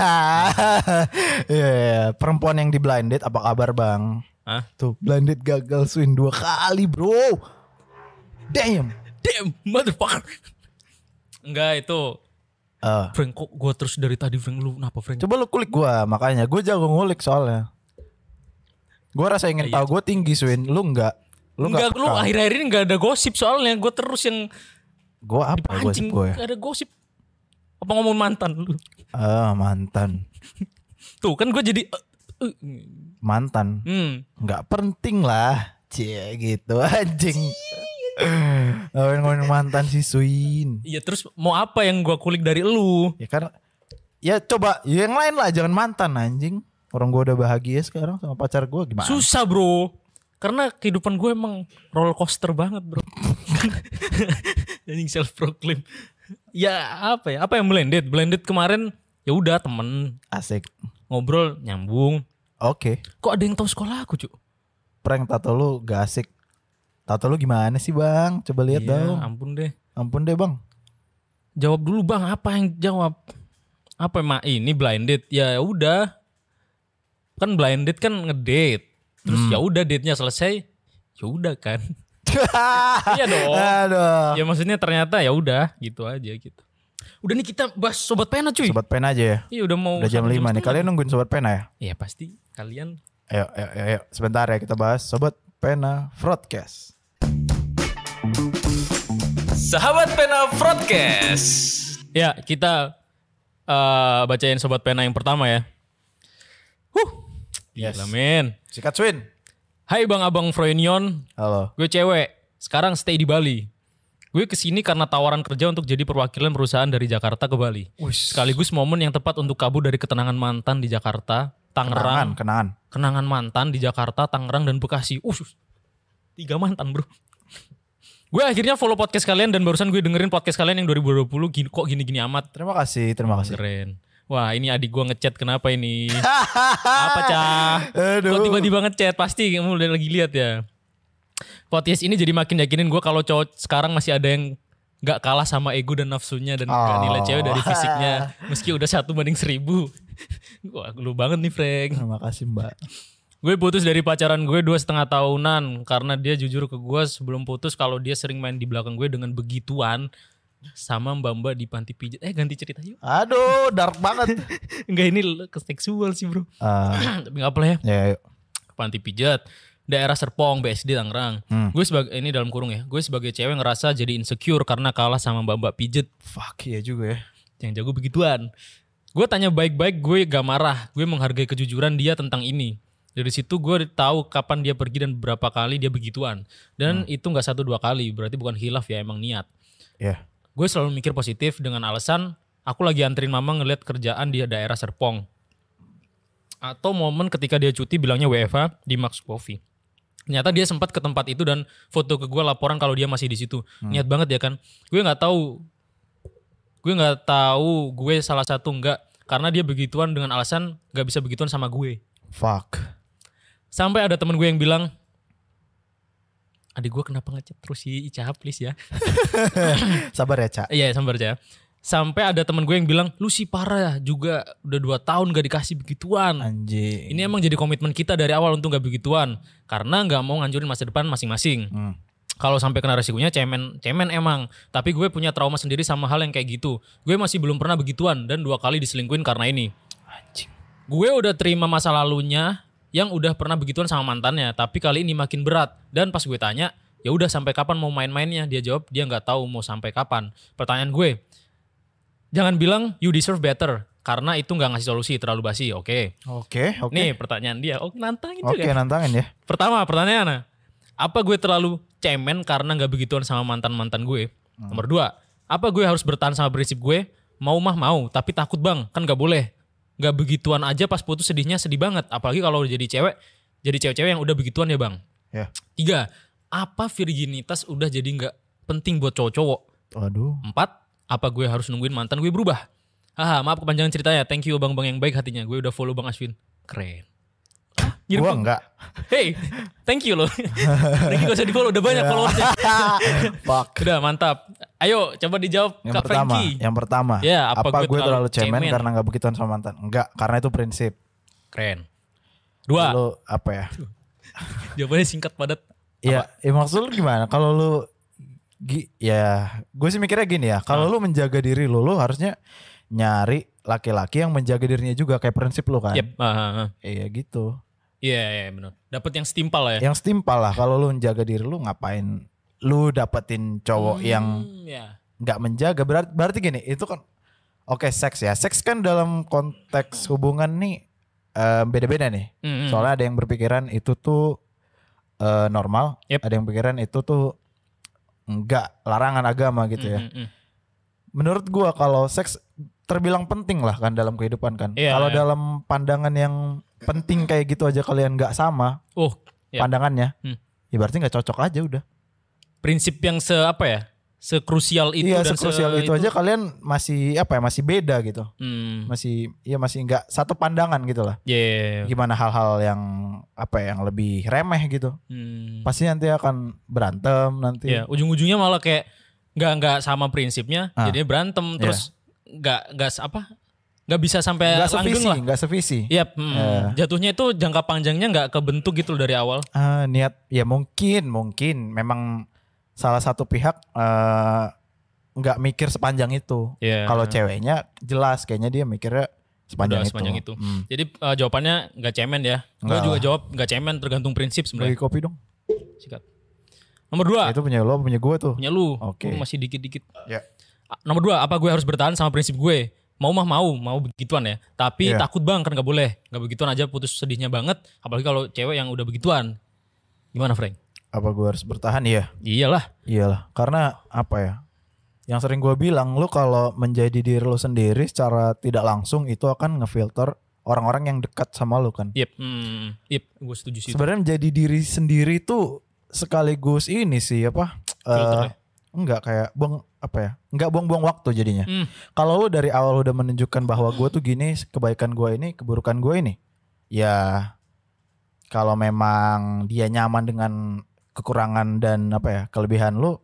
Speaker 1: Iya, perempuan yang di blinded apa kabar bang?
Speaker 3: Hah?
Speaker 1: Tuh blinded gagal swing dua kali bro. Damn.
Speaker 3: Damn, motherfucker. Enggak, itu
Speaker 1: Eh,
Speaker 3: Frank kok gue terus dari tadi Frank lu kenapa Frank?
Speaker 1: coba lu kulik gua makanya gue jago ngulik soalnya. Gue rasa ingin tahu gue tinggi swing, lu nggak? Lu
Speaker 3: enggak
Speaker 1: nggak?
Speaker 3: Iya, lu akhir-akhir ini enggak ada gosip soalnya gue terus yang
Speaker 1: Gue apa ya
Speaker 3: pancing
Speaker 1: gosip gue?
Speaker 3: enggak ada gosip. Apa ngomong mantan lu?
Speaker 1: Ah mantan,
Speaker 3: Tuh kan gue jadi eh, eh,
Speaker 1: mantan.
Speaker 3: hmm.
Speaker 1: nggak penting lah cie gitu (laughs) anjing ngomongin ngomongin mantan si Suin
Speaker 3: Iya terus mau apa yang gue kulik dari lu?
Speaker 1: ya kan ya coba yang lain lah jangan mantan anjing orang gua udah bahagia sekarang sama pacar gua gimana
Speaker 3: Susah bro. Karena kehidupan gue emang roller coaster banget bro. (laughs) Anjing self proclaim. Ya apa ya? Apa yang blended? Blended kemarin ya udah temen
Speaker 1: asik
Speaker 3: ngobrol nyambung.
Speaker 1: oke
Speaker 3: Kok ada yang tahu sekolah aku cuy?
Speaker 1: prank tato lu gak asik tato lu gimana sih bang coba lihat
Speaker 3: Iya.
Speaker 1: dong
Speaker 3: Ya, ampun deh.
Speaker 1: ampun deh bang
Speaker 3: Jawab dulu bang, apa yang jawab? Apa emak ini blinded? Ya udah. Kan blinded kan ngedate. Terus
Speaker 1: Hmm.
Speaker 3: ya udah date-nya selesai. Ya udah kan. (laughs) iya dong.
Speaker 1: aduh
Speaker 3: Ya maksudnya ternyata ya udah gitu aja gitu. Udah nih kita bahas sobat pena cuy.
Speaker 1: sobat pena aja ya
Speaker 3: Iya udah mau
Speaker 1: udah jam
Speaker 3: satu
Speaker 1: 5 nih
Speaker 3: setengah.
Speaker 1: kalian nungguin sobat pena ya
Speaker 3: Iya pasti kalian.
Speaker 1: ayo ayo ayo, ayo. sebentar ya kita bahas sobat pena broadcast
Speaker 3: Sahabat Pena Broadcast. Ya, kita eh, bacain sobat pena yang pertama ya. Huh.
Speaker 1: Yes.
Speaker 3: Gila, men.
Speaker 1: sikat Suin
Speaker 3: Hai Bang Abang Froynion,
Speaker 1: halo
Speaker 3: gue cewek, sekarang stay di Bali. Gue kesini karena tawaran kerja untuk jadi perwakilan perusahaan dari Jakarta ke Bali. Sekaligus momen yang tepat untuk kabur dari ketenangan mantan di Jakarta,
Speaker 1: kenangan
Speaker 3: Tangerang,
Speaker 1: kenangan
Speaker 3: kenangan mantan di Jakarta, Tangerang, dan Bekasi. Usus, tiga mantan bro. Gue akhirnya follow podcast kalian dan barusan gue dengerin podcast kalian yang 2020 gini, kok gini-gini amat.
Speaker 1: Terima kasih, terima kasih.
Speaker 3: Keren. Wah ini adik gue ngechat kenapa ini? Apa cah? Kok tiba-tiba ngechat? Pasti kamu udah lagi lihat ya. Podcast ini jadi makin yakinin gue kalau cowok sekarang masih ada yang nggak kalah sama ego dan nafsunya dan nggak nilai cewek dari (laughs) fisiknya meski udah satu banding seribu. Wah lu banget nih Frank.
Speaker 1: Terima kasih Mbak.
Speaker 3: Gue putus dari pacaran gue dua setengah tahunan karena dia jujur ke gue sebelum putus kalau dia sering main di belakang gue dengan begituan sama mbak-mbak di panti pijat. Eh ganti cerita yuk.
Speaker 1: Aduh, dark (laughs) banget.
Speaker 3: Enggak ini ke seksual sih bro.
Speaker 1: Eh,
Speaker 3: (clears throat) Tapi nggak apa-apa lah ya.
Speaker 1: ya, yuk.
Speaker 3: Ke Panti pijat. daerah Serpong BSD Tangerang. Gue sebagai ini dalam kurung ya. Gue sebagai cewek ngerasa jadi insecure karena kalah sama mbak-mbak pijet
Speaker 1: Fuck iya juga ya.
Speaker 3: yang jago begituan. Gue tanya baik-baik, gue gak marah. Gue menghargai kejujuran dia tentang ini. Dari situ gue tahu kapan dia pergi dan berapa kali dia begituan. Dan itu nggak satu dua kali, berarti bukan hilaf ya emang niat.
Speaker 1: Ya.
Speaker 3: Gue selalu mikir positif dengan alasan aku lagi anterin mama ngeliat kerjaan di daerah Serpong. Atau momen ketika dia cuti bilangnya WFH di Max Coffee. Ternyata dia sempat ke tempat itu dan foto ke gue laporan kalau dia masih di situ. Niat banget ya kan. Gue nggak tahu gue nggak tahu gue salah satu nggak karena dia begituan dengan alasan nggak bisa begituan sama gue
Speaker 1: Fuck.
Speaker 3: sampai ada temen gue yang bilang adik gue kenapa ngechat terus si Ica please ya
Speaker 1: Sabar ya, Cak.
Speaker 3: iya sabar aja sampai ada temen gue yang bilang lu sih parah ya, juga udah dua tahun gak dikasih begituan
Speaker 1: Anjing.
Speaker 3: ini emang jadi komitmen kita dari awal untuk gak begituan karena nggak mau ngancurin masa depan masing-masing
Speaker 1: Hmm.
Speaker 3: kalau sampai kena resikonya cemen cemen emang tapi gue punya trauma sendiri sama hal yang kayak gitu gue masih belum pernah begituan dan dua kali diselingkuin karena ini
Speaker 1: Anjing.
Speaker 3: gue udah terima masa lalunya yang udah pernah begituan sama mantannya tapi kali ini makin berat dan pas gue tanya ya udah sampai kapan mau main-mainnya dia jawab dia nggak tahu mau sampai kapan pertanyaan gue jangan bilang you deserve better karena itu nggak ngasih solusi terlalu basi oke
Speaker 1: Oke, oke.
Speaker 3: nih pertanyaan dia oh nantangin juga
Speaker 1: Oke, nantangin ya.
Speaker 3: Pertama pertanyaannya, apa gue terlalu cemen karena nggak begituan sama mantan mantan gue?
Speaker 1: Hmm.
Speaker 3: Nomor dua, apa gue harus bertahan sama prinsip gue? Mau mah mau, tapi takut bang, kan nggak boleh. Nggak begituan aja pas putus sedihnya sedih banget, apalagi kalau jadi cewek, jadi cewek-cewek yang udah begituan ya bang.
Speaker 1: Ya.
Speaker 3: Tiga, apa virginitas udah jadi nggak penting buat cowok-cowok?
Speaker 1: Waduh.
Speaker 3: Empat, apa gue harus nungguin mantan gue berubah? Haha, maaf kepanjangan ceritanya. Thank you bang-bang yang baik hatinya. Gue udah follow bang Aswin. Keren. Hah, ngirim
Speaker 1: Gua
Speaker 3: ke-
Speaker 1: enggak.
Speaker 3: Hey, thank you
Speaker 1: (laughs)
Speaker 3: loh. Ricky gak usah di follow, udah banyak
Speaker 1: Ya.
Speaker 3: followersnya.
Speaker 1: Fuck.
Speaker 3: Udah mantap. Ayo coba dijawab
Speaker 1: Yang
Speaker 3: Kak
Speaker 1: pertama,
Speaker 3: Frankie.
Speaker 1: yang pertama.
Speaker 3: Ya,
Speaker 1: apa, gue terlalu cemen, karena nggak begituan sama mantan? Enggak, karena itu prinsip.
Speaker 3: Keren. Dua,
Speaker 1: Lu apa ya?
Speaker 3: jawabannya singkat padat.
Speaker 1: Iya, ya maksud lu gimana? Kalau lu gi- ya gue sih mikirnya gini ya,
Speaker 3: Hmm.
Speaker 1: kalau lu menjaga diri lu, lu harusnya nyari laki-laki yang menjaga dirinya juga kayak prinsip lu kan.
Speaker 3: Yep. ah, ah, ah.
Speaker 1: Iya gitu.
Speaker 3: Iya, iya benar. Dapat yang setimpal lah ya.
Speaker 1: Yang setimpal lah kalau lu menjaga diri lu ngapain lu dapetin cowok yang
Speaker 3: Hmm, ya.
Speaker 1: nggak menjaga berarti berarti gini itu kan oke seks ya seks kan dalam konteks hubungan nih eh, beda-beda nih
Speaker 3: Mm-mm.
Speaker 1: soalnya ada yang berpikiran itu tuh eh, normal
Speaker 3: Yep.
Speaker 1: ada yang pikiran itu tuh enggak larangan agama gitu ya
Speaker 3: Mm, mm, mm.
Speaker 1: menurut gua kalau seks terbilang penting lah kan dalam kehidupan kan
Speaker 3: Iya,
Speaker 1: kalau
Speaker 3: iya.
Speaker 1: dalam pandangan yang penting kayak gitu aja kalian nggak sama
Speaker 3: Oh, Iya.
Speaker 1: pandangannya
Speaker 3: Hmm.
Speaker 1: ya berarti nggak cocok aja udah
Speaker 3: prinsip yang se apa ya? Sekrusial itu
Speaker 1: iya
Speaker 3: dan
Speaker 1: sekrusial
Speaker 3: se-
Speaker 1: itu, aja kalian masih apa ya masih beda gitu
Speaker 3: Hmm.
Speaker 1: masih ya masih nggak satu pandangan gitu lah
Speaker 3: Ya, ya, ya.
Speaker 1: gimana hal-hal yang apa ya, yang lebih remeh gitu
Speaker 3: Hmm.
Speaker 1: pasti nanti akan berantem nanti
Speaker 3: Ya, ujung-ujungnya malah kayak nggak nggak sama prinsipnya,
Speaker 1: Ah.
Speaker 3: jadinya berantem terus nggak nggak se- apa nggak bisa sampai
Speaker 1: nggak
Speaker 3: langgeng
Speaker 1: sevisi
Speaker 3: lah.
Speaker 1: nggak sevisi
Speaker 3: Iya, hmm. jatuhnya itu jangka panjangnya nggak kebentuk gitu loh dari awal.
Speaker 1: Ah, niat ya mungkin mungkin memang salah satu pihak eh, nggak mikir sepanjang itu
Speaker 3: Iya.
Speaker 1: kalau ceweknya jelas kayaknya dia mikirnya sepanjang
Speaker 3: Udah
Speaker 1: itu,
Speaker 3: sepanjang itu.
Speaker 1: Hmm.
Speaker 3: Jadi eh, jawabannya nggak cemen ya. Gue
Speaker 1: Nggak
Speaker 3: juga
Speaker 1: lah.
Speaker 3: jawab nggak cemen tergantung prinsip
Speaker 1: bagi
Speaker 3: sebenarnya.
Speaker 1: kopi dong
Speaker 3: Sikat. Nomor dua
Speaker 1: itu punya lo punya gue tuh
Speaker 3: punya lu.
Speaker 1: Oke.
Speaker 3: Lu masih dikit-dikit.
Speaker 1: Ya.
Speaker 3: Ah, Nomor dua apa gue harus bertahan sama prinsip gue? Mau mah mau, mau begituan ya. Tapi
Speaker 1: Iya.
Speaker 3: takut bang kan nggak boleh. Nggak begituan aja putus sedihnya banget. Apalagi kalau cewek yang udah begituan. Gimana Frank?
Speaker 1: apa gue harus bertahan ya
Speaker 3: Iyalah.
Speaker 1: Iyalah, karena apa ya? Yang sering gue bilang, lu kalau menjadi diri lu sendiri secara tidak langsung itu akan ngefilter orang-orang yang dekat sama lu kan.
Speaker 3: Yep. Hmm. Yep. Gue setuju sih. itu.
Speaker 1: Sebenarnya menjadi diri sendiri tuh sekaligus ini sih apa?
Speaker 3: Filter
Speaker 1: eh
Speaker 3: ya?
Speaker 1: enggak kayak buang apa ya? Enggak buang-buang waktu jadinya.
Speaker 3: Hmm.
Speaker 1: Kalau lu dari awal udah menunjukkan bahwa gue tuh gini, kebaikan gue ini, keburukan gue ini, ya kalau memang dia nyaman dengan kekurangan dan apa ya kelebihan lu,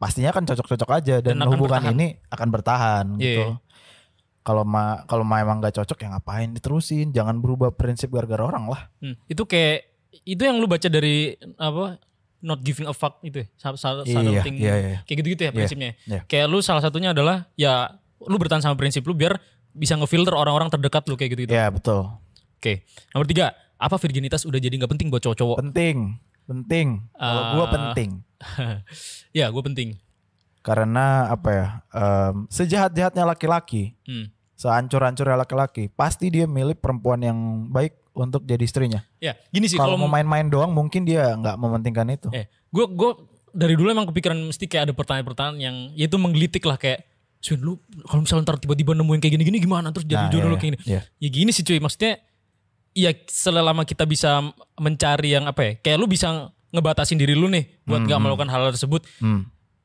Speaker 1: pastinya kan cocok-cocok aja dan,
Speaker 3: Dan akan
Speaker 1: hubungan
Speaker 3: bertahan.
Speaker 1: ini akan bertahan gitu.
Speaker 3: Iya.
Speaker 1: Kalau ma kalau memang nggak cocok ya ngapain diterusin, jangan berubah prinsip gara-gara orang lah.
Speaker 3: Hmm. Itu kayak itu yang lu baca dari apa not giving a fuck itu ya. Sa- sa-
Speaker 1: Iya,
Speaker 3: something-
Speaker 1: iya, iya.
Speaker 3: Kayak gitu-gitu ya prinsipnya.
Speaker 1: iya.
Speaker 3: Kayak lu salah satunya adalah ya lu bertahan
Speaker 1: Iya.
Speaker 3: sama prinsip lu biar bisa ngefilter orang-orang terdekat lu kayak gitu-gitu.
Speaker 1: Ya betul.
Speaker 3: Oke. Nomor tiga, apa virginitas udah jadi nggak penting buat cowok-cowok?
Speaker 1: Penting, penting. Kalau gua
Speaker 3: Ah.
Speaker 1: penting.
Speaker 3: (laughs) ya, gue penting.
Speaker 1: Karena apa ya? em, sejahat-jahatnya laki-laki,
Speaker 3: Hmm.
Speaker 1: sehancur-hancurnya laki-laki, pasti dia milih perempuan yang baik untuk jadi istrinya.
Speaker 3: Ya, gini sih
Speaker 1: Kalau
Speaker 3: kalau
Speaker 1: mau main-main doang mungkin dia nggak mementingkan itu.
Speaker 3: Eh, gue gue dari dulu emang kepikiran mesti kayak ada pertanyaan-pertanyaan yang yaitu menggelitik lah kayak Swin lu kalau misalnya ntar tiba-tiba nemuin kayak gini-gini gimana terus jadi
Speaker 1: Nah,
Speaker 3: jodoh
Speaker 1: iya,
Speaker 3: lu kayak gini.
Speaker 1: iya.
Speaker 3: Ya gini sih cuy maksudnya ya selama kita bisa mencari yang apa ya kayak lu bisa ngebatasin diri lu nih buat nggak melakukan hal tersebut.
Speaker 1: Hmm.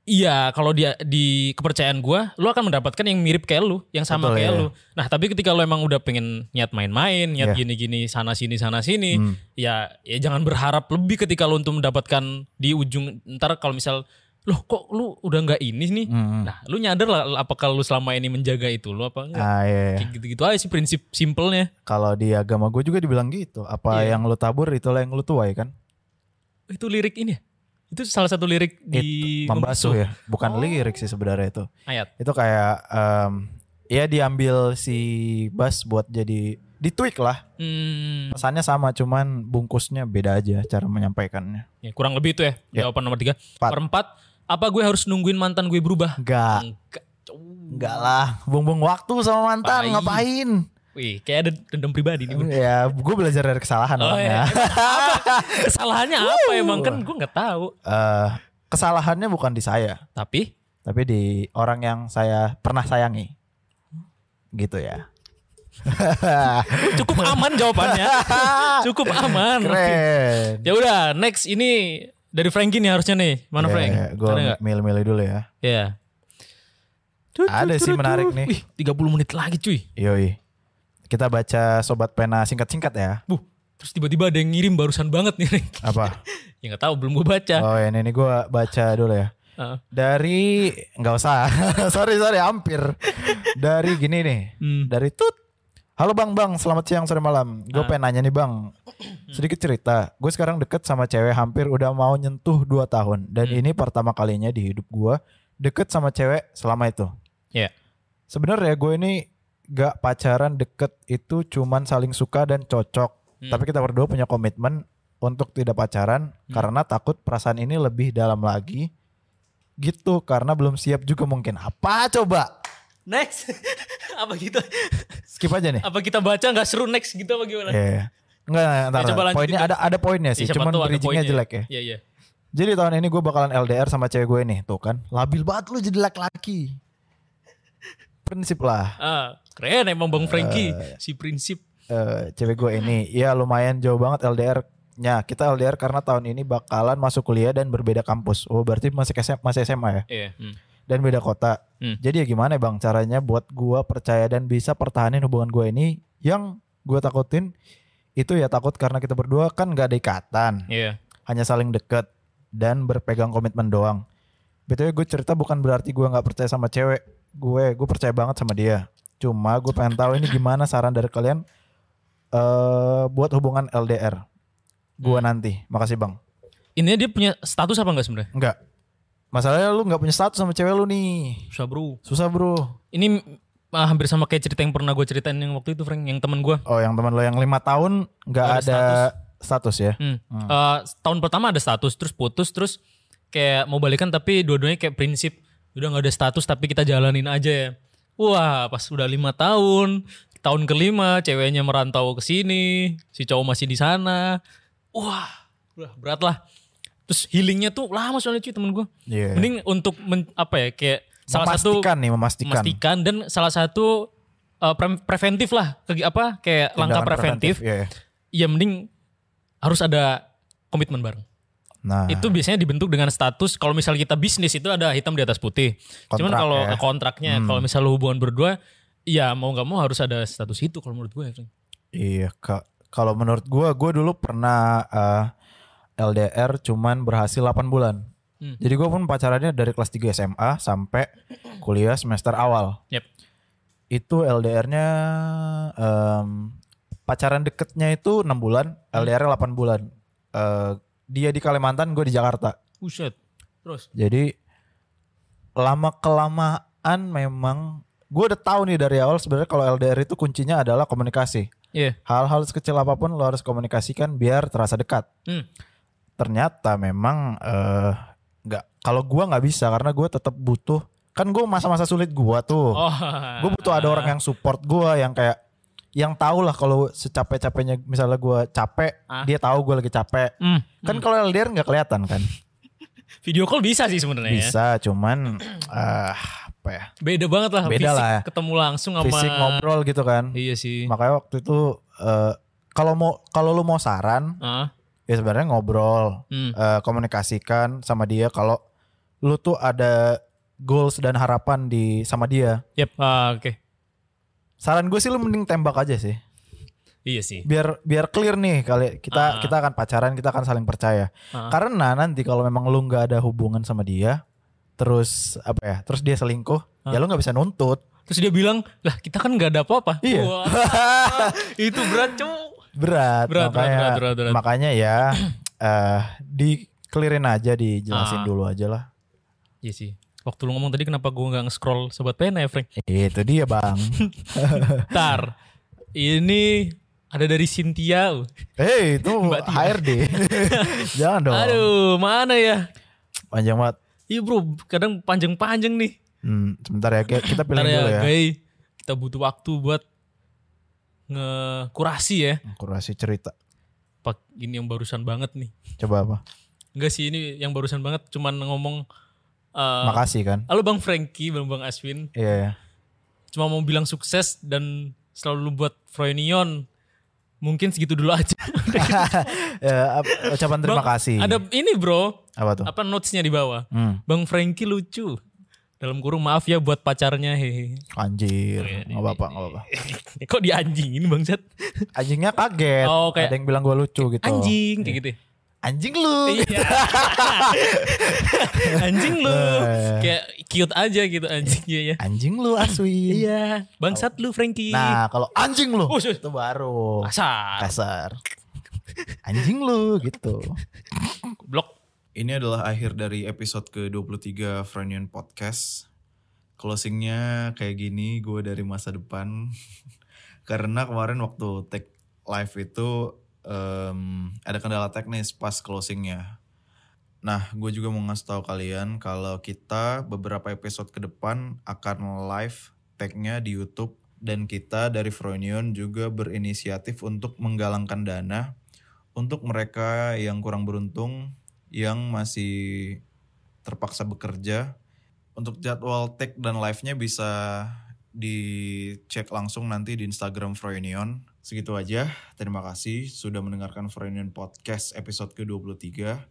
Speaker 3: Iya, kalau dia di kepercayaan gua, lu akan mendapatkan yang mirip kayak lu, yang sama
Speaker 1: Betul,
Speaker 3: kayak
Speaker 1: iya.
Speaker 3: lu. Nah, tapi ketika lu emang udah pengen niat main-main, niat
Speaker 1: Iya.
Speaker 3: gini-gini sana sini sana sini,
Speaker 1: Hmm.
Speaker 3: ya ya jangan berharap lebih ketika lu untuk mendapatkan di ujung ntar kalau misal loh kok lu udah nggak ini nih.
Speaker 1: Hmm.
Speaker 3: Nah, lu nyadar lah apakah lu selama ini menjaga itu lu apa enggak?
Speaker 1: Ah, iya, iya.
Speaker 3: Kayak gitu-gitu aja sih prinsip simpelnya.
Speaker 1: Kalau di agama gue juga dibilang gitu. Apa
Speaker 3: Iya.
Speaker 1: yang lu tabur itulah yang lu tuai kan?
Speaker 3: Itu lirik ini ya. Itu salah satu lirik di
Speaker 1: Itu, pembasuh ya. Bukan
Speaker 3: Oh.
Speaker 1: lirik sih sebenarnya itu.
Speaker 3: ayat.
Speaker 1: Itu kayak em, ya diambil si Bas buat jadi ditweak lah.
Speaker 3: Hmm,
Speaker 1: Pesannya sama cuman bungkusnya beda aja cara menyampaikannya.
Speaker 3: ya, kurang lebih itu ya.
Speaker 1: Ya.
Speaker 3: Jawaban nomor tiga.
Speaker 1: Empat.
Speaker 3: Perempat, apa gue harus nungguin mantan gue berubah?
Speaker 1: Enggak,
Speaker 3: Enggak.
Speaker 1: enggak lah. Buang-buang waktu sama mantan
Speaker 3: Ngapain?
Speaker 1: ngapain?
Speaker 3: Wih, kayak ada dendam pribadi nih. gue.
Speaker 1: Ya, gue belajar dari kesalahan (laughs)
Speaker 3: Oh,
Speaker 1: orangnya.
Speaker 3: iya. Kesalahannya apa emang kan gue nggak tahu.
Speaker 1: Eh, kesalahannya bukan di saya.
Speaker 3: Tapi
Speaker 1: tapi di orang yang saya pernah sayangi gitu ya
Speaker 3: cukup aman
Speaker 1: (laughs)
Speaker 3: jawabannya. cukup aman.
Speaker 1: keren
Speaker 3: Ya udah, next ini dari Frankie nih harusnya nih.
Speaker 1: Iya,
Speaker 3: Mana Frank?
Speaker 1: gue
Speaker 3: Ada nggak?
Speaker 1: milih-milih dulu ya
Speaker 3: Iya.
Speaker 1: Ada sih menarik nih.
Speaker 3: Wih, 30 menit lagi cuy.
Speaker 1: yoi kita baca sobat pena singkat-singkat ya
Speaker 3: Buh, terus tiba-tiba ada yang ngirim barusan banget nih. Frank.
Speaker 1: apa
Speaker 3: (laughs) ya nggak tahu, belum gue baca. Ah,
Speaker 1: oh ini ini gue baca dulu ya
Speaker 3: Heeh.
Speaker 1: dari nggak usah (laughs) sorry sorry hampir dari gini nih
Speaker 3: Hmm.
Speaker 1: dari tut halo bang bang selamat siang sore malam gue pengen nanya nih bang sedikit cerita gue sekarang deket sama cewek hampir udah mau nyentuh 2 tahun dan ini pertama kalinya di hidup gue deket sama cewek selama itu
Speaker 3: Iya.
Speaker 1: sebenarnya gue ini gak pacaran deket itu cuman saling suka dan cocok
Speaker 3: Hmm.
Speaker 1: tapi kita berdua punya komitmen untuk tidak pacaran karena takut perasaan ini lebih dalam lagi gitu karena belum siap juga mungkin apa coba
Speaker 3: Next. (laughs) apa gitu?
Speaker 1: skip aja
Speaker 3: (laughs)
Speaker 1: nih
Speaker 3: apa kita baca nggak seru next gitu apa gimana?
Speaker 1: Eh, Enggak, enggak, entar,
Speaker 3: coba lanjutin
Speaker 1: poinnya
Speaker 3: dong.
Speaker 1: ada ada poinnya sih,
Speaker 3: Ya, siapa
Speaker 1: cuman
Speaker 3: tahu ada
Speaker 1: bridgingnya
Speaker 3: poinnya.
Speaker 1: jelek ya.
Speaker 3: Iya, iya.
Speaker 1: Jadi tahun ini gue bakalan LDR sama cewek gue nih, tuh kan. Labil banget lu jadi laki-laki. Prinsip lah,
Speaker 3: Ah, keren emang Bang Frankie
Speaker 1: Ah, iya.
Speaker 3: si prinsip.
Speaker 1: eh, cewek gue ini. Ya lumayan jauh banget LDR-nya. Kita LDR karena tahun ini bakalan masuk kuliah dan berbeda kampus. Oh berarti masih SMA, masih SMA ya?
Speaker 3: Iya. Hmm.
Speaker 1: Dan beda kota.
Speaker 3: Hmm.
Speaker 1: Jadi ya gimana ya bang caranya buat gue percaya dan bisa pertahanin hubungan gue ini yang gue takutin itu ya takut karena kita berdua kan gak ada ikatan.
Speaker 3: Iya.
Speaker 1: hanya saling deket dan berpegang komitmen doang. BTW gue cerita bukan berarti gue nggak percaya sama cewek gue, gue percaya banget sama dia. Cuma gue pengen tahu ini gimana saran dari kalian eh buat hubungan LDR.
Speaker 3: Hmm.
Speaker 1: Gue nanti, makasih bang.
Speaker 3: Ini dia punya status apa enggak sebenarnya?
Speaker 1: Enggak, masalahnya lu nggak punya status sama cewek lu nih,
Speaker 3: Susah bro.
Speaker 1: susah bro.
Speaker 3: Ini ah, hampir sama kayak cerita yang pernah gue ceritain yang waktu itu Frank, yang temen gue.
Speaker 1: Oh yang teman lo yang lima tahun nggak
Speaker 3: Nggak
Speaker 1: ada,
Speaker 3: ada
Speaker 1: status. ya?
Speaker 3: Hmm. Eh, tahun pertama ada status, terus putus, terus kayak mau balikan tapi dua-duanya kayak prinsip udah nggak ada status tapi kita jalanin aja ya. Wah, pas udah lima tahun, tahun kelima ceweknya merantau ke sini, si cowok masih di sana. Wah, udah berat lah. Terus healingnya tuh lama soalnya cuy temen gue.
Speaker 1: Iya.
Speaker 3: Mending untuk men- apa ya kayak salah satu
Speaker 1: memastikan nih memastikan.
Speaker 3: memastikan dan salah satu uh, pre- preventif lah ke apa kayak langkah
Speaker 1: Tindakan
Speaker 3: preventif,
Speaker 1: Iya, iya.
Speaker 3: ya mending harus ada komitmen bareng.
Speaker 1: Nah
Speaker 3: Itu biasanya dibentuk dengan status kalau misalnya kita bisnis itu ada hitam di atas putih. Cuman
Speaker 1: Kontrak
Speaker 3: kalau
Speaker 1: ya.
Speaker 3: eh, kontraknya kalau misalnya hubungan berdua ya mau nggak mau harus ada status itu kalau menurut gue. ya, Frank.
Speaker 1: Iya, Kak. Kalau menurut gua, gua dulu pernah eh, LDR cuman berhasil 8 bulan.
Speaker 3: Hmm.
Speaker 1: Jadi gua pun pacarannya dari kelas 3 SMA sampai kuliah semester awal.
Speaker 3: Yep.
Speaker 1: Itu LDR-nya em, pacaran deketnya itu 6 bulan, LDR 8 bulan. Eh, dia di Kalimantan, gue di Jakarta.
Speaker 3: Buset. Terus
Speaker 1: Jadi lama kelamaan memang gue udah tahu nih dari awal sebenarnya kalau LDR itu kuncinya adalah komunikasi.
Speaker 3: Iya.
Speaker 1: Hal-hal sekecil apapun lo harus komunikasikan biar terasa dekat.
Speaker 3: Hmm.
Speaker 1: Ternyata memang eh, nggak kalau gua nggak bisa karena gua tetap butuh kan gua masa-masa sulit gua tuh.
Speaker 3: Oh. (laughs)
Speaker 1: Gue butuh ada orang yang support gua yang kayak yang tahu lah kalau secapek-capeknya misalnya gua capek,
Speaker 3: Ah.
Speaker 1: dia tahu gua lagi capek.
Speaker 3: Hmm.
Speaker 1: Kan kalau LDR nggak kelihatan kan.
Speaker 3: Video call bisa sih sebenarnya. ya.
Speaker 1: Bisa cuman (clears throat) eh, apa ya?
Speaker 3: Beda banget lah.
Speaker 1: Beda
Speaker 3: fisik
Speaker 1: lah. ya.
Speaker 3: Ketemu langsung sama.
Speaker 1: Fisik ngobrol gitu kan.
Speaker 3: Iya sih.
Speaker 1: Makanya waktu itu eh, kalau mau kalau lu mau saran
Speaker 3: Ah.
Speaker 1: ya sebenarnya ngobrol,
Speaker 3: Hmm.
Speaker 1: eh, komunikasikan sama dia kalau lu tuh ada goals dan harapan di sama dia.
Speaker 3: Yep. Ah, Oke.
Speaker 1: Saran gue sih lu mending tembak aja sih.
Speaker 3: Iya sih.
Speaker 1: Biar biar clear nih kali kita
Speaker 3: Ah.
Speaker 1: kita akan pacaran, kita akan saling percaya.
Speaker 3: Ah.
Speaker 1: Karena nanti kalau memang lu nggak ada hubungan sama dia, terus apa ya? Terus dia selingkuh, ya
Speaker 3: Ah.
Speaker 1: lu nggak bisa nuntut.
Speaker 3: Terus dia bilang, lah kita kan nggak ada apa-apa.
Speaker 1: Iya.
Speaker 3: Wah, (laughs) itu berat cuy.
Speaker 1: berat,
Speaker 3: Berat, berat,
Speaker 1: makanya
Speaker 3: berat, berat, berat.
Speaker 1: makanya ya
Speaker 3: (coughs)
Speaker 1: eh di clearin aja dijelasin
Speaker 3: Ah.
Speaker 1: dulu aja lah
Speaker 3: Iya sih. Waktu lu ngomong tadi kenapa gue nggak nge-scroll sobat pena ya Frank?
Speaker 1: Eh, itu dia bang
Speaker 3: Bentar. Ini ada dari Cynthia.
Speaker 1: hey Eh,
Speaker 3: (laughs)
Speaker 1: itu HRD jangan dong
Speaker 3: Aduh, mana ya?
Speaker 1: panjang banget
Speaker 3: Iya bro, kadang panjang-panjang nih.
Speaker 1: hmm, sebentar ya kita kita pilih
Speaker 3: Bentar
Speaker 1: dulu
Speaker 3: ya,
Speaker 1: ya
Speaker 3: guys. Kita butuh waktu buat ngekurasi ya.
Speaker 1: kurasi cerita
Speaker 3: Pak, ini yang barusan banget nih.
Speaker 1: coba apa
Speaker 3: Enggak sih, ini yang barusan banget cuman ngomong eh,
Speaker 1: makasih kan
Speaker 3: Halo Bang Frankie, Bang Bang Aswin.
Speaker 1: iya ya.
Speaker 3: cuma mau bilang sukses dan selalu buat Froynion. Mungkin segitu dulu aja.
Speaker 1: Eh, ap- ucapan (laughs) terima
Speaker 3: Bang,
Speaker 1: kasih
Speaker 3: Ada ini bro,
Speaker 1: apa tuh
Speaker 3: apa notesnya di bawah?
Speaker 1: Hmm,
Speaker 3: Bang Frankie lucu. Dalam kurung maaf ya buat pacarnya hehe. (laughs)
Speaker 1: anjir
Speaker 3: Iya,
Speaker 1: nggak apa apa nggak apa
Speaker 3: Kok di anjing ini bangsat?
Speaker 1: anjingnya kaget
Speaker 3: Oh, kayak-
Speaker 1: ada yang bilang gue lucu gitu
Speaker 3: Anjing kayak gitu. ya.
Speaker 1: anjing lu
Speaker 3: Iya. (laughs) anjing lu.
Speaker 1: Eh.
Speaker 3: Kayak cute aja gitu anjingnya ya.
Speaker 1: anjing lu aswi
Speaker 3: Iya, bangsat lu Oh, Frankie.
Speaker 1: Nah Kan. kalau anjing lu
Speaker 3: Usus.
Speaker 1: itu baru
Speaker 3: Asal
Speaker 1: kasar. Anjing lu gitu.
Speaker 3: blok.
Speaker 5: Ini adalah akhir dari episode ke-23 Frenion Podcast. Closingnya kayak gini, gue dari masa depan. Karena kemarin waktu take live itu em, ada kendala teknis pas closingnya. Nah, gue juga mau ngasih tahu kalian kalau kita beberapa episode ke depan akan live tag-nya di YouTube dan kita dari Fronion juga berinisiatif untuk menggalangkan dana untuk mereka yang kurang beruntung yang masih terpaksa bekerja. Untuk jadwal tag dan live-nya bisa dicek langsung nanti di Instagram Froynion. Segitu aja. Terima kasih sudah mendengarkan Froynion Podcast episode ke-23.